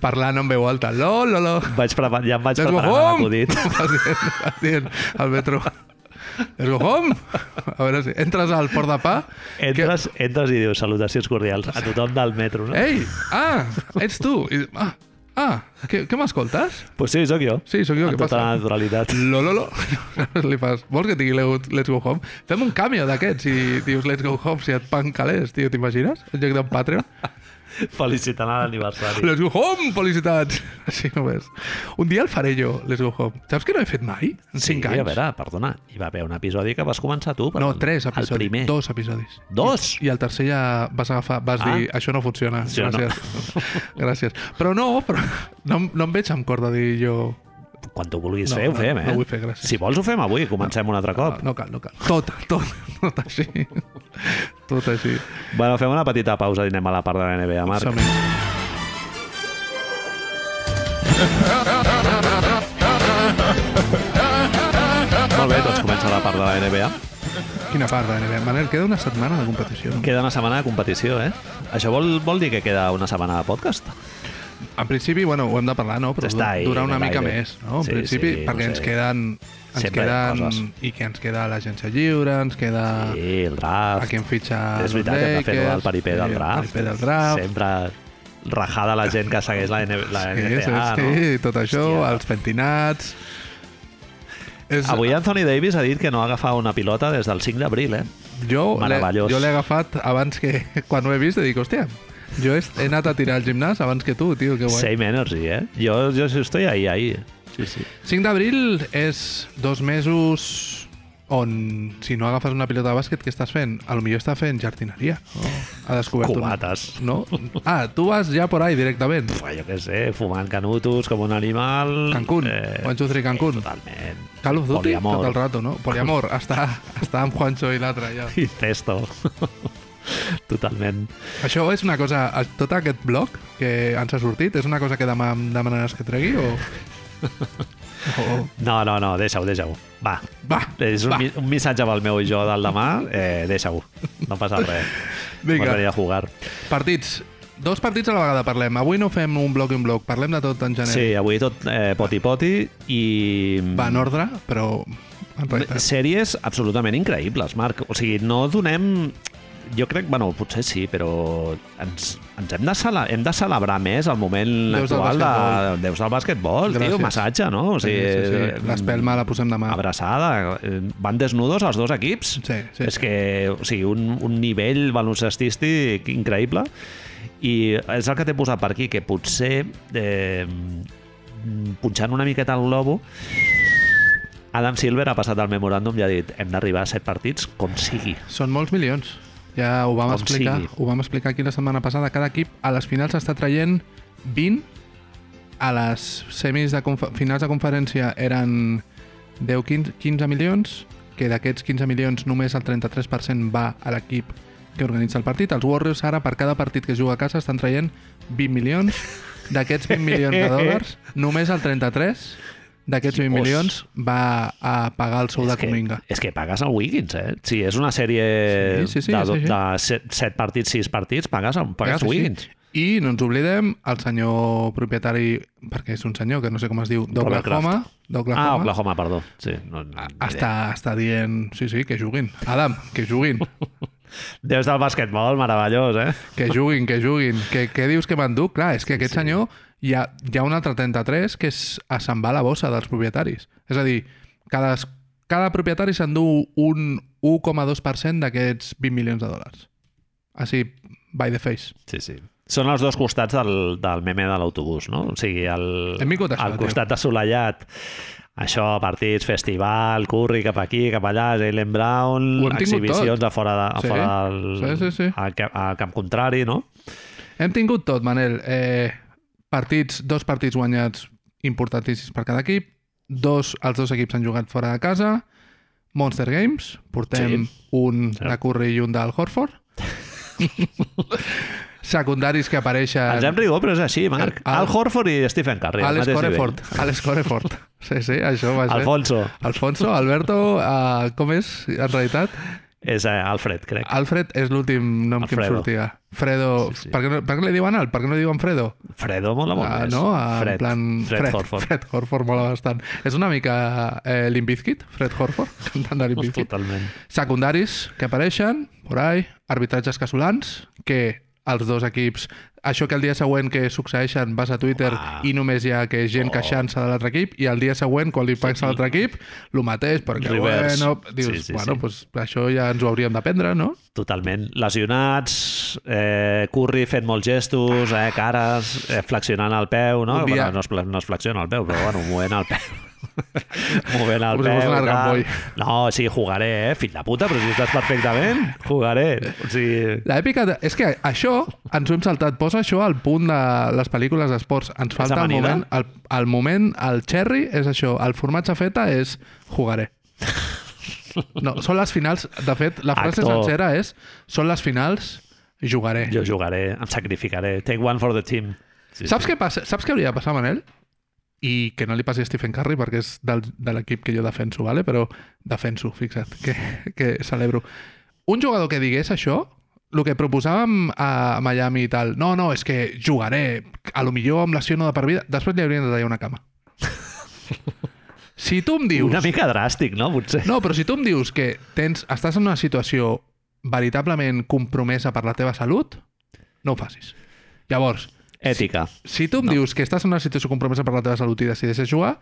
Parlant en veu alta. Lo, lo, lo.
Vaig prepa- ja em vaig
Let's go
preparant
home! [laughs]
l'acudit.
Vas dient, vas dient al metro. Let's go home! A veure si entres al Port de Pa...
Entres, entres i dius salutacions cordials a tothom del metro, no? Eh?
Ei, ah, ets tu! I, ah, ah, que, que m'escoltes?
Pues sí, sóc jo.
Sí, sóc jo,
Amb
què
tota
passa?
la naturalitat. [laughs]
Lo, lo, [laughs] lo. Li fas, vols que et digui Let- Let's Go Home? Fem un cameo d'aquests i dius Let's Go Home si et fan calés, tio, t'imagines? En lloc d'un Patreon.
Felicitant a l'aniversari.
Let's Go Home, felicitats! [laughs] Així només. Un dia el faré jo, Let's Go Home. Saps que no he fet mai? En
Sí,
5
a
anys.
veure, perdona, hi va haver un episodi que vas començar tu. Per
No, tres
El
episodis.
primer.
Dos episodis.
Dos?
I el tercer ja vas agafar, vas
Ah.
dir, això no funciona.
Sí o no?
Gràcies.
[laughs]
Gràcies. Però no, però [laughs] no, em- no em veig amb cor de dir jo...
Quan tu vulguis
No,
fer, ho
no,
fem, eh?
no vull fer, gràcies.
Si vols, ho fem avui, comencem un altre cop.
No cal, no cal. Tot, tot, [laughs] tot així. Tot així.
Bueno, fem una petita pausa i anem a la part de la NBA, Marc.
Som-hi.
Molt bé, doncs comença la part de la NBA.
Quina part, de NBA? Manel, queda una setmana de competició. No?
Queda una setmana de competició, eh? Això vol, vol dir que queda una setmana de podcast?
En principi, bueno, ho hem de parlar, no? Però
Està ahí,
durar una
en
mica
l'aire.
més, no? En
Sí,
principi,
sí,
perquè
no
ens
sé.
queden... Ens
Sempre hi ha
queden...
coses.
I que ens queda l'agència lliure, ens queda...
Sí, el draft.
Ah. a qui em fitxa
És
els
veritat que hem de fer
Lakers,
el paripé
sí,
del
el
draft.
paripé del draft.
Sempre rajada la gent que segueix la, N la
Sí,
NBA,
sí,
no?
sí, tot això,
Hòstia.
els pentinats... És,
Avui Anthony Davis ha dit que no agafa una pilota des del 5 d'abril, eh?
jo l'he-
meravellós.
jo l'he agafat abans que... [laughs] Quan ho he vist, he dit, hòstia, jo he, he anat a tirar al gimnàs abans que tu, tio, que guai.
Same energy, eh? Jo, jo estoy ahí, ahí. Sí, sí.
5 d'abril és dos mesos on, si no agafes una pilota de bàsquet, què estàs fent? A lo millor està fent jardineria. Oh. Ha descobert
Cubates.
un... No? Ah, tu vas ja por ahí directament.
Pua, jo què sé, fumant canutos com un animal... Eh,
Cancún. One, two, three, Cancún.
Totalment.
Call of Duty
Poliamor.
tot el rato, no? Poliamor, està, està amb Juancho i l'altre, ja.
Incesto. Totalment.
Això és una cosa... Tot aquest bloc que ens ha sortit és una cosa que demà em demanaràs que tregui o... o...
No, no, no, deixa-ho, deixa-ho. Va,
Va,
és un,
va.
mi un missatge pel meu i jo del demà. Eh, deixa-ho, no passa res.
Vinga.
M'agradaria jugar.
Partits. Dos partits a la vegada parlem. Avui no fem un bloc i un bloc, parlem de tot en general.
Sí, avui tot eh, poti-poti i...
Va en ordre, però... En realitat.
Sèries absolutament increïbles, Marc. O sigui, no donem... jo crec, bueno, potser sí, però ens, ens hem, de cele hem de celebrar més el moment
Déus del
actual de
basquetbol.
Déus del bàsquetbol, tio,
Gràcies.
massatge, no? O sigui,
sí, sí, sí. L'espelma la posem demà.
abraçada, eh, van desnudos els dos equips.
Sí, sí.
És que, o sigui, un, un nivell baloncestístic increïble i és el que t'he posat per aquí, que potser eh, punxant una miqueta al globo Adam Silver ha passat el memoràndum i ha dit hem d'arribar a set partits com sigui.
Són molts milions. Ja ho vam,
Com
explicar,
sigui.
ho vam explicar aquí la setmana passada. Cada equip a les finals està traient 20. A les semis de confe- finals de conferència eren 10, 15, 15 milions, que d'aquests 15 milions només el 33% va a l'equip que organitza el partit. Els Warriors ara per cada partit que es juga a casa estan traient 20 milions. D'aquests 20 milions de dòlars, només el 33 d'aquests 20
Dios.
milions va a pagar el sou de
és, que,
Cominga.
és que pagues el Wiggins, eh? Si és una sèrie
Sí, sí, sí,
de,
sí,
do-
sí.
de set, set partits, sis partits, pagues, pagues
És així.
Wiggins.
I no ens oblidem el senyor propietari, perquè és un senyor que no sé com es diu, d'Oklahoma.
Ah,
d'Oklahoma,
Oklahoma, perdó. Sí, no, no,
Està, està dient, sí, sí, que juguin. Adam, que juguin,
Des del basquetbol, meravellós, eh?
que juguin, que juguin. Que, què dius que m'enduc? Clar, és que aquest sí. senyor hi ha, hi ha un altre 33 que és- a se'n va a la bossa dels propietaris. És a dir, cada, cada propietari s'endú un 1,2% d'aquests 20 milions de dòlars. Així, by the face.
Sí, sí. Són els dos costats del, del meme de l'autobús, no? O sigui, el,
Hem vingut a això,
el
tio.
costat assolellat, això, partits, festival, curri cap aquí, cap allà, Jalen Brown,
Ho hem tingut
exhibicions
tot.
a fora, de, a
Sí,
fora del,
sí, sí, sí.
Al, cap, al camp contrari, no?
Hem tingut tot, Manel. Eh, partits, dos partits guanyats importantíssims per cada equip. Dos, els dos equips han jugat fora de casa. Monster Games, portem sí. un
Cert.
de Curry i un del
[laughs]
Horford. Secundaris que
Ens
apareixen...
hem rigor, però és així, Marc.
Al-
Al, Horford i Stephen Curry. al
Eh, Alex
mateix nivell.
Corefort. Alex Corefort. Sí, sí, això va ser...
Alfonso.
Alfonso, Alberto, uh, com és, en realitat?
És eh, Alfred, crec.
Alfred és l'últim nom que em
Alfredo.
sortia. Fredo...
Sí, sí.
Per, què no, per què li diuen Al? Per què no diuen Fredo?
Fredo mola molt
Ah,
més.
no? Ah,
Fred,
en plan...
Fred, Horford.
Fred Horford mola bastant. És una mica eh, Limp Bizkit, Fred Horford, [laughs] cantant de Limp Bizkit.
Totalment.
Secundaris que apareixen, por ahí, arbitratges casolans, que els dos equips... Això que el dia següent que succeeixen vas a Twitter
Uah. Oh.
i només hi ha que gent queixant-se de l'altre equip i el dia següent, quan li passa a l'altre equip, el mateix, perquè
Reverse.
bueno... Dius,
Sí, sí,
bueno,
sí.
Pues, això ja ens ho hauríem d'aprendre, no?
Totalment. Lesionats, eh, Curry fent molts gestos, eh, cares, eh, flexionant el peu, no?
Un dia-
Bueno, no, es, fle- no es flexiona el peu, però bueno, movent el peu.
[laughs]
movent el
Com si
peu.
fos un
tal.
argamboll.
No, sí, jugaré, eh? Fill de puta, però si estàs perfectament, jugaré. O sigui,
L'èpica... De... És que això ens ho hem saltat. Posa això al punt de les pel·lícules d'esports. Ens falta el
amanida?
moment... El, el moment, el cherry és això. El formatge feta és jugaré. No, són les finals... De fet, la frase
Actor.
sencera és són les finals, jugaré.
jo jugaré, em sacrificaré. Take one for the team. Sí,
Saps
sí.
què passa? Saps què hauria de passar, Manel? I que no li passi a Stephen Curry perquè és del, de l'equip que jo defenso, vale? però defenso, fixa't, [laughs] que, que celebro. Un jugador que digués això, el que proposàvem a Miami i tal, no, no, és que jugaré, a lo millor amb lesiono de per vida, després li haurien de tallar una cama. Si tu em dius...
Una mica dràstic, no? Potser.
No, però si tu em dius que tens, estàs en una situació veritablement compromesa per la teva salut, no ho facis. Llavors,
Ètica.
si tu em no. dius que estàs en una situació compromesa per la teva salut i decideixes jugar,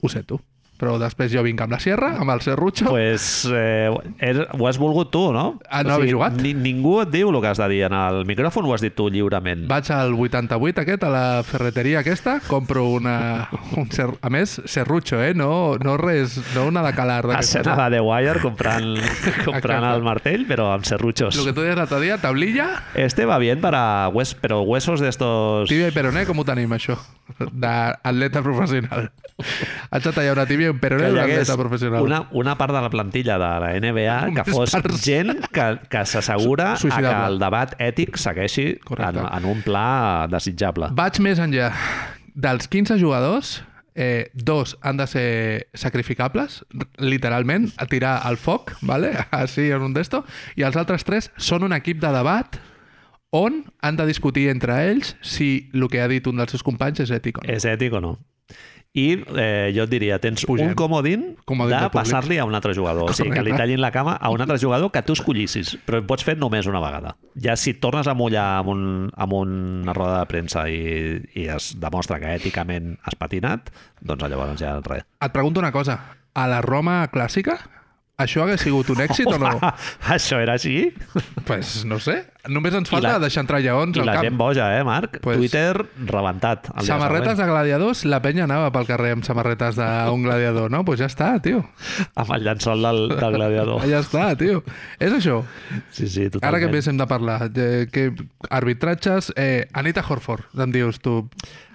ho sento. Però després jo vinc amb la sierra, amb el serrutxo... Pues...
pues, eh, és, ho has volgut tu, no?
Ah, no haver jugat?
Ni, ningú et diu el que has de dir en el micròfon, ho has dit tu lliurement.
Vaig al 88 aquest, a la ferreteria aquesta, compro una... Un ser... A més, serrutxo, eh? No, no res, no una de
Ah,
calar. d'aquestes.
escena de The Wire comprant, comprant
[laughs] Exacte.
el martell, però amb serrutxos.
Lo que tu deies l'altre dia, tablilla,
Este va bien para hues, pero huesos de estos...
tibia i peroné, com ho tenim, això? D'atleta professional. Haig de tallar una tibia i un
que
peroné
hi
d'un
hagués
atleta professional.
una, una part de la plantilla de la NBA que
Només
fos
parts.
gent que, que s'assegura a que
Suïcidable.
el debat ètic segueixi en,
Correcte.
en un pla desitjable.
Vaig més enllà. Dels 15 jugadors, eh, dos han de ser sacrificables, r- literalment, a tirar al foc, vale? [laughs] així en un d'esto, i els altres tres són un equip de debat on han de discutir entre ells si el que ha dit un dels seus companys és ètic o no.
És ètic o no? i eh, jo et diria, tens
Pugem.
un comodín,
Comodín
de
del públic.
passar-li a un altre jugador. O sigui, que li
Correcte.
tallin la cama a un altre jugador que tu escollissis, però ho pots fer només una vegada. Ja si et tornes a mullar amb, un, amb una roda de premsa i, i es demostra que èticament has patinat, doncs llavors ja res.
Et pregunto una cosa. A la Roma clàssica, això hagués sigut un èxit o
[laughs]
no?
Això era així?
pues no sé. Només ens
I
falta
la-
deixar entrar lleons
I
Doncs al
la
camp.
gent boja, eh, Marc?
Pues-
Pues... Twitter rebentat. el dia
Samarretes de gladiadors, la penya anava pel carrer amb samarretes d'un gladiador, no? Pues ja està, tio.
següent. Amb el llençol del, del gladiador.
Ja està, tio. És això.
Sí, sí, totalment.
Ara que més hem de parlar, eh, que arbitratges... Eh, Anita Horford, em dius tu.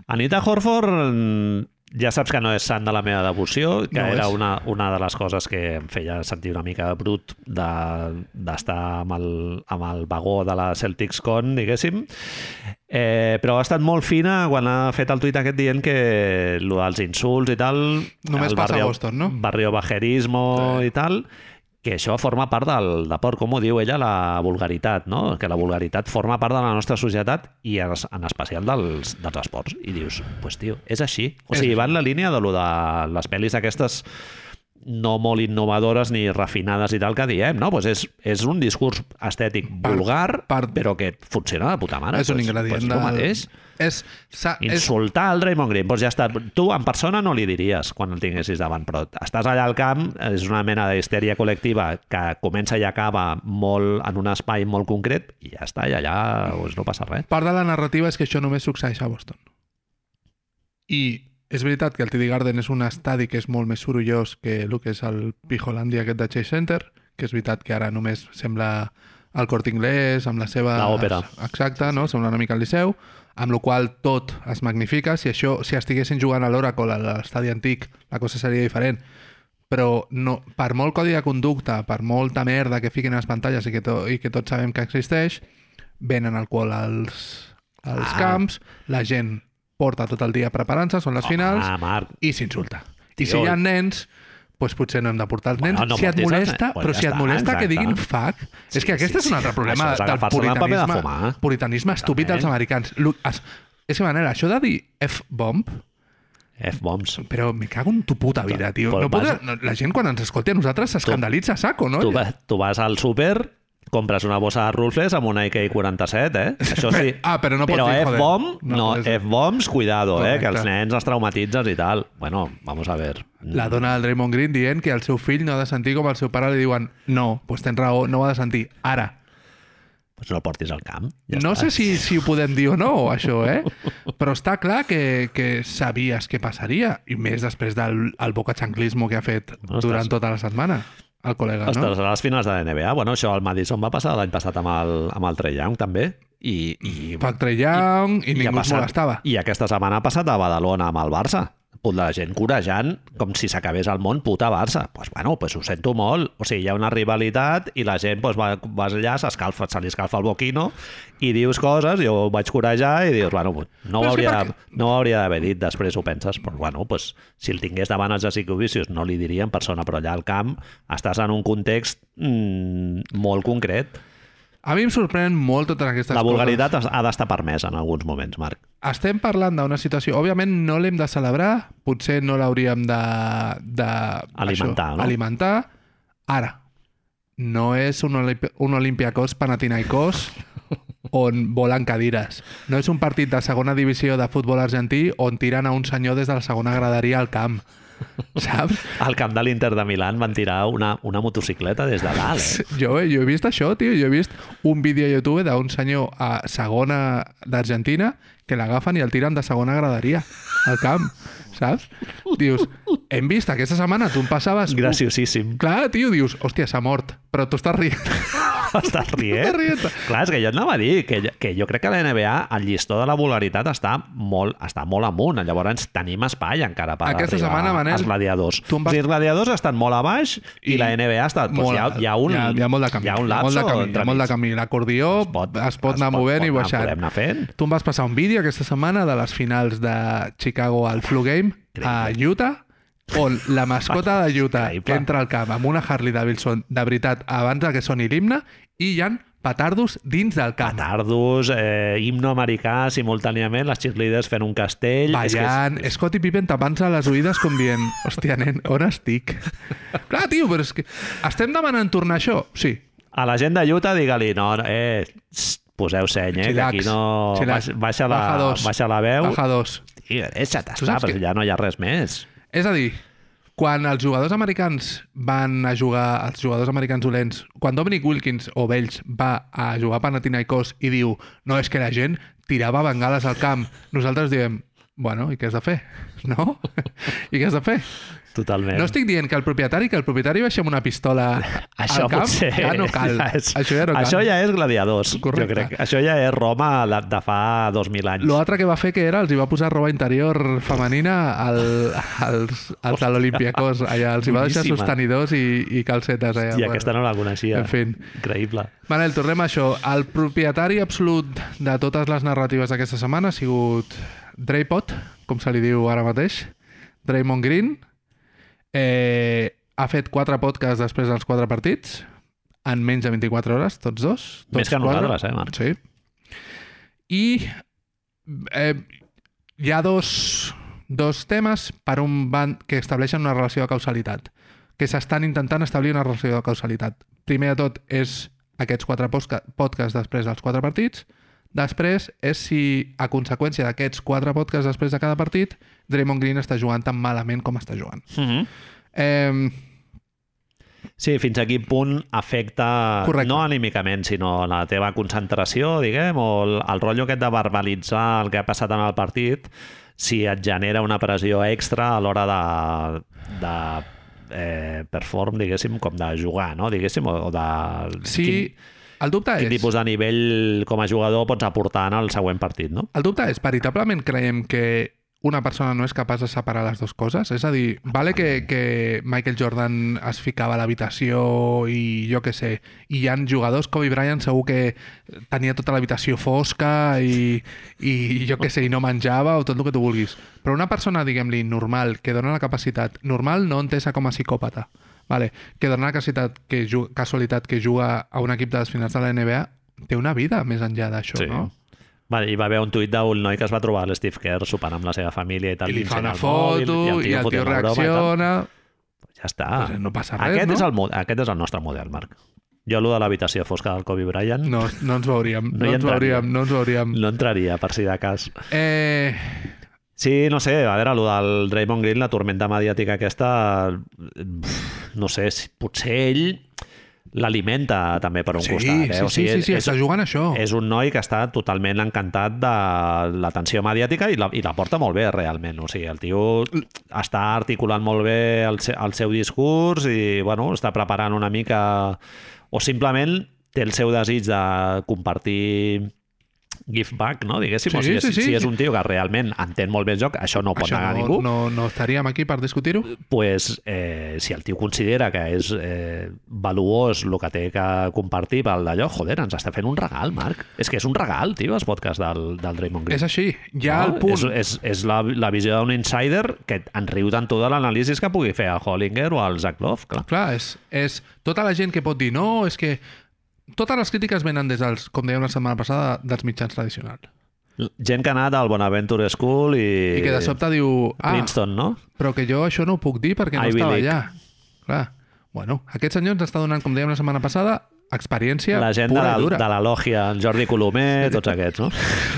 Anita Horford mm, ja saps que no és sant de la meva devoció, que
No
no era
és.
una, una de les coses que em feia sentir una mica brut de- d'estar de, amb, el, amb el vagó de la Celtics Con, diguéssim. Eh, però ha estat molt fina quan ha fet el tuit aquest dient que lo dels insults i tal...
Només
el
passa a Boston, no?
Barrio bajerismo i tal que això forma part del deport, com ho diu ella, la vulgaritat, no? que la vulgaritat forma part de la nostra societat i en, es- en especial dels, dels esports. I dius, pues tio, és així. O
És
sigui, va en la línia de, lo de les pel·lis aquestes no molt innovadores ni refinades i tal que diem, no? Pues és, és un discurs estètic
Part-
vulgar,
part-
però que funciona de puta mare.
és un
Pues-
ingredient
pues, és el mateix.
És, sa, és,
Insultar el Draymond Green, doncs ja està. Tu en persona no li diries quan el tinguessis davant, però estàs allà al camp, és una mena d'histèria col·lectiva que comença i acaba molt en un espai molt concret i ja està, i allà doncs, no passa res.
part de la narrativa és que això només succeeix a Boston. I és veritat que el TD Garden és un estadi que és molt més sorollós que el que és el Pijolàndia aquest de Chase Center, que és veritat que ara només sembla el Cort Inglés, amb la seva...
La òpera.
Exacte, no? sembla una mica el Liceu, amb la qual cosa tot es magnifica. Si això si estiguessin jugant a l'Oracle, a l'estadi antic, la cosa seria diferent. Però no, per molt codi de conducta, per molta merda que fiquen a les pantalles i que, to, i que tots sabem que existeix, venen al qual als, als
Ah.
camps, la gent porta tot el dia preparant-se, són les finals,
Ah, Marc,
i s'insulta. I
Tio,
si hi ha nens, doncs potser no hem de portar els nens.
Bueno, no
si et
portis els
molesta,
nens, pues
però
ja
si et
està,
molesta
exacte.
que diguin fuck,
Sí,
és que aquest
sí,
és
sí.
un altre problema
Això és
del
agafar-se-la amb paper de
puritanisme,
fumar, eh?
puritanisme estúpid dels
Totalment.
americans. Lu- es- És que, Manel, això de dir F-bomb,
F-bombs.
però me cago en tu puta vida, tio.
Però
No podrà,
vas-
no, la gent quan ens escolti a nosaltres s'escandalitza a saco, no?
Tu, va- tu vas al súper, compres una bossa de rufles amb una AK-47, eh? Això sí.
Ah, però no pots
però
dir, joder,
F-bomb,
no
no,
pots dir.
F-bombs, cuidado, eh? Que els
Correcte.
nens els traumatitzes i tal. Bueno, vamos a ver.
La dona del Raymond Green dient que el seu fill no ha de sentir com el seu pare li diuen no, doncs tens raó, no ho ha de sentir, ara.
Pues no el portis al camp. Ja
Ja no
està.
sé si, si ho podem dir o no, això, eh? Però està clar que, que sabies què passaria, i més després del el bocachanclismo que ha fet
No, estàs-
durant tota la setmana el col·lega,
Ostres,
no?
a les finals de la NBA. Bueno, això el Madison va passar l'any passat amb el, amb el Trae Young, també. I, i,
Fac Trey Young i,
i ha
ningú es
passat-
molestava.
I aquesta setmana ha passat a Badalona amb el Barça. Punt de la gent corejant com si s'acabés el món, puta Barça. Doncs pues, bueno, pues ho sento molt. O sigui, hi ha una rivalitat i la gent pues, va, vas allà, s'escalfa, se li escalfa el boquino i dius coses, jo ho vaig corejar i dius, bueno, no
Però
ho
és que
hauria,
per
de, no ho hauria d'haver dit, després ho penses, però bueno, pues, si el tingués davant els Jacicovicius no li diria en persona, però allà al camp estàs en un context mm, molt concret.
A mi em sorprèn molt totes aquestes
La
coses.
vulgaritat es- ha d'estar permesa en alguns moments, Marc.
estem parlant d'una situació... Òbviament no l'hem de celebrar, potser no l'hauríem de, de...
Alimentar, no?
Alimentar. Ara, no és un, Olimp un Olympiacos Panathinaikos on volen cadires. No és un partit de segona divisió de futbol argentí on tiren a un senyor des de la segona graderia al camp. Saps?
Al camp de l'Inter de Milán van tirar una, una motocicleta des de dalt, eh?
Jo, jo he vist això, tio. Jo he vist un vídeo a YouTube d'un senyor a segona d'Argentina que l'agafen i el tiren de segona graderia al camp, saps? Dius, hem vist aquesta setmana, tu em passaves...
Graciosíssim.
Clar, tio, dius, hòstia, s'ha mort, però tu [laughs] estàs rient.
Estàs rient?
rient.
Clar, és que jo et anava a dir que, jo- que jo crec que la NBA, el llistó de la vulgaritat està molt, està molt amunt. Llavors tenim espai encara per
Aquesta
arribar
setmana, Manel,
als gladiadors.
tu em vas-
O sigui, els gladiadors estan molt a baix i,
I
la NBA ha estat... Doncs
Molt
hi, ha,
alt.
hi, ha un,
hi, ha, hi ha molt de camí.
Hi ha un
hi ha molt
lapso
de camí, hi
entre
ha molt de
mig.
camí. L'acordió es pot, es pot anar movent
pot
i
anar-
baixant.
Podem anar fent.
Tu em vas passar un vídeo aquesta setmana de les finals de Chicago al Flu Game a Utah, on la mascota de Utah
Increïble.
que entra al camp amb una Harley Davidson, de veritat, abans de que soni l'himne, i hi ha petardos dins del camp.
Petardos, eh, himno americà simultàniament, les cheerleaders fent un castell... És que és-
Ballant, Scottie Pippen tapant-se les oïdes com dient hòstia, nen, on estic? Clar, tio, però és que estem demanant tornar a això? Sí.
A la gent de Utah digue-li, no, no, eh, tss, poseu seny, eh, que
Chillax,
aquí no...
chillax.
Baix, baixa, la,
Baja dos.
baixa la veu
Baja dos.
i deixa't estar,
Tu saps
però
que-
ja no hi ha res més.
És a dir, quan els jugadors americans van a jugar, els jugadors americans dolents, quan Dominic Wilkins o Bells va a jugar a Panathinaikos i diu no, és que la gent tirava bengales al camp, nosaltres diem, bueno, i què has de fer? [laughs] No? I què has de fer?
Totalment.
No estic dient que el propietari, que el propietari baixi amb una pistola
Això
al camp,
potser...
ja no
[laughs]
cal. Això ja no cal.
Això ja és gladiadors,
Correcte.
jo crec. Això ja és Roma de, de fa 2.000 anys.
L'altre que va fer que era, els hi va posar roba interior femenina al, als, als de l'Olimpiakos. Allà els hi va deixar
Boníssima.
sostenidors i, i calcetes. Allà,
I aquesta no la coneixia.
En fi.
Increïble.
Manel, tornem a això. El propietari absolut de totes les narratives d'aquesta setmana ha sigut Draypot, com se li diu ara mateix, Draymond Green. Eh, ha fet quatre podcasts després dels quatre partits, en menys de 24 hores, tots dos. Tots
Més que
Doncs quatre.
nosaltres, eh, Marc?
Sí. I eh, hi ha dos, dos temes per un van que estableixen una relació de causalitat, que s'estan intentant establir una relació de causalitat. Primer de tot és aquests quatre posca- podcasts després dels quatre partits, després és si, a conseqüència d'aquests quatre podcasts després de cada partit, Draymond Green està jugant tan malament com està jugant.
Mm
Eh,
Sí, fins a quin punt afecta,
Correcte.
no anímicament, sinó la teva concentració, diguem, o el, el rotllo aquest de verbalitzar el que ha passat en el partit, si et genera una pressió extra a l'hora de, de eh, perform, diguéssim, com de jugar, no? diguéssim, o, o de...
sí,
Quin,
el dubte
quin
és...
tipus de nivell com a jugador pots aportar en el següent partit, no?
El dubte és, veritablement creiem que una persona no és capaç de separar les dues coses? És a dir, vale que, que Michael Jordan es ficava a l'habitació i jo que sé, i hi ha jugadors, Kobe Bryant segur que tenia tota l'habitació fosca i, i jo que sé, i no menjava o tot el que tu vulguis. Però una persona, diguem-li, normal, que dona la capacitat, normal no entesa com a psicòpata, vale, que dona la capacitat que ju- casualitat que juga a un equip de les finals de la NBA, té una vida més enllà d'això,
Sí.
no?
Va, hi va haver un tuit d'un noi que es va trobar a l'Steve Kerr sopant amb la seva família i tal.
i li fa
ensenya
una
el mòbil,
foto i el
fotent una broma
tio
i tal.
reacciona
Ja està.
Pues no passa res,
aquest
no?
És el, mo- aquest és el nostre model, Marc. Jo, allò de l'habitació fosca del Kobe Bryant, no,
no, no ens veuríem
No
no,
hi
ens veuríem
entraria.
no ens veuríem
no entraria, per si de cas.
eh,
Sí, no sé, a veure, allò del Draymond Green, la tormenta mediàtica aquesta, pf, no sé, si- potser ell l'alimenta també per un
sí, sí,
costat. Eh?
sí,
o sigui,
sí, sí, sí,
és,
està jugant a això
és un noi que està totalment encantat de l'atenció mediàtica i la, i la porta molt bé, realment. O sigui, el tio està articulant molt bé el, se, el seu discurs i, bueno, està preparant una mica... O simplement té el seu desig de compartir give back, no? Diguéssim,
Sí,
o sigui,
sí, sí.
si és un tio que realment entén molt bé el joc, això no ho pot
això
negar
no,
ningú
no, no estaríem aquí per discutir-ho
pues, eh, si el tio considera que és eh, valuós el que té que compartir pel d'allò, joder, ens està fent un regal, Marc. És que és un regal, tio, els podcasts del, del Draymond Green.
és així, ja
No?
al punt
És, és, és la, la visió d'un insider que en riu tant de l'anàlisi que pugui fer el Hollinger o el Zaglov, clar.
clar, és, és tota la gent que pot dir no, és que totes les crítiques venen des dels, com dèiem la setmana passada, dels mitjans tradicionals.
Gent que ha anat al Bonaventure School i...
I que de sobte diu, ah,
Princeton, no?
però que jo això no ho puc dir perquè no
Ivy
estava
League.
allà. Clar. Bueno, aquest senyor ens està donant, com dèiem la setmana passada, experiència
La gent de
pura
la,
i dura.
de la lògia, en Jordi Colomer, tots aquests, no?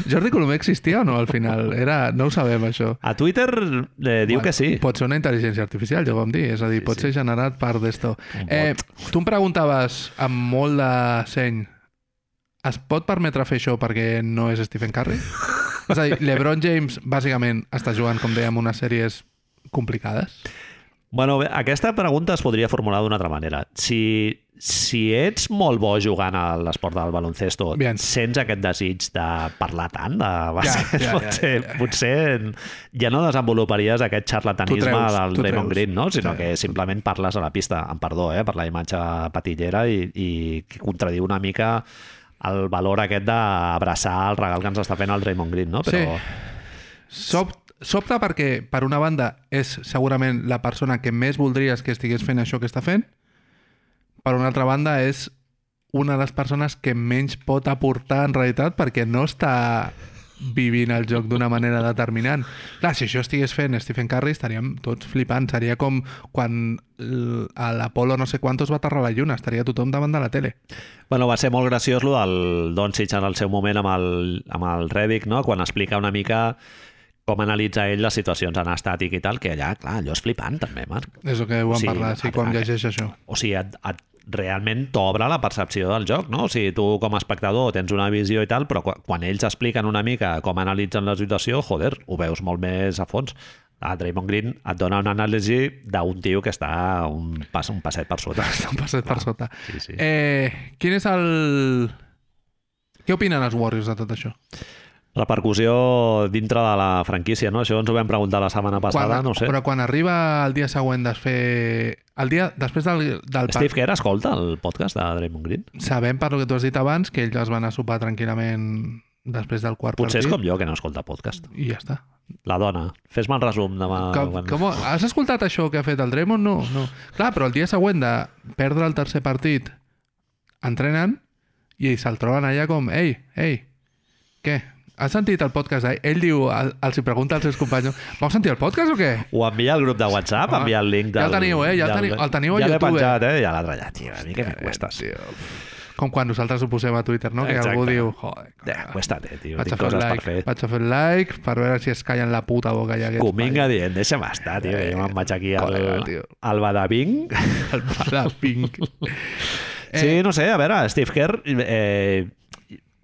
Jordi Colomer existia o no al final? Era... No ho sabem, això.
A Twitter eh, diu
Bueno,
que sí.
Pot ser una intel·ligència artificial, ja ho vam dir. És a dir, sí, pot sí. ser generat per d'esto. Eh, tu em preguntaves amb molt de seny es pot permetre fer això perquè no és Stephen Curry? és a dir, LeBron James bàsicament està jugant, com dèiem, unes sèries complicades.
Bueno, bé, aquesta pregunta es podria formular d'una altra manera. Si, si ets molt bo jugant a l'esport del baloncesto,
Bien.
sents aquest desig de parlar tant de bàsquet,
ja, ja,
potser,
ja, ja.
potser ja no desenvoluparies aquest
Tu
xarlatanisme
treus,
del
tu
Draymond
treus.
Green, no? sinó
Sí.
que simplement parles a la pista, amb perdó, eh? per la imatge patillera i, i que contradiu una mica el valor aquest d'abraçar el regal que ens està fent el Draymond Green, no? Però...
Sí. Sob, sobta perquè, per una banda, és segurament la persona que més voldries que estigués fent això que està fent. Per una altra banda, és una de les persones que menys pot aportar en realitat perquè no està vivint el joc d'una manera determinant. Clar, si això estigués fent Stephen Curry estaríem tots flipant. Seria com quan l- a l'Apolo no sé quantos va aterrar a la lluna. Estaria tothom davant de la tele.
Bueno, va ser molt graciós el del Doncic en el seu moment amb el, amb el Redick, no? quan explica una mica com analitza ell les situacions en estàtic i tal, que allà, clar, allò és flipant també, Marc.
És el que ho
Sí,
vam sí, parlar, sí,
a-
quan
a-
llegeix això. [laughs]
O sigui, et, et, realment t'obre la percepció del joc, no? O sigui, tu com a espectador tens una visió i tal, però quan, quan ells expliquen una mica com analitzen la situació, joder, ho veus molt més a fons. A Draymond Green et dona una anàlisi d'un tio que està un, pas, un passet per sota. [laughs]
Està un passet per sota.
Sí, sí.
Eh, quin és el... Què opinen els Warriors de tot això?
Repercussió dintre de la franquícia, no? Això ens ho vam preguntar la setmana passada,
quan,
no ho sé.
Però quan arriba el dia següent de fer... El dia després del, del
Steve Kerr escolta el podcast de Draymond Green?
sabem per lo que tu has dit abans que ells es van a sopar tranquil·lament després del quart
Potser és
partit
com jo, que no escolta podcast.
i ja està.
La dona. Fes-me el resum demà.
Com,
quan-
com, has escoltat això que ha fet el Draymond? No, no. Clar, però el dia següent de perdre el tercer partit entrenant i ells se'l troben allà com ei, ei, què? Has sentit el podcast? d'ahir?" Ell diu, el- els hi pregunta als seus companys vau sentir el podcast o què?
Ho envia al grup de WhatsApp,
Home,
envia el link
Ah, ja
del...
el teniu, eh? Ja el teniu- el teniu a
ja l'he
YouTube, eh?
penjat, eh? Ja l'altre ja, tio, a mi que me cuestas.
Tio, Com quan nosaltres ho posem a Twitter, no? Que
Exacte.
algú diu, joder,
Eh, cuestate, tio,
vaig a
tinc
fer
coses per
like,
fer.
vaig a fer like per veure si es callen la puta boca ja aquests
[laughs] Cominga dient, deixa'm estar, tio, que jo me'n vaig aquí al,
col·lega, tio.
al Badabing.
El pare Pink. Eh,
Sí, no sé, a veure, Steve Kerr eh,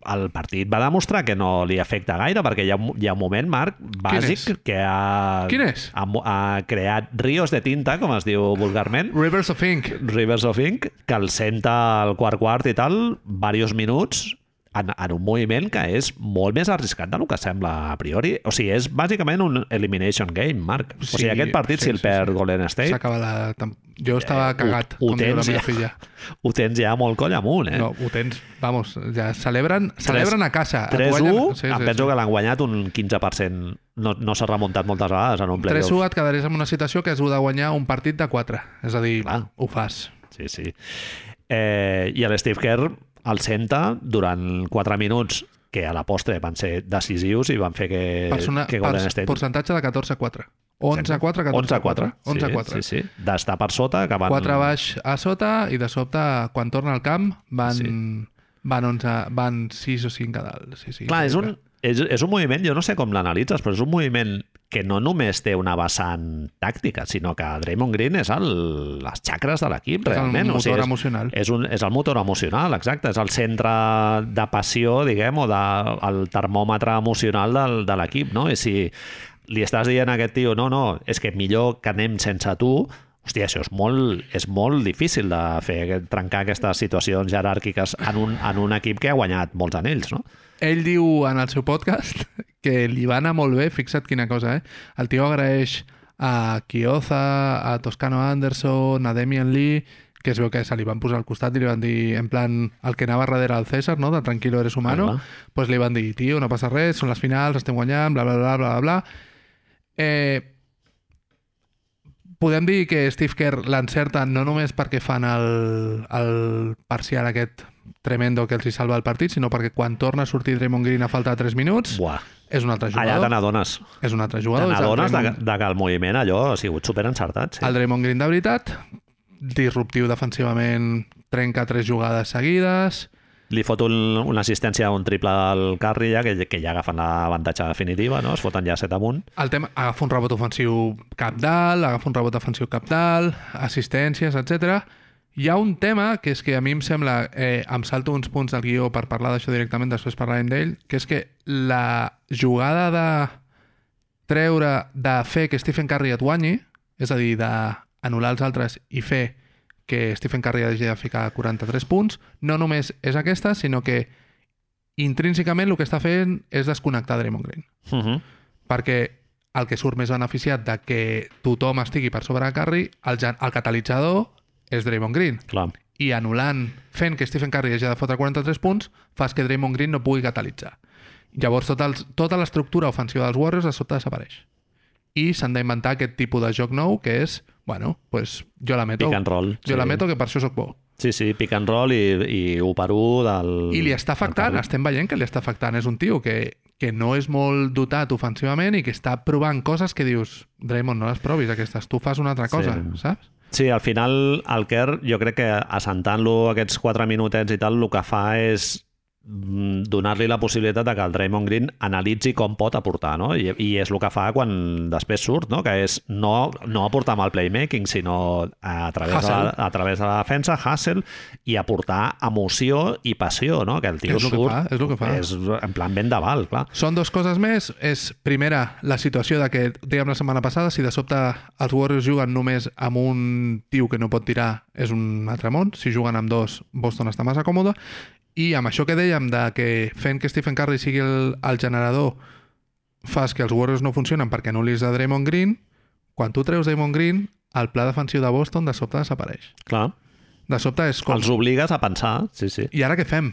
el partit va demostrar que no li afecta gaire perquè hi ha, un- hi ha un moment, Marc,
és?
bàsic que ha,
Quin és?
Ha, mo- ha creat rios de tinta, com es diu vulgarment,
Rivers of Ink.
Rivers of Ink, que el senta al quart quart i tal, diversos minuts, en, en un moviment que és molt més arriscat del que sembla a priori. O sigui, és bàsicament un elimination game, Marc. O sigui,
Sí,
aquest partit,
sí,
si el
sí,
perd
sí.
Golden State,
S'acaba la... tem- Jo estava cagat,
ho, ho,
com diu la
tens ja,
meva filla.
ho tens ja molt coll amunt, [laughs] eh?
No, ho tens, vamos, ja celebren, celebren a casa. Et
3-1,
guanyen-
sí, em ah, penso que l'han guanyat un 15%. No, no s'ha remuntat moltes vegades en un playoff.
3-1 et quedaries en una situació que has de guanyar un partit de 4. És a dir,
Clar.
ho fas.
Sí, sí. Eh, I el Steve Kerr el senta durant 4 minuts que a la postre van ser decisius i van fer que,
Persona,
Eh, que
per-
Golden State...
Percentatge de 14-4. 11-4,
11-4.
14-4. 11-4.
Sí, sí, sí. D'estar per sota, que van...
4 baix a sota i de sobte, quan torna al camp, van,
Sí.
van, 11, van 6 o 5 a dalt. Sí, sí,
Clar, és un,
increïble.
és, és un moviment, jo no sé com l'analitzes, però és un moviment que no només té una vessant tàctica, sinó que Draymond Green és el, les xacres de l'equip,
És el
realment.
motor
o sigui, és,
emocional.
És, un, és el motor emocional, exacte. És el centre de passió, diguem, o de, el termòmetre emocional del, de l'equip, no? I si li estàs dient a aquest tio, no, no, és que millor que anem sense tu, Hòstia, això és molt, és molt difícil de fer, aquest- trencar aquestes situacions jeràrquiques en un, en un equip que ha guanyat molts anells, no?
Ell diu en el seu podcast [laughs] que li va anar molt bé, fixa't quina cosa, eh? El tio agraeix a Kioza, a Toscano Anderson, a Damian Lee, que es veu que se li van posar al costat i li van dir, en plan, el que anava darrere al César, no?, de Tranquilo eres humano,
Ah, clar.
doncs pues li van dir, tio, no passa res, són les finals, estem guanyant, bla, bla, bla, bla, bla, bla. Eh, podem dir que Steve Kerr l'encerta no només perquè fan el, el parcial aquest tremendo que els hi salva el partit, sinó perquè quan torna a sortir Draymond Green a falta de 3 minuts,
Buah,
és un altre
allà te
jugador.
n'adones.
És un altre
Te
jugador. és el
n'adones de,
Draymond-
de que el moviment allò ha sigut super encertat. Sí.
El Draymond Green de veritat, disruptiu defensivament, trenca tres jugades seguides,
Li fot un, una assistència a un triple al Carri ja, que, que ja agafen l'avantatge definitiva, no? es foten ja set amunt.
El tema, agafa un rebot ofensiu cap dalt, agafa un rebot defensiu cap dalt, assistències, etc. Hi ha un tema que és que a mi em sembla, eh, em salto uns punts del guió per parlar d'això directament, després parlarem d'ell, que és que la jugada de treure, de fer que Stephen Curry et guanyi, és a dir, d'anul·lar els altres i fer que Stephen Curry hagi de ficar 43 punts, no només és aquesta, sinó que intrínsecament el que està fent és desconnectar Draymond Green
Uh -huh.
perquè el que surt més beneficiat de que tothom estigui per sobre de Curry, el, gen- el catalitzador és Draymond Green.
Clar.
I anul·lant, fent que Stephen Curry hagi de fotre 43 punts, fas que Draymond Green no pugui catalitzar. Llavors, tot els, tota l'estructura ofensiva dels Warriors de sobte desapareix. I s'han d'inventar aquest tipus de joc nou, que és Bueno, pues jo la meto.
Pick and roll,
Jo
sí.
la meto, que per això sóc bo.
Sí, sí, pick and roll i, i 1 per 1 del...
I li està afectant, estem veient que li està afectant. És un tio que, que no és molt dotat ofensivament i que està provant coses que dius, Draymond, no les provis aquestes, tu fas una altra cosa,
Sí.
sí. saps?
Sí, al final el Kerr jo crec que assentant-lo aquests 4 minutets i tal, el que fa és mm, donar-li la possibilitat de que el Draymond Green analitzi com pot aportar, no? I, i és el que fa quan després surt, no? Que és no, no aportar amb el playmaking, sinó a través, de la,
Hustle.
a través de la defensa, hustle, i aportar emoció i passió, no? Que el tio
És lo que
surt...
fa, és lo que fa.
És, en plan, ben d'aval, clar.
Són dues coses més. És, primera, la situació de que dèiem la setmana passada, si de sobte els Warriors juguen només amb un tio que no pot tirar, és un altre món. Si juguen amb dos, Boston està massa còmode. I amb això que dèiem de que fent que Stephen Curry sigui el, el generador fas que els Warriors no funcionen perquè anul·lis a Draymond Green, quan tu treus Draymond Green, el pla defensiu de Boston de sobte desapareix.
clar.
De sobte és com...
Els obligues a pensar, sí, sí.
i ara què fem?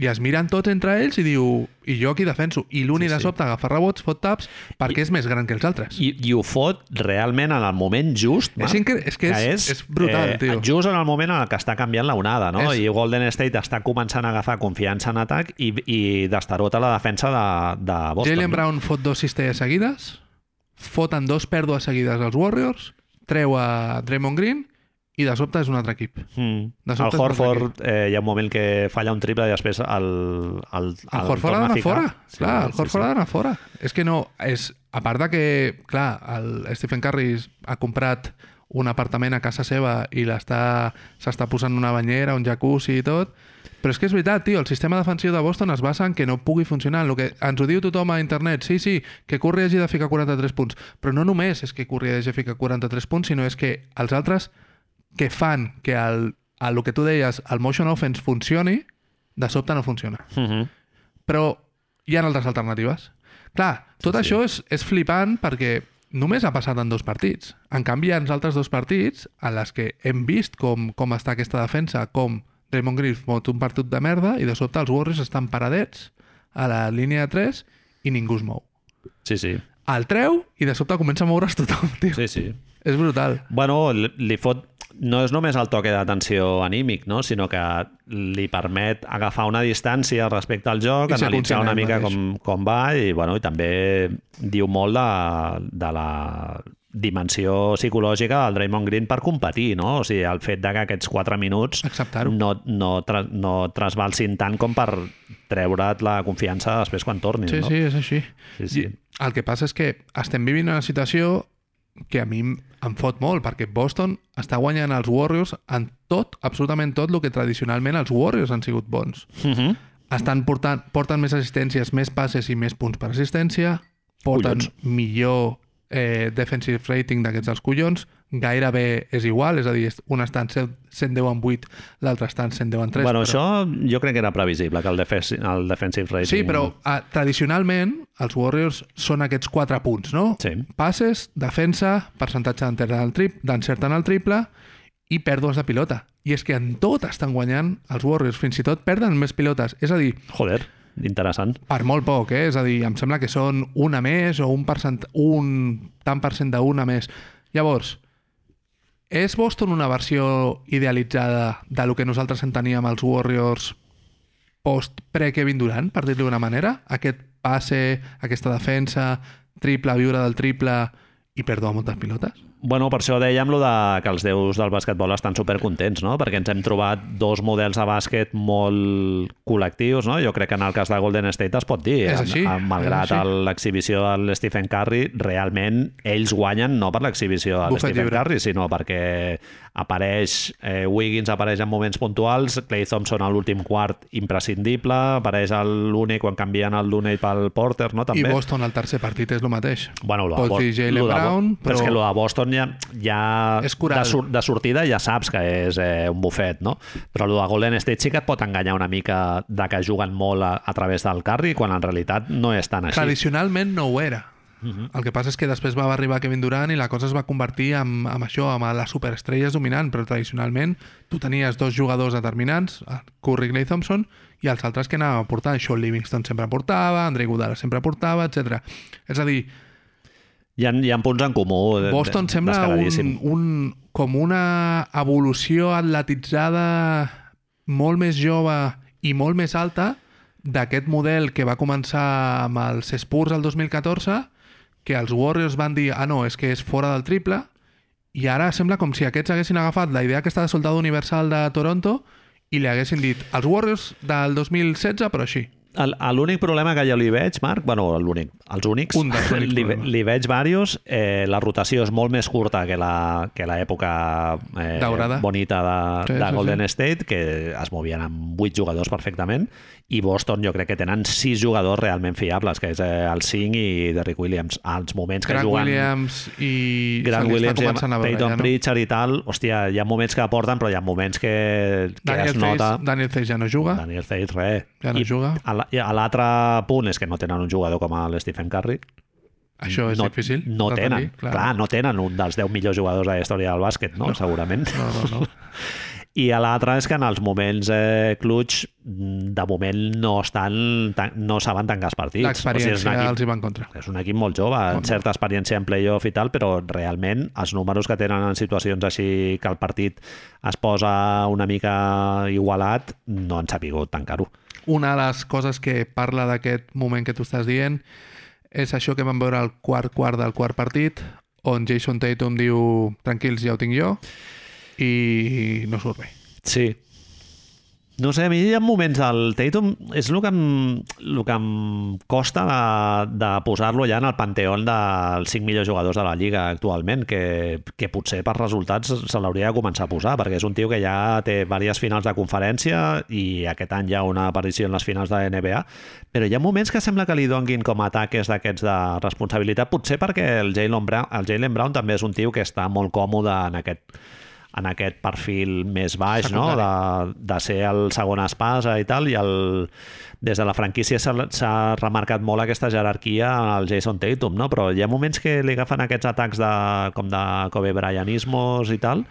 I es miren tots entre ells i diu, i jo aquí defenso. I l'un
Sí,
sí, de
sí.
sobte agafa rebots, fot taps, perquè I... és més gran que els altres. I...
I, i ho fot realment en el moment just, Marc,
És incre- és que és- és eh, brutal, tio.
eh, Just en el moment en el que està canviant la onada, no?
És-
I Golden State està començant a agafar confiança en atac i, i destarota la defensa de, de Boston.
Jalen
no?
Brown fot dos cistelles seguides, foten dos pèrdues seguides als Warriors, treu a Draymond Green i de sobte és un altre equip.
Mm.
De
El
sobte es nota
Horford, eh, hi ha un moment que falla un triple i després el... El,
El Horford
torna
ha
a
d'anar
ficar.
fora.
Sí,
clar, el
sí,
Horford
sí.
ha d'anar fora. És que no... És, a part de que, clar, el Stephen Curry ha comprat un apartament a casa seva i l'està s'està posant una banyera, un jacuzzi i tot, però és que és veritat, tio, el sistema defensiu de Boston es basa en que no pugui funcionar. El que ens ho diu tothom a internet, sí, sí, que Curry hagi de ficar 43 punts, però no només és que Curry hagi de ficar 43 punts, sinó és que els altres que fan que el, el que tu deies, el motion offense funcioni, de sobte no funciona
Mhm.
però hi ha altres alternatives. Clar, tot sí, això és, és flipant perquè només ha passat en dos partits. En canvi, hi ha els altres dos partits en les que hem vist com, com està aquesta defensa, com Draymond Green fot un partit de merda i de sobte els Warriors estan paradets a la línia de 3 i ningú es mou.
Sí, sí.
El treu i de sobte comença a moure's tothom, tio. Sí.
Sí, sí.
És brutal.
Bueno, li, li fot... No és només el toque d'atenció anímic, no? sinó que li permet agafar una distància respecte al joc,
I ser
analitzar
conscient
una
ell
mica
mateix.
com, com va i, bueno, i també diu molt de, de la dimensió psicològica del Draymond Green per competir, no? O sigui, el fet de que aquests 4 minuts
Acceptar-ho.
no, no, tra no trasbalsin tant com per treure't la confiança després quan tornin,
Sí,
no?
sí, és així.
Sí, sí.
I El que passa és que estem vivint una situació que a mi em- em fot molt, perquè Boston està guanyant els Warriors en tot, absolutament tot, el que tradicionalment els Warriors han sigut bons.
Mhm.
Estan portant, porten més assistències, més passes i més punts per assistència, porten
Collons.
millor eh, defensive rating d'aquests dels collons, gairebé és igual, és a dir, un està en 100 110 en 8, l'altre està en 110 en 3.
Bueno, això jo crec que era previsible, que el, defensi el defensive rating...
Sí, però uh, tradicionalment els Warriors són aquests quatre punts, no?
Sí.
Passes, defensa, percentatge d'encert en el trip- d'encert en el triple i pèrdues de pilota. I és que en tot estan guanyant els Warriors, fins i tot perden més pilotes. És a dir,
Joder, interessant.
per molt poc, eh? És a dir, em sembla que són una més o un, percent, un tant percent d'una més. Llavors, és Boston una versió idealitzada de lo que nosaltres enteníem els Warriors post pre-Kevin Durant, per dir-li d'una manera? Aquest passe, aquesta defensa, triple, viure del triple i perdó a moltes pilotes?
Bueno, per això dèiem lo de que els déus del basquetbol estan supercontents, no? Perquè ens hem trobat dos models de bàsquet molt col·lectius, no? Jo crec que en el cas de Golden State es pot dir.
És
Am-
així,
am- malgrat
és així.
l'exhibició de l'Stephen Curry, realment ells guanyen no per l'exhibició de
Bufet
l'Stephen
lliure.
Curry, sinó perquè apareix, eh, Wiggins apareix en moments puntuals, Clay Thompson a l'últim quart imprescindible, apareix el Looney quan canvien el Looney pel Porter, no? També.
I Boston al tercer partit és el mateix.
Bueno, lo de
Pots
Bo-
dir Jaylen
lo de Bo-
Brown,
però... és
però-
que lo de Boston ja, ja
És coral.
de, sur de sortida ja saps que és eh, un bufet, no? Però lo de Golden State sí que et pot enganyar una mica de que juguen molt a, a través del carri quan en realitat no és tan així.
Tradicionalment no ho era. El que passa és que després va arribar Kevin Durant i la cosa es va convertir en, en això, en les superestrelles dominant, però tradicionalment tu tenies dos jugadors determinants, el Curry i Clay Thompson, i els altres que anaven a portar. Això Livingston sempre portava, Andre Iguodala sempre portava, etc. És a dir,
Hi ha, hi ha punts en comú. eh, de-
Boston
de-
sembla un,
descaradíssim.
un, com una evolució atletitzada molt més jove i molt més alta d'aquest model que va començar amb els Spurs el 2014, que els Warriors van dir, ah no, és que és fora del triple, i ara sembla com si aquests haguessin agafat la idea aquesta de soldado universal de Toronto i li haguessin dit, els Warriors del 2016, però així.
El- a L'únic problema que jo li veig, Marc, bueno, l'únic, els únics,
Un dels únics
[laughs] li, ve-
problemes.
li veig varios, eh, la rotació és molt més curta que la- que l'època eh,
Daurada.
bonita de,
Sí,
sí, de
sí,
Golden sí. State, que es movien amb 8 jugadors perfectament, i Boston jo crec que tenen 6 jugadors realment fiables, que és eh, el 5 i Derrick Williams. Als moments que
Grant
juguen...
Williams i
Grant
se li
Williams,
està
i
començant a veure
Peyton
ja, no?
Pritchard i tal, hòstia, hi ha moments que aporten, però hi ha moments que, que
Daniel
es nota...
Theis- Daniel Theis ja no juga.
Daniel Theis, res.
Ah. Ja no
I
juga.
a la- i a l'altre punt és que no tenen un jugador com l'Stephen Curry.
Això és
no,
difícil.
No
de
tenen,
tenir,
clar. clar. no tenen un dels 10 millors jugadors de la història del bàsquet, no? no. Segurament.
No, no, no.
I a l'altre és que en els moments eh, clutch, mm, de moment no estan, tan, no saben tancar els partits.
L'experiència
és, un
els
equip,
hi va en contra.
és un equip molt jove, amb certa experiència en playoff i tal, però realment els números que tenen en situacions així que el partit es posa una mica igualat, no han sapigut tancar-ho.
Una de les coses que parla d'aquest moment que tu estàs dient és això que vam veure al quart quart del quart partit, on Jason Tatum diu tranquils, ja ho tinc jo, i no surt bé.
Sí. No sé, a mi hi ha moments del Tatum... És el que em, el que em costa de, de posar-lo ja en el panteón dels 5 millors jugadors de la Lliga actualment, que, que potser per resultats se l'hauria de començar a posar, perquè és un tio que ja té diverses finals de conferència i aquest any hi ha una aparició en les finals de NBA, però hi ha moments que sembla que li donguin com a ataques d'aquests de responsabilitat, potser perquè el Jalen Brown, el Jaylen Brown també és un tio que està molt còmode en aquest en aquest perfil més baix, no? de, de ser el segon espasa i tal, i el, des de la franquícia s'ha- s'ha remarcat molt aquesta jerarquia al Jason Tatum, no? però hi ha moments que li agafen aquests atacs de, com de Kobe Bryanismos i tal,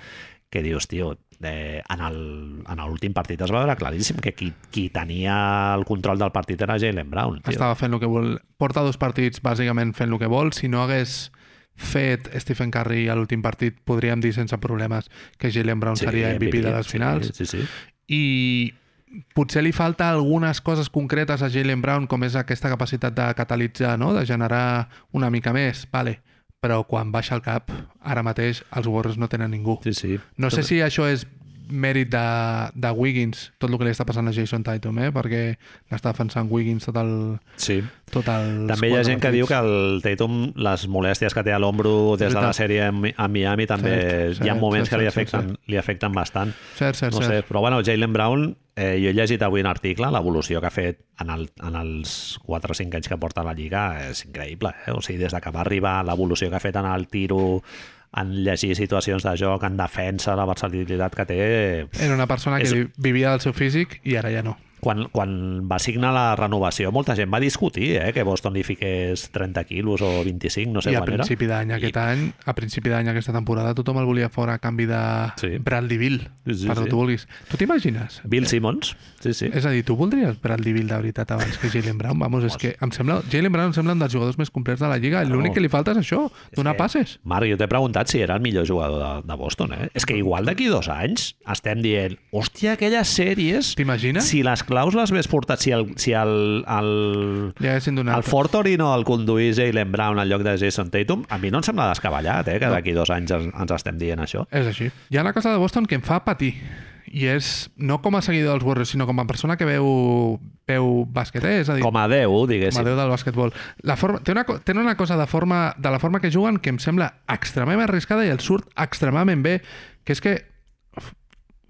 que dius, tio, eh, en el- en l'últim partit es va veure claríssim que qui, qui tenia el control del partit era Jalen Brown. Tio.
Estava fent el que vol. Porta dos partits bàsicament fent el que vol. Si no hagués fet Stephen Curry a l'últim partit, podríem dir sense problemes que Jalen Brown
Sí,
sí, seria MVP de les
sí,
finals.
Sí, sí.
i potser li falta algunes coses concretes a Jalen Brown, com és aquesta capacitat de catalitzar, no? de generar una mica més, vale. però quan baixa el cap, ara mateix els Warriors no tenen ningú.
sí, sí.
No sé si això és mèrit de, de Wiggins, tot el que li està passant a Jason Tatum, eh? perquè l'està defensant Wiggins tot el...
sí.
Tot el
També hi ha gent que diu que el Tatum, les molèsties que té a l'ombro des de la
veritat.
sèrie a Mi- a Miami, també
Cert,
hi ha
cert,
moments
cert,
que li
cert, cert,
afecten, li afecten bastant.
Cert, cert,
No
cert.
sé, però bueno, Jalen Brown, eh, jo he llegit avui un article, l'evolució que ha fet en, el, en els 4 o 5 anys que porta a la Lliga és increïble. Eh? O sigui, des de que va arribar, l'evolució que ha fet en el tiro, en llegir situacions de joc, en defensa, la versatilitat que té... pff,
Era una persona que
És-
vi- vivia del seu físic i ara ja no.
quan, quan va signar la renovació, molta gent va discutir eh, que Boston li fiqués 30 quilos o 25, no sé
I a
quan era.
principi d'any aquest any, a principi d'any aquesta temporada, tothom el volia fora a canvi de
Sí.
sí. Bradley Bill,
Sí,
sí,
sí,
sí, per
sí.
sí. tu vulguis. Tu t'imagines?
Bill Simmons, sí, sí.
És a dir, tu voldries Bradley Bill de veritat abans que Jalen Brown? Vamos, és que em sembla... Jalen Brown em sembla un dels jugadors més complets de la Lliga. i L'únic que li falta és això, donar passes.
Marc, jo t'he preguntat si era el millor jugador de, de Boston, eh? És que igual d'aquí dos anys estem dient, hòstia, aquelles sèries...
T'imagines?
Si les claus les hagués portat, si el, si el, el,
Li haguessin donat...
el Fort Torino el conduís Jalen Brown al lloc de Jason Tatum, a mi no em sembla descabellat, eh, que d'aquí dos anys ens, ens estem dient això.
És així. Hi ha una cosa de Boston que em fa patir i és, no com a seguidor dels Warriors, sinó com a persona que veu, veu bàsquet, eh? és a dir,
Com a Déu,
com a
diguéssim.
déu del bàsquetbol. La forma, té, una, co- tenen una cosa de, forma, de la forma que juguen que em sembla extremament arriscada i el surt extremament bé, que és que f-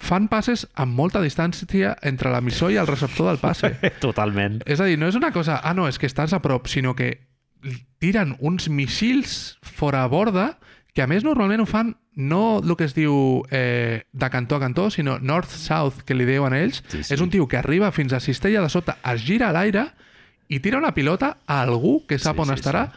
fan passes amb molta distància entre l'emissor i el receptor del passe.
[laughs] Totalment.
és a dir, no és una cosa, ah no, és que estàs a prop, sinó que li tiren uns missils fora a borda que a més normalment ho fan no el que es diu eh, de cantó a cantó, sinó north-south, que li diuen ells.
Sí,
Sí,
sí.
sí. És un tio que arriba fins a Cistella de sota, es gira a l'aire i tira una pilota a algú que sap
Sí,
sí, on
sí,
sí, estarà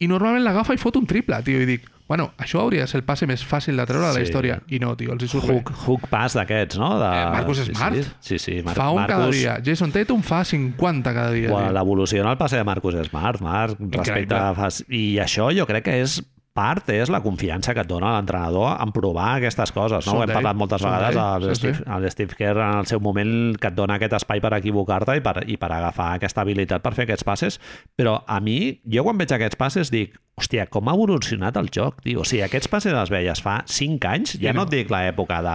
i normalment l'agafa i fot un triple, tio, i dic, Bueno, això hauria de ser el passe més fàcil de treure de la
Sí.
història. I no, tio, els hi surt bé.
Hook, hook pass d'aquests, no? De...
Eh, Marcus
sí,
Smart?
Sí, sí. sí Mar
fa un
Marcus...
cada dia. Jason Tatum fa 50 cada dia.
Ua,
tio.
L'evolució en el passe de Marcus Smart, Marc, respecte a... fas- I això jo crec que és part és la confiança que et dona l'entrenador en provar aquestes coses. No?
Són
Ho hem
d'ell,
parlat moltes
són
vegades
d'ell,
al
sí,
Steve,
sí.
al Steve Kerr en el seu moment que et dona aquest espai per equivocar-te i, per, i per agafar aquesta habilitat per fer aquests passes. Però a mi, jo quan veig aquests passes dic hòstia, com ha evolucionat el joc, tio. O sigui, aquests passes els veies fa 5 anys, ja
I
no
no.
et dic l'època de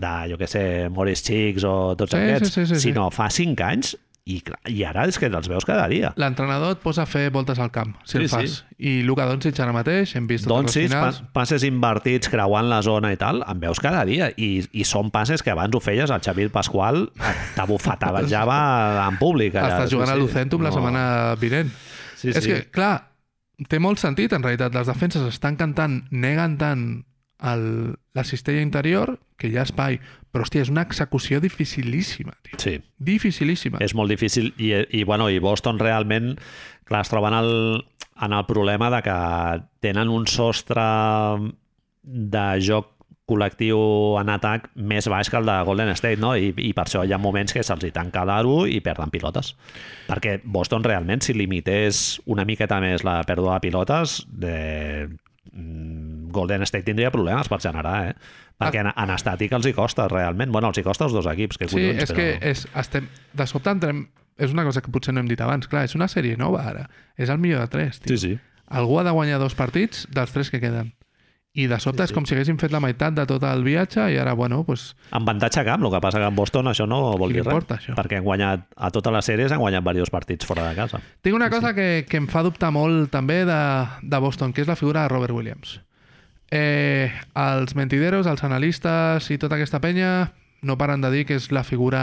de, jo què sé, Morris Chicks o tots
Sí, sí,
aquests,
sí, sí, sí.
sinó fa 5 anys i, clar, i ara és que els veus cada dia.
L'entrenador et posa a fer voltes al camp,
Sí,
si el fas. I Luka Doncic ara mateix, hem vist totes
Doncs sí,
les
pa
finals.
passes invertits, creuant la zona i tal, en veus cada dia. I, i són passes que abans ho feies, el Xavier Pasqual
[laughs]
t'abufetabejava en públic. allà.
Estàs jugant
Sí,
a
sí.
Lucentum la setmana vinent.
Sí,
És
sí.
que, clar, té molt sentit, en realitat. Les defenses estan cantant, neguen tant el, la cistella interior, que hi ha espai. Però, hòstia, és una execució dificilíssima, tio.
Sí,
Dificilíssima.
és molt difícil. I, i, bueno, i Boston realment, clar, es troben el, en el problema de que tenen un sostre de joc col·lectiu en atac més baix que el de Golden State, no? I, i per això hi ha moments que se'ls hi tanca l'aro i perden pilotes. Perquè Boston realment, si limités una miqueta més la pèrdua de pilotes, de... mm, Golden State tindria problemes per generar, eh?
Ah.
Perquè en, en estàtic els hi costa, realment. bueno, els hi costa els dos equips, que
Sí,
collons,
és
però...
que és, estem, de sobte entrem... És una cosa que potser no hem dit abans. Clar, és una sèrie nova, ara. És el millor de tres, tio.
Sí, sí.
Algú ha de guanyar dos partits dels tres que queden. I de sobte sí, sí. és com si haguéssim fet la meitat de tot el viatge i ara, bueno, pues,
Amb avantatge a camp, el que passa que en Boston això no vol
Qui
dir
li
res.
importa, això?
Perquè han guanyat, a totes les sèries han guanyat diversos partits fora de casa.
Tinc una cosa que, que em fa dubtar molt també de, de Boston, que és la figura de Robert Williams. Eh, els mentideros, els analistes i tota aquesta penya no paren de dir que és la figura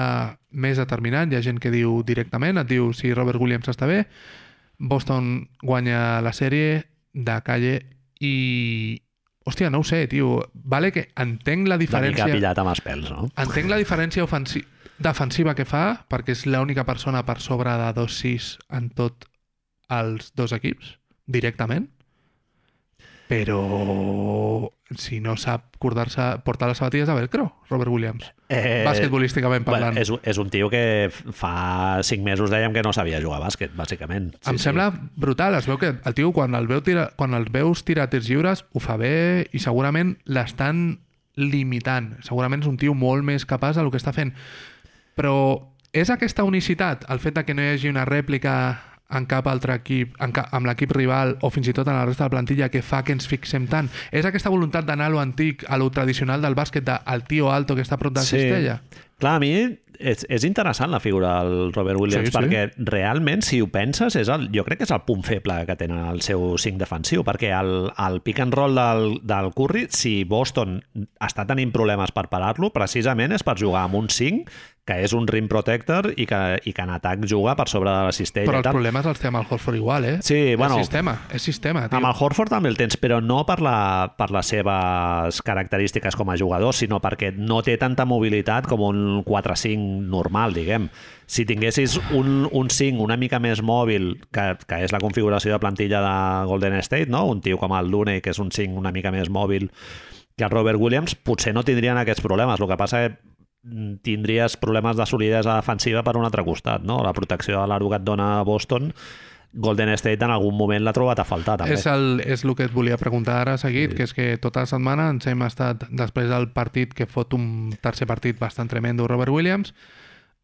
més determinant. Hi ha gent que diu directament, et diu si Robert Williams està bé, Boston guanya la sèrie de calle i... Hòstia, no ho sé, tio. Vale que entenc
Una
la
mica
diferència...
pillat amb els pèls, no?
Entenc la diferència ofensi defensiva que fa, perquè és l'única persona per sobre de 2-6 en tot els dos equips, directament. Però si no sap cordar-se, portar les sabatilles de velcro, Robert Williams,
Eh,
eh, basquetbolísticament parlant.
Bueno, és, un- és un tio que fa cinc mesos dèiem que no sabia jugar a bàsquet, bàsicament.
Sí, em sembla brutal. Es veu que el tio, quan el, veu tira, quan el veus tirar tirs lliures, ho fa bé i segurament l'estan limitant. Segurament és un tio molt més capaç del que està fent. Però és aquesta unicitat, el fet de que no hi hagi una rèplica en cap altre equip, en ca amb l'equip rival o fins i tot en la resta de la plantilla que fa que ens fixem tant. És aquesta voluntat d'anar a lo antic, a lo tradicional del bàsquet, de, al tio alto que està prop de la sí. cistella.
Clar, a mi és, és interessant la figura del Robert Williams
Sí,
sí,
sí.
perquè realment, si ho penses, és el, jo crec que és el punt feble que tenen el seu 5 defensiu, perquè el, el pick and roll del, del Curry, si Boston està tenint problemes per parar-lo, precisament és per jugar amb un 5 que és un rim protector i que, i que en atac juga per sobre de la cistella.
Però
i
els
tal.
problemes els té amb el Horford igual, eh?
Sí, bueno.
És sistema, és sistema, tio.
Amb el Horford també el tens, però no per, la, per les seves característiques com a jugador, sinó perquè no té tanta mobilitat com un 4-5 normal, diguem. Si tinguessis un, un 5 una mica més mòbil, que, que és la configuració de plantilla de Golden State, no? un tio com el Lune, que és un 5 una mica més mòbil que el Robert Williams, potser no tindrien aquests problemes. El que passa que mm, tindries problemes de solidesa defensiva per un altre costat, no? La protecció de l'aro que et dona Boston, Golden State en algun moment l'ha trobat a faltar, també.
És el, és el que et volia preguntar ara seguit, sí. que és que tota la setmana ens hem estat, després del partit que fot un tercer partit bastant tremendo Robert Williams,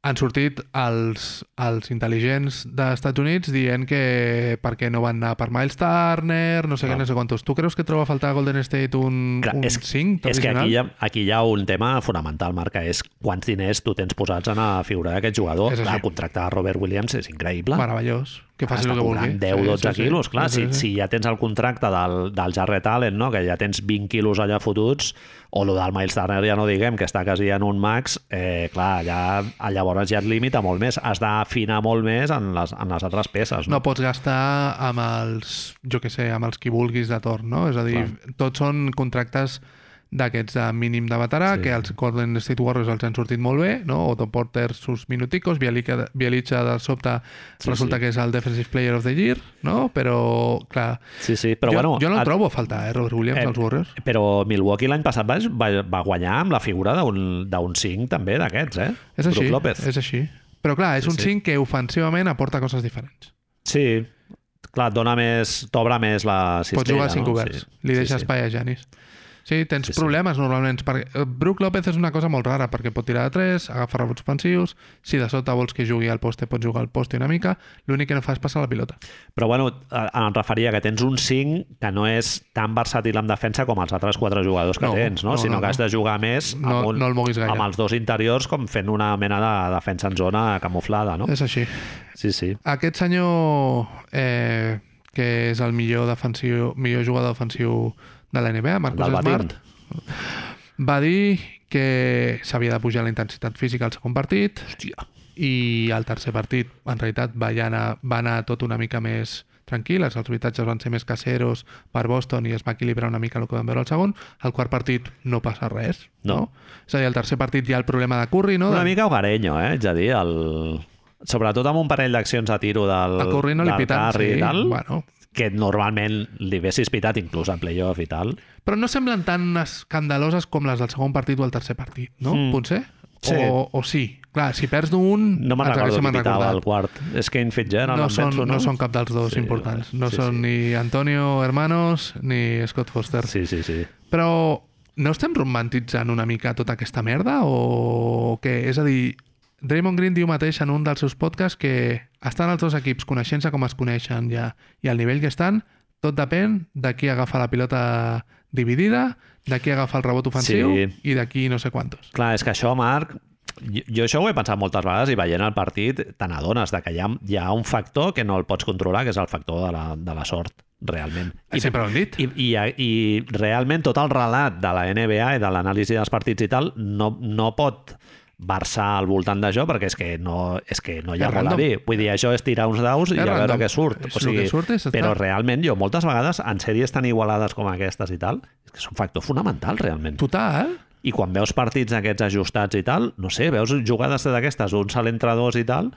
han sortit els, els intel·ligents dels Estats Units dient que per què no van anar per Miles Turner, no sé
Ah.
què, no sé quantos. Tu creus que troba a faltar a Golden State un,
Clar,
un
és,
5
és que
tradicional?
aquí hi, ha, aquí hi ha un tema fonamental, Marc, que és quants diners tu tens posats en la figura d'aquest jugador.
És així.
Clar, contractar Robert Williams és increïble.
Meravellós. Que faci
Està
el que vulgui.
cobrant 10
Sí,
12
sí, sí.
quilos, clar,
Sí, sí, sí.
Si, si ja tens el contracte del, del Jarret Allen, no? que ja tens 20 quilos allà fotuts, o lo del Miles Turner ja no diguem, que està quasi en un max, eh, clar, ja, llavors ja et limita molt més, has d'afinar molt més en les, en les altres peces.
no
No?
pots gastar amb els, jo que sé, amb els qui vulguis de torn, no? És a dir, Clar. tots són contractes d'aquests de mínim de
Sí.
veterà, sí. que els Golden State Warriors els han sortit molt bé, no? Otto Porter sus minuticos, Bielica- Bielica de sobte
Sí,
sí, resulta
sí.
sí. que és el Defensive Player of the Year, no? Però, clar,
Sí, sí, però
jo,
bueno...
jo no
a-
el trobo a faltar, eh, Robert Williams,
eh,
eh, als Warriors.
Però Milwaukee l'any passat va, va, va guanyar amb la figura d'un d'un 5 també d'aquests, eh?
És així,
Brook López.
és així. Però clar, és
Sí,
un
sí.
5 que ofensivament aporta coses diferents.
Sí, clar, et dona més... T'obre més la cistella,
Pots jugar a 5
no?
oberts.
Sí.
Li
Sí,
deixa
sí.
espai a Janis. Sí, tens
Sí, sí.
problemes normalment. Per... Brook López és una cosa molt rara, perquè pot tirar de 3, agafar rebots ofensius, si de sota vols que jugui al poste, pots jugar al poste una mica, l'únic que no fa és passar la pilota.
Però bueno, eh, em referia que tens un 5 que no és tan versàtil en defensa com els altres quatre jugadors que
No,
tens, no?
no,
Sinó
no,
que has
no.
de jugar més
No-
amb, un,
no el moguis gaire.
amb els dos interiors com fent una mena de defensa en zona camuflada, no?
És Doncs així.
Sí, sí.
Aquest senyor, eh, que és el millor defensiu, millor jugador defensiu de la NBA, Marcus
Del Batín.
Smart, va dir que s'havia de pujar la intensitat física al segon partit,
Hòstia.
i el tercer partit en realitat va anar, va anar tot una mica més tranquil, els habitatges van ser més caseros per Boston i es va equilibrar una mica el que vam veure al segon, al quart partit no passa res,
No.
És a dir, al tercer partit hi ha el problema de Curry, no?
Una
De-
mica hogareño, eh? És a dir, el... sobretot amb un parell d'accions a tiro del,
a Curry no li
del
pitant,
Curry i
sí,
tal,
bueno.
que normalment li haguessis pitat inclús en playoff i tal.
Però no semblen tan escandaloses com les del segon partit o el tercer partit, no?
Mm.
Mm. Potser?
Sí.
O, o sí. Clar, si perds d'un...
No me'n
ens
recordo
haguéssim
qui pitava
recordat.
el quart. És que Fitzgerald,
no,
em
són,
penso,
no? són cap dels dos
Sí,
sí, importants. No
sí,
sí, són
sí.
ni Antonio Hermanos ni Scott Foster.
Sí, sí, sí.
Però no estem romantitzant una mica tota aquesta merda o què? És a dir, Draymond Green diu mateix en un dels seus podcasts que estan els dos equips coneixent-se com es coneixen ja i al nivell que estan, tot depèn de qui agafa la pilota dividida, de qui agafa el rebot ofensiu
Sí.
i de qui no sé quantos.
Clar, és que això, Marc, jo, jo això ho he pensat moltes vegades i veient el partit te n'adones de que hi ha, hi ha un factor que no el pots controlar, que és el factor de la, de la sort, realment.
I, Sempre ho hem dit.
I, i, I realment tot el relat de la NBA i de l'anàlisi dels partits i tal no, no pot versar al voltant d'això perquè és que no, és que no hi ha
És
res a
random.
dir. Vull dir, això és tirar uns daus i
És
a veure
random.
què surt.
És el que surt i s'està.
però realment jo moltes vegades en sèries tan igualades com aquestes i tal és que és un factor fonamental realment.
Total.
I quan veus partits aquests ajustats i tal, no sé, veus jugades d'aquestes, un sol entre dos i tal,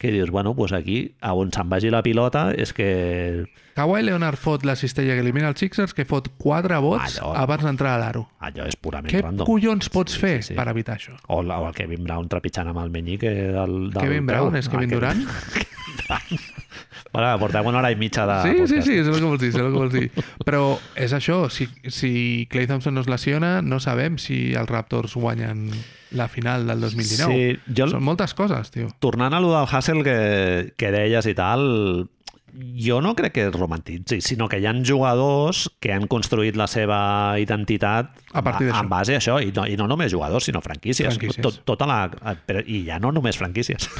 que dius, bueno, doncs aquí, a on se'n vagi la pilota, és que
Kawhi Leonard fot la cistella que elimina els Sixers, que fot quatre vots
Allò.
abans d'entrar a l'aro.
allò és purament
Què
random.
collons pots fer
sí, sí.
per evitar això?
O, la, o el Kevin Brown trepitjant amb el menyique del, Ah, del
Kevin Brown és Kevin Durant?
Bueno, portem una hora i mitja de
Sí, sí,
podcast.
sí, és el que vols dir, és el que vols dir. Però és això, si, si Clay Thompson no es lesiona, no sabem si els Raptors guanyen la final del 2019.
Sí, jo-
Són moltes
[laughs]
coses, tio.
Tornant a lo del Hassel que, que deies i tal, jo no crec que es romantitzi, sinó que hi han jugadors que han construït la seva identitat
A partir d'això.
en base a això, i no, i no només jugadors, sinó franquícies.
Franquícies.
Tot, tota la, però, I ja no només franquícies.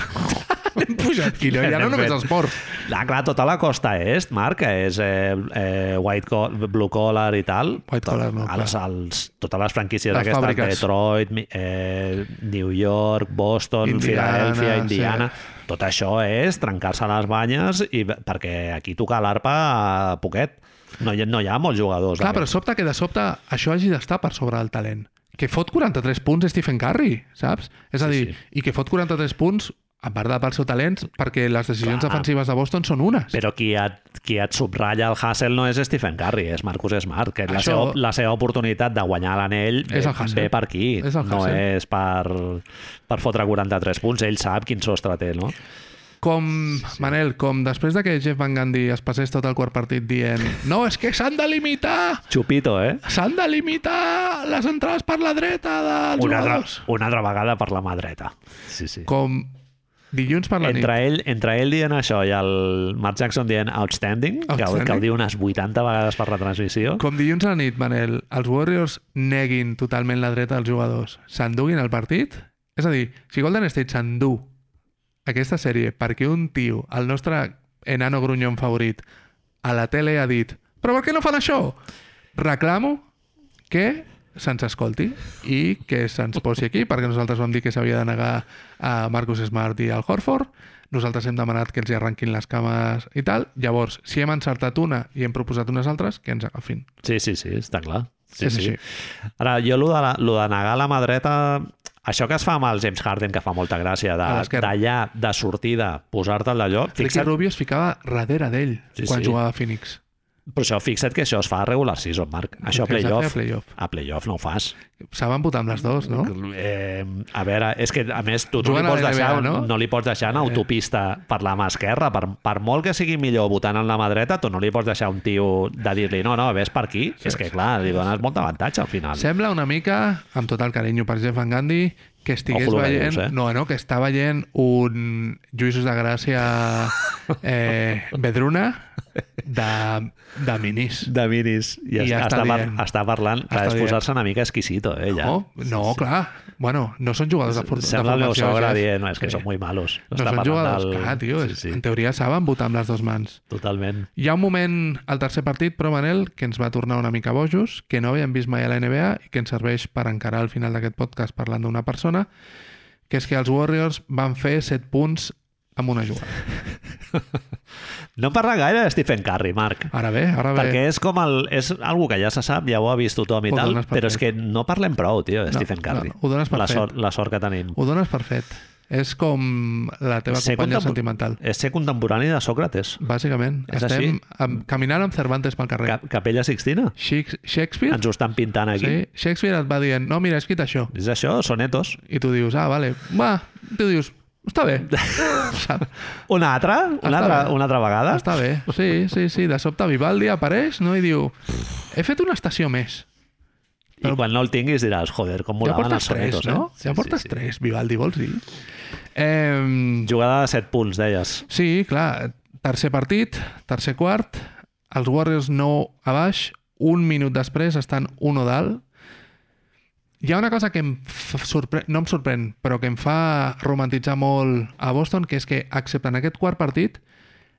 Hem pujat. I no, ja no
Hem
només
fet.
esport.
Ah, clar, tota la costa est, Marc, que és eh, eh, white col blue collar i tal.
White collar, no,
els,
clar.
els, totes les franquícies
Les
aquestes,
fàbriques.
Detroit, mi- eh, New York, Boston,
Indiana,
Filadèlfia,
sí.
Indiana... Tot això és trencar-se les banyes i, perquè aquí tocar l'arpa a poquet. No hi, no hi ha molts jugadors. eh?
Clar, però
d'aquests.
sobta que de sobte això hagi d'estar per sobre del talent. Que fot 43 punts Stephen Curry, saps? És a
Sí,
dir,
sí.
i que fot 43 punts en part de pel seu talent, perquè les decisions
Clar.
defensives de Boston són unes.
Però qui et, qui et subratlla el Hassel no és Stephen Curry, és Marcus Smart, que la,
Això-
seva, la seva oportunitat de guanyar l'anell ve,
És el Hassel.
ve per aquí,
És el
no
Hassel.
és per, per fotre 43 punts, ell sap quin sostre té, no?
Com, sí. Manel, com després de que Jeff Van Gundy es passés tot el quart partit dient no, és que s'han de limitar,
Chupito, eh?
s'han de limitar les entrades per la dreta dels
Una altra,
jugadors.
una altra vegada per la mà dreta. Sí, sí.
Com dilluns per la
Entre ell, entre ell dient això i el Mark Jackson dient Outstanding, Que,
Outstanding.
que el diu unes 80 vegades per retransmissió,
nit. Com dilluns a la nit, Manel, els Warriors neguin totalment la dreta dels jugadors, s'enduguin el partit? És a dir, si Golden State s'endú aquesta sèrie perquè un tio, el nostre enano grunyon favorit, a la tele ha dit però per què no fan això? Reclamo que se'ns escolti i que se'ns posi aquí, perquè nosaltres vam dir que s'havia de negar a Marcus Smart i al Horford. Nosaltres hem demanat que els hi arrenquin les cames i tal. Llavors, si hem encertat una i hem proposat unes altres, que ens agafin.
Sí, sí, sí, està clar. Sí,
És
sí.
així.
Ara, jo lo de, la- lo de negar la mà dreta... Això que es fa amb el James Harden, que fa molta gràcia,
A
de-
l'esquerra.
d'allà, de, de sortida, posar-te al lloc...
Ricky
Fixa't,
Rubio es ficava darrere d'ell
Sí,
quan
sí.
jugava a Phoenix.
però això, fixa't que això es fa a regular season, Marc. Això a
Que es va
playoff,
fer A playoff.
a playoff no ho fas.
Se van votar amb les dues, no?
Eh, a veure, és que a més tu no li,
Juguen a
pots
la
deixar,
NBA,
no?
no?
no li pots deixar en autopista per la mà esquerra per, per molt que sigui millor votant en la mà dreta tu no li pots deixar un tio de dir-li no, no, ves per aquí, sí, és que clar, li dones molt avantatge al final
Sembla una mica, amb tot el carinyo per Jeff Van Gundy, que estigués
Ojo lo que
veient...
dius, eh?
No, no, que està veient un Lluïsos de Gràcia
[laughs]
eh, Bedruna de, de minis.
de miris i, ja
I ja
està,
està
par
dient.
està parlant clar,
Està
és
dient.
posar-se una mica exquisito eh, ja.
Oh, No, no clar. Bueno, no són jugadors de, for de
sembla el meu
formació.
sogre
Jeff.
dient no, és que
Sí.
són molt malos
No són jugadors, clar, tio.
sí, sí,
En teoria saben votar amb les dues mans.
totalment
Hi ha un moment al tercer partit, però, Manel, que ens va tornar una mica bojos, que no havíem vist mai a la NBA i que ens serveix per encarar el final d'aquest podcast parlant d'una persona, que és que els Warriors van fer 7 punts amb una jugada.
no parla gaire de Stephen Curry, Marc
Ara bé, ara Ah, bé.
Perquè és com el... És algo que ja se sap, ja ho ha vist tothom i
Ho
tal,
dones per
però és que
fet.
no parlem prou, tio, de
No,
Stephen Curry.
no, no, ho dones per
la
fet.
sort, la sort que tenim.
Ho dones per fet. És com la teva
Ser
companya
contempor-
sentimental.
És ser contemporani de Sòcrates.
Bàsicament,
És
estem
així.
amb, caminant amb Cervantes pel carrer.
Cap, Capella Sixtina.
Shakes- Shakespeare?
Ens ho estan pintant aquí.
Sí, Shakespeare et va dient, no, mira, he escrit això.
És això, sonetos.
I tu dius, ah, vale, va, tu dius, està
[laughs]
bé. Saps?
Una altra? Una,
Està
altra,
bé.
una altra vegada?
Està bé, sí, sí, sí. De sobte Vivaldi apareix no? i diu he fet una estació més.
I quan no el tinguis diràs, joder, com
Ja
volaven els
portes tres,
sonetos,
no?
eh?
Ja portes tres, Vivaldi, vols dir? Eh,
Jugada de 7 punts, deies.
sí, clar, tercer partit, tercer quart, els Warriors 9 a baix, un minut després estan 1 dalt. Hi ha una cosa que em f- sorpre... no em sorprèn, però que em fa romantitzar molt a Boston, que és que, excepte en aquest quart partit,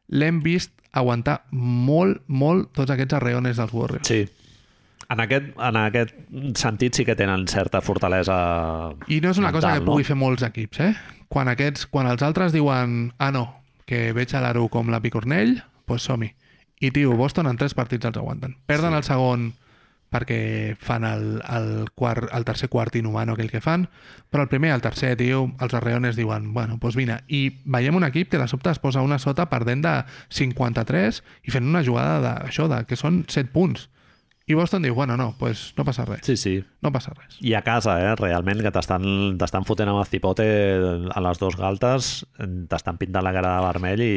l'hem vist aguantar molt, molt tots aquests arreones dels Warriors.
Sí. En aquest, en aquest sentit sí que tenen certa fortalesa
I no és una cosa
mental,
que
no?
pugui fer molts equips, eh? Quan, aquests, quan els altres diuen ah, no, que veig a l'Aro com la Picornell, doncs pues som-hi. I, tio, Boston en tres partits els aguanten. Perden sí. el segon perquè fan el, el, quart, el tercer quart inhumano aquell que fan, però el primer i el tercer, tio, els arreones diuen, bueno, doncs pues vine. I veiem un equip que de sobte es posa una sota perdent de 53 i fent una jugada d'això, de, que són 7 punts. I Boston diu, bueno, no, pues no passa res,
Sí, sí.
no passa res.
I a casa, eh? realment, que t'estan t'estan fotent amb el cipote a les dues galtes, t'estan pintant la cara de vermell i,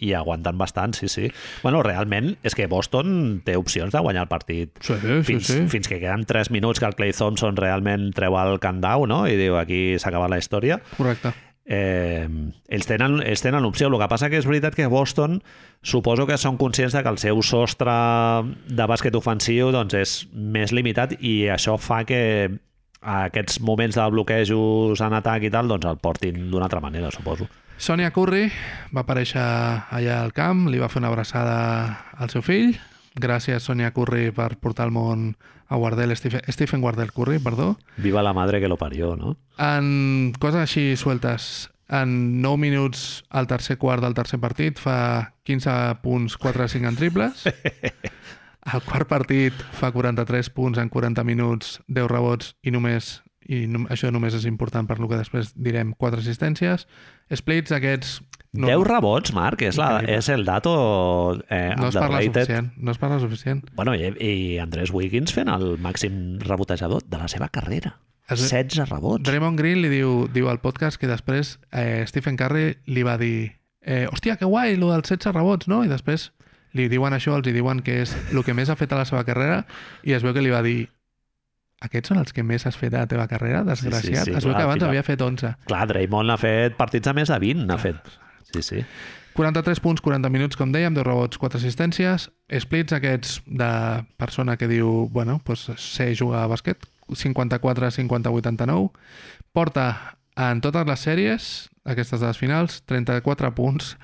i aguantant bastant, sí, sí. Bueno, realment, és que Boston té opcions de guanyar el partit.
Sí, sí,
Fins,
sí.
fins que queden 3 minuts que el Clay Thompson realment treu el candau no? i diu aquí s'ha acabat la història
Correcte.
eh, ells, tenen, ells tenen opció. El que passa que és veritat que Boston suposo que són conscients de que el seu sostre de bàsquet ofensiu doncs, és més limitat i això fa que aquests moments de bloquejos en atac i tal, doncs el portin d'una altra manera, suposo.
Sonia Curry va aparèixer allà al camp, li va fer una abraçada al seu fill. Gràcies, Sonia Curry, per portar al món a Wardell, Stephen, Stephen Wardell Curry, perdó.
Viva la madre que lo parió, no?
En coses així sueltes, en 9 minuts al tercer quart del tercer partit fa 15 punts, 4 5 en triples. Al quart partit fa 43 punts en 40 minuts, 10 rebots i només i no, això només és important per lo que després direm, 4 assistències. Splits aquests...
No. 10 rebots, Marc, és, la, és el dato eh,
No es parla
underrated.
suficient, no es parla suficient.
Bueno, i, i Andrés Wiggins fent el màxim rebotejador de la seva carrera.
Es-
16 rebots.
Draymond Green li diu, diu al podcast que després eh, Stephen Curry li va dir eh, hòstia, que guai, lo dels 16 rebots, no? I després li diuen això, els hi diuen que és el que més ha fet a la seva carrera i es veu que li va dir aquests són els que més has fet a la teva carrera, desgraciat.
sí,
es veu
clar,
que abans
final.
havia fet 11.
Clar, Draymond ha fet partits de més de 20, n'ha fet. Sí, sí.
43 punts, 40 minuts, com dèiem, 10 rebots, 4 assistències, splits aquests de persona que diu, bueno, pues sé jugar a bàsquet, 54, 50, 89, porta en totes les sèries, aquestes de les finals, 34 punts,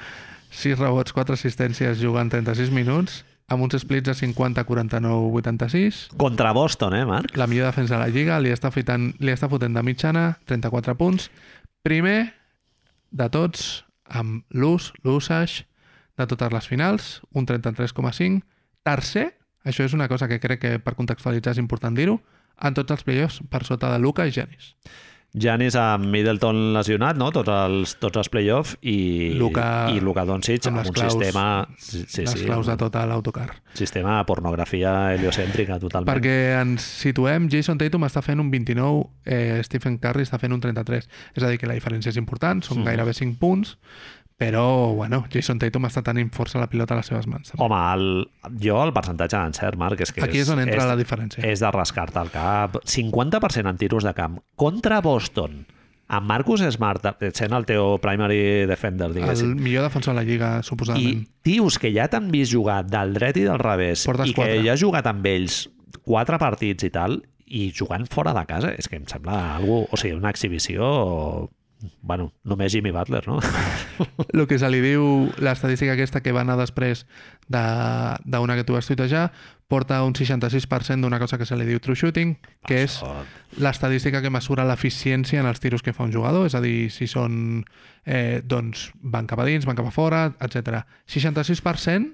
6 rebots, 4 assistències, jugant 36 minuts, amb uns splits de 50, 49, 86,
Contra Boston, eh, Marc?
la millor defensa de la Lliga, li està, fitant, li està fotent de mitjana, 34 punts. Primer de tots, amb l'ús, l'usage de totes les finals, un 33,5. Tercer Això és una cosa que crec que per contextualitzar és important dir-ho, en tots els playoffs per sota de Luca i Janis.
Janis amb Middleton lesionat, no? Tots els, tots els playoffs i
Luka-
i Luka Doncic amb,
amb les
un
claus-
sistema... Sí, sí,
les
sí,
claus de
un
tota l'autocar.
sistema de pornografia heliocèntrica totalment.
Perquè ens situem, Jason Tatum està fent un 29, eh, Stephen Curry està fent un 33. És a dir, que la diferència és important, són
Mhm.
gairebé 5 punts, però, bueno, Jason Tatum està tenint força la pilota a les seves mans. també.
Home, el, jo el percentatge d'encert, Marc, és que
Aquí és on entra la diferència.
és de rascar-te el cap. 50% en tiros de camp contra Boston. Amb Marcus Smart sent el teu primary defender,
el
diguéssim.
millor defensor de la Lliga,
I
[laughs] suposadament.
tios que ja t'han vist jugar del dret i del revés
Portes
i que
quatre.
ja has jugat amb ells quatre partits i tal, i jugant fora de casa, és que em sembla algo, o sigui, una exhibició o... Bueno, només Jimmy Butler,
[laughs]
no?
el que se li diu l'estadística aquesta que va anar després de- d'una que tu vas tuitejar, porta un 66% d'una cosa que se li diu true shooting, que és
Això-
l'estadística que mesura l'eficiència en els tiros que fa un jugador, és a dir, si són eh, doncs van cap a dins, van cap a fora, etc. 66%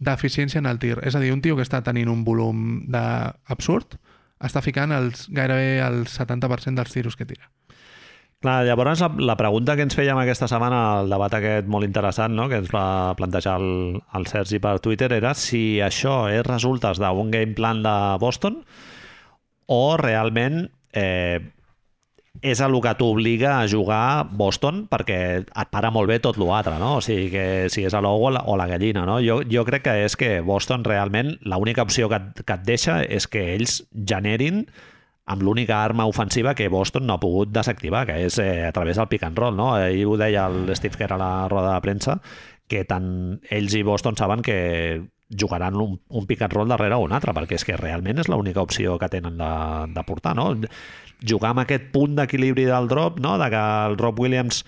d'eficiència en el tir. És a dir, un tio que està tenint un volum de... absurd està ficant els, gairebé el 70% dels tiros que tira.
Clar, llavors la, la pregunta que ens fèiem aquesta setmana al debat aquest molt interessant no? que ens va plantejar el, el Sergi per Twitter era si això és resultes d'un game plan de Boston o realment eh, és el que t'obliga a jugar Boston perquè et para molt bé tot l'altre, no? O sigui que si és a l'ou o, la- o la gallina, no? Jo, jo crec que és que Boston realment l'única opció que, et- que et deixa és que ells generin amb l'única arma ofensiva que Boston no ha pogut desactivar, que és eh, a través del pick and roll, no? Ahir ho deia el Steve Kerr a la roda de premsa, que tant ells i Boston saben que jugaran un, un pick and roll darrere un altre, perquè és que realment és l'única opció que tenen de, de portar, no? Jugar amb aquest punt d'equilibri del drop, no? De que el Rob Williams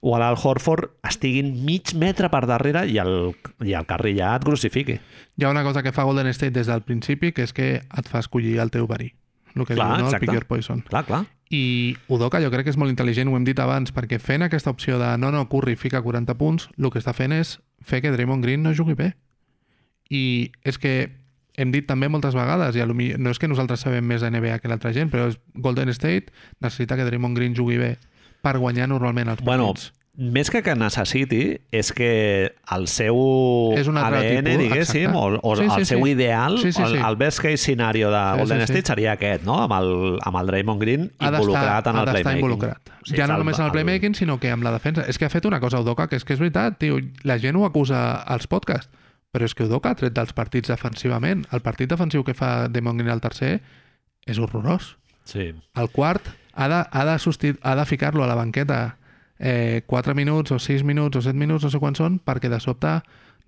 o l'Al Horford estiguin mig metre per darrere i el, i el Curry ja et crucifiqui.
Hi ha una cosa que fa Golden State des del principi, que és que et fa escollir el teu verí. El que
Clar,
diu, no?
exacte.
El pick your poison.
Clar, clar.
I Udoka jo crec que és molt intel·ligent, ho hem dit abans, perquè fent aquesta opció de no, no, Curry fica 40 punts, el que està fent és fer que Draymond Green no jugui bé. I és que hem dit també moltes vegades, i a lo millor, no és que nosaltres sabem més de NBA que l'altra gent, però és Golden State necessita que Draymond Green jugui bé per guanyar normalment els
Bueno,
partits.
Més que que necessiti, és que el seu
És un altre
ADN,
tipus,
diguéssim,
exacte.
o, o sí, sí, el seu sí. ideal, sí, sí, sí. El, el best case scenario de
Sí, sí,
Golden
sí.
State seria aquest, no? Amb el, amb el Draymond Green
ha d'estar-
involucrat en
ha
el
d'estar
playmaking.
involucrat.
O sigui,
ja
és
no
el-
només en el
el-
playmaking, sinó que amb la defensa. És que ha fet una cosa Udoca, que és que és veritat, tio, la gent ho acusa als podcasts, però és que Udoca ha tret dels partits defensivament. El partit defensiu que fa Demon Green al tercer és horrorós.
Sí.
El quart ha de, ha de, substit- ha de ficar-lo a la banqueta eh, 4 minuts o 6 minuts o 7 minuts, no sé quants són, perquè de sobte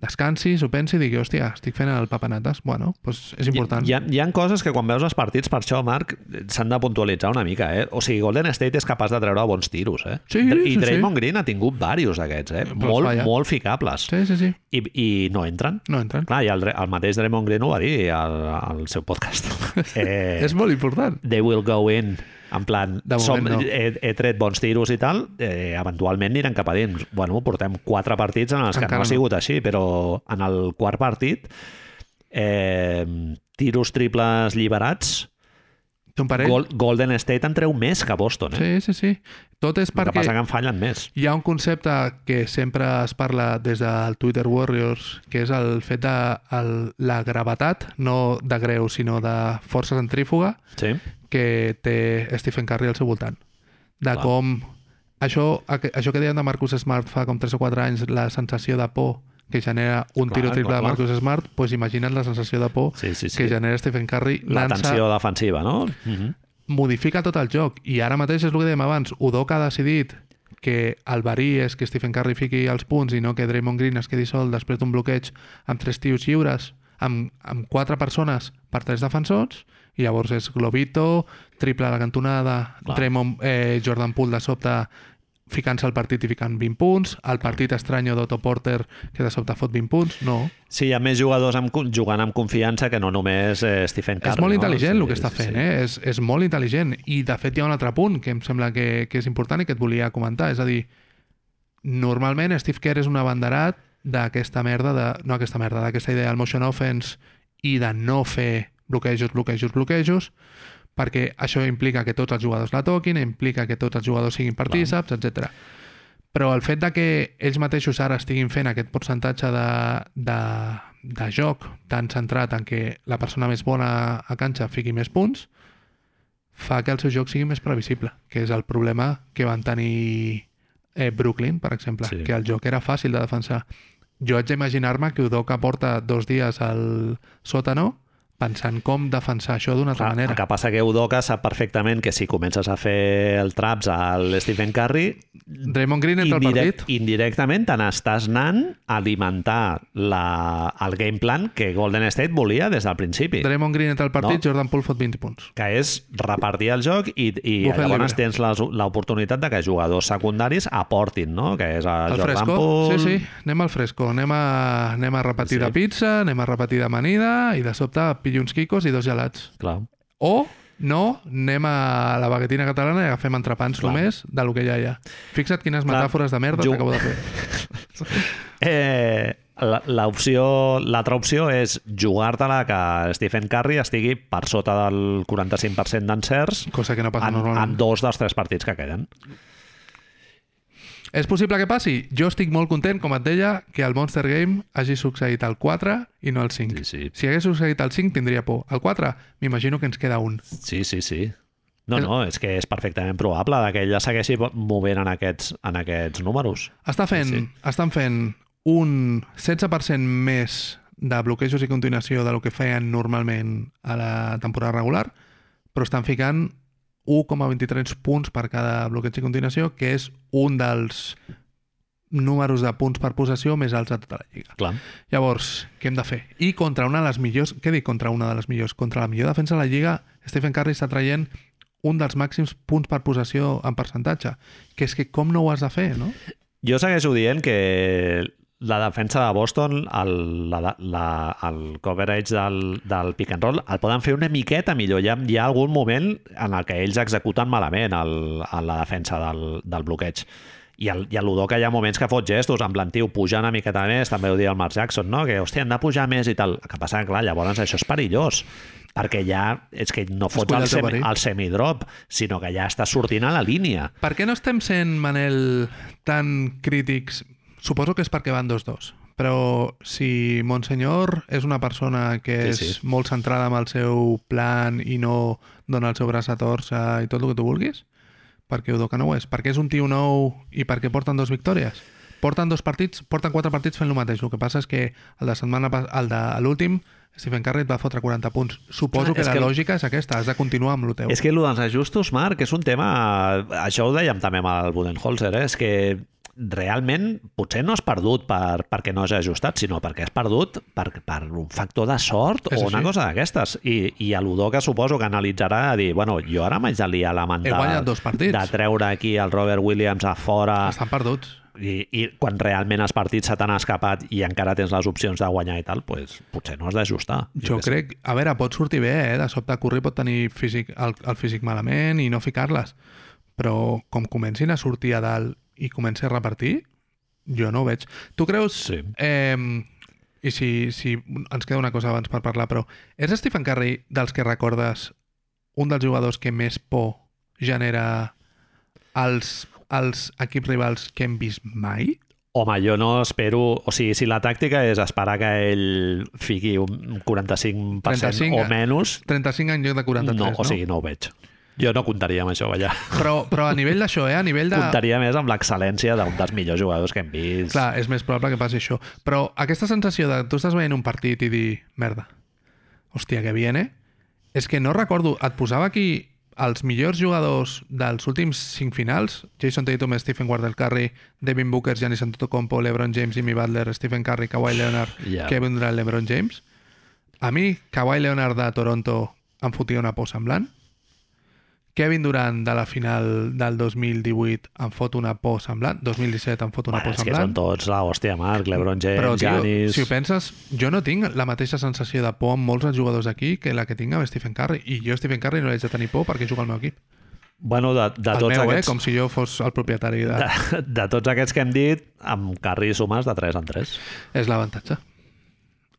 descansi, s'ho pensi i digui, hòstia, estic fent el papanates. Bueno, doncs és important.
Hi, hi, ha, hi ha coses que quan veus els partits, per això, Marc, s'han de puntualitzar una mica, eh? O sigui, Golden State és capaç de treure bons tiros, eh?
Sí,
I
sí,
Draymond Green ha tingut diversos d'aquests, eh?
Però
Molt,
falla.
molt ficables.
Sí, sí, sí.
I, I no entren.
No entren.
Clar, i el, el mateix Draymond Green ho va dir al, al seu
[laughs]
podcast. Eh,
És molt important.
They will go in, en plan,
De moment
som,
no.
he, he tret bons tiros i tal, eh, eventualment aniran cap a dins. Bueno, portem quatre partits en els que
Encara
no
no.
ha sigut així, però en el quart partit, eh, tiros triples alliberats,
Té un parell.
Gol, Golden State en treu més que Boston, eh?
Sí, sí, sí. Tot
El
és
que passa
perquè
que en fallen més.
hi ha un concepte que sempre es parla des del Twitter Warriors, que és el fet de el, la gravetat, no de greu, sinó de força centrífuga,
Sí.
que té Stephen Curry al seu voltant. De
Clar.
com... Això, aqu- això que dèiem de Marcus Smart fa com 3 o 4 anys, la sensació de por que genera un
Clar,
tiro triple
clar,
de
clar.
Marcus Smart, doncs imagina't la sensació de por
Sí, sí, sí.
que genera Stephen Curry.
La
lança-
tensió defensiva, no? Mm
Mhm. modifica tot el joc i ara mateix és el que dèiem abans Udoka ha decidit que el verí és que Stephen Curry fiqui els punts i no que Draymond Green es quedi sol després d'un bloqueig amb tres tios lliures amb, amb quatre persones per tres defensors i llavors és Globito, triple a la cantonada
Clar.
Draymond, eh, Jordan Poole de sobte ficant-se al partit i ficant 20 punts el partit estranyo d'Otto Porter que de sobte fot 20 punts no,
Sí, hi ha més jugadors amb, con- jugant amb confiança que no només eh, Stephen Curry.
és
no?
molt intel·ligent
Sí,
el que està
sí,
fent,
sí.
eh? és, és molt intel·ligent. I, de fet, hi ha un altre punt que em sembla que, que és important i que et volia comentar. És a dir, normalment Steve Kerr és un abanderat d'aquesta merda, de, no aquesta merda, d'aquesta idea del motion offense i de no fer bloquejos, bloquejos, bloquejos, perquè això implica que tots els jugadors la toquin, implica que tots els jugadors siguin partíceps, etc. Però el fet de que ells mateixos ara estiguin fent aquest percentatge de, de, de joc tan centrat en que la persona més bona a canxa fiqui més punts, fa que el seu joc sigui més previsible, que és el problema que van tenir eh, Brooklyn, per exemple,
Sí.
sí. que el joc era fàcil de defensar. Jo haig d'imaginar-me que Udoka porta dos dies al sòtano pensant com defensar això d'una altra
Clar,
manera.
Ah, El que passa que Udoka sap perfectament que si comences a fer el traps al Stephen Curry,
Draymond Green entra al
indirec-
partit.
indirectament te n'estàs anant a alimentar la, el game plan que Golden State volia des del principi.
Draymond Green entra al partit,
No.
Jordan Poole fot 20 punts.
que és repartir el joc i, i
Bufet
llavors
libre.
tens les- l'oportunitat de que jugadors secundaris aportin, no? Que és el
Al
Jordan
fresco,
Poole...
sí, sí, anem al fresco, anem a, anem a repetir
Sí.
sí. de pizza, anem a repetir d'amanida i de sobte pillo uns quicos i dos gelats.
Clar.
O no, anem a la baguetina catalana i agafem entrepans
Clar.
Clar. només de lo que ja hi ha. Fixa't quines
Clar.
metàfores de merda
Jo-
t'acabo de fer.
Eh, la- l'opció- L'altra opció és jugar-te-la que Stephen Curry estigui per sota del 45% d'encerts
Cosa que no passa
en, en
normalment.
dos dels tres partits que queden.
És possible que passi? Jo estic molt content, com et deia, que el Monster Game hagi succeït al 4 i no al 5.
Sí, sí.
Si hagués succeït al 5 tindria por. Al 4 m'imagino que ens queda un.
Sí, sí, sí. No,
És-
no, és que és perfectament probable de que ella segueixi movent en aquests, en aquests números.
Està fent,
Sí.
sí. Estan fent un 16% més de bloquejos i continuació de lo que feien normalment a la temporada regular, però estan ficant 1,23 punts per cada bloqueig i continuació, que és un dels números de punts per possessió més alts de tota la lliga.
Clar.
Llavors, què hem de fer? I contra una de les millors... Què dic contra una de les millors? Contra la millor defensa de la Lliga, Stephen Curry està traient un dels màxims punts per possessió en percentatge. Que és que com no ho has de fer, no?
Jo segueixo dient que la defensa de Boston, el, la, la, el coverage del, del pick and roll, el poden fer una miqueta millor. Hi ha, hi ha algun moment en el que ells executen malament el, a la defensa del, del bloqueig. I el, i a l'Udoca hi ha moments que fot gestos, en plan, tio, puja una miqueta més, també ho diu el Mark Jackson, no? que, hòstia, hem de pujar més i tal. El que passa, clar, llavors això és perillós, perquè ja és que no fots
cuida
el,
el teu
semi,
perill.
el semidrop, sinó que ja està sortint a la línia.
Per què no estem sent, Manel, tan crítics? Suposo que és perquè van dos dos. Però si Monsenyor és una persona que
Sí,
és sí,
sí.
sí. molt centrada amb el seu plan i no dona el seu braç a torça i tot el que tu vulguis, per què Udoca no ho és? Perquè és un tio nou i perquè porten dos victòries? Porten dos partits, porten quatre partits fent el mateix. El que passa és que el de setmana pas- el de l'últim, Stephen Curry et va fotre 40 punts.
Clar,
Suposo Clar, que
és
la
que
que...
el-
lògica és aquesta, has de continuar amb el teu.
És que el dels ajustos, Marc, és un tema... Això ho dèiem també amb el Budenholzer, eh? és que realment potser no has perdut per, perquè no has ajustat, sinó perquè has perdut per, per un factor de sort
És
o una
així.
cosa d'aquestes. I, I a l'Udó que suposo que analitzarà a dir, bueno, jo ara m'haig de liar la
He
mental
guanyat dos partits.
de treure aquí el Robert Williams a fora
Estan perduts.
i, i quan realment els partits se t'han escapat i encara tens les opcions de guanyar i tal, pues, potser no has d'ajustar.
Jo
què sé.
crec... A veure, pot sortir bé, eh? De sobte Curry pot tenir físic, el, el físic malament i no ficar-les. Però com comencin a sortir a dalt i comenci a repartir, jo no ho veig. Tu creus...
Sí.
Eh, I si, si ens queda una cosa abans per parlar, però és Stephen Curry dels que recordes un dels jugadors que més por genera als, als equips rivals que hem vist mai?
Home, jo no espero... O sigui, si la tàctica és esperar que ell fiqui un 45%,
35,
o menys,
35 en lloc de 43,
no,
eh? no?
o sigui, no ho veig. Jo no comptaria amb això, allà.
Però, però a nivell d'això, eh? A nivell de...
Comptaria més amb l'excel·lència d'un dels millors jugadors que hem vist.
Clar, és més probable que passi això. Però aquesta sensació de tu estàs veient un partit i dir, merda, hòstia, que viene, és que no recordo, et posava aquí els millors jugadors dels últims cinc finals, Jason Tatum, Stephen Wardell Curry, Devin Booker, Giannis Antetokounmpo, LeBron James, Jimmy Butler, Stephen Curry, Kawhi Leonard,
Ja.
yeah. Kevin Durant, LeBron James. A mi, Kawhi Leonard de Toronto em fotia una por semblant. Kevin Durant de la final del 2018 em fot una por semblant. 2017 em fot una
bueno,
por
és que són
semblant.
tots la hòstia, Marc, LeBron James,
Però, tio,
Giannis...
si ho penses, jo no tinc la mateixa sensació de por amb molts dels jugadors aquí que la que tinc amb Stephen Curry. I jo a Stephen Curry no l'haig de tenir por perquè juga al meu equip.
Bueno, de, de
El
tots
meu, eh?
aquests...
Com si jo fos el propietari. De...
[laughs] de, de tots aquests que hem dit, amb Carri sumes de 3 en 3.
És l'avantatge.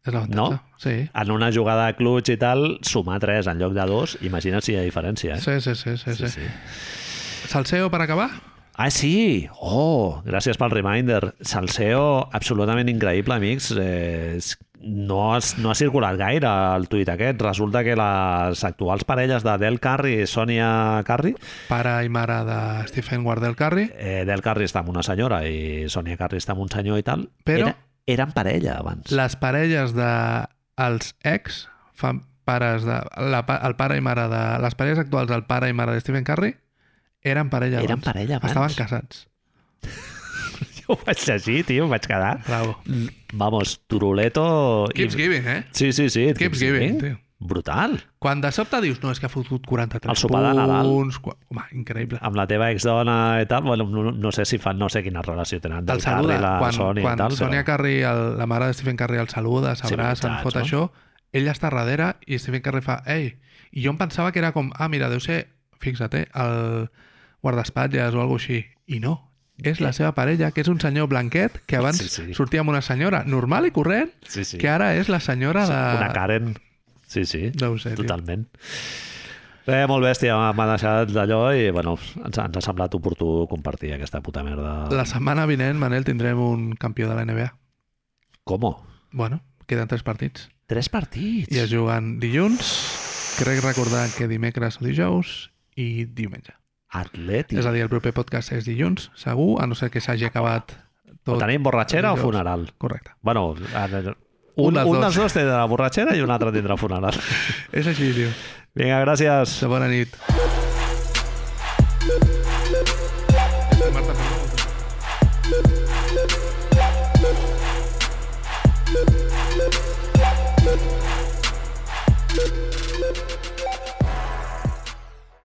És l'avantatge.
No?
Sí.
En una jugada de clutch i tal, sumar 3 en lloc de 2, imagina't si hi ha diferència. Eh?
Sí, sí, sí, sí, sí, Salseo per acabar?
Ah, sí! Oh, gràcies pel reminder. Salseo, absolutament increïble, amics. Eh, és- no, has, no ha circulat gaire el tuit aquest. Resulta que les actuals parelles de Del Curry i Sonia Curry,
Pare i mare de Stephen Wardell Curry.
eh, Del Curry està amb una senyora i Sonia Curry està amb un senyor i tal,
Però-
era, eren parella abans.
Les parelles de els ex fan pares de... La, pa- el pare i mare de... Les parelles actuals del pare i mare de Stephen Curry eren parella
Eren
abans.
parella abans.
Estaven casats.
[laughs] Jo ho vaig llegir, tio, em vaig quedar.
Bravo.
Vamos, turuleto...
Keeps giving, eh?
Sí, sí, sí. et
Keeps
dic,
giving,
eh?
tio.
Brutal.
Quan de sobte dius, no, és que ha fotut 43
El sopar de Nadal.
punts... Qua... Home, increïble.
Amb la teva exdona i tal, bueno, no, no sé si fan, no sé quina relació tenen del
El saluda.
Carri, la
quan
Sònia
quan
i tal.
Sonia
però...
Carri, el, la mare de Stephen Carri, el saluda, s'abraça,
veritat,
en fot
no?
això, ell està darrere i Stephen Carri fa, ei, i jo em pensava que era com, ah, mira, deu ser, fixa't, eh, el guardaespatlles o alguna així. I no, és la seva parella, que és un senyor blanquet que abans
Sí, sí.
sortia amb una senyora normal i corrent,
Sí, sí.
que ara és la senyora de...
Una Karen. Sí, sí.
No ho sé, tio.
Totalment. Eh, molt bèstia, m'ha deixat d'allò i bueno, ens, ens ha semblat oportú compartir aquesta puta merda. La...
La setmana vinent, Manel, tindrem un campió de la NBA.
Com?
Bueno, queden tres partits.
Tres partits.
I es juguen dilluns, crec recordar que dimecres o dijous, i diumenge.
Atlètic.
És a dir, el proper podcast és dilluns, segur, a no ser que s'hagi acabat
O
tot.
tenim borratxera o
Dijous.
funeral?
Correcte.
Bueno, a veure,
Un
un,
dels
un
dos.
dels dos
[laughs]
tindrà borratxera i un altre tindrà funeral.
És així, tio.
Vinga, gràcies.
De bona nit.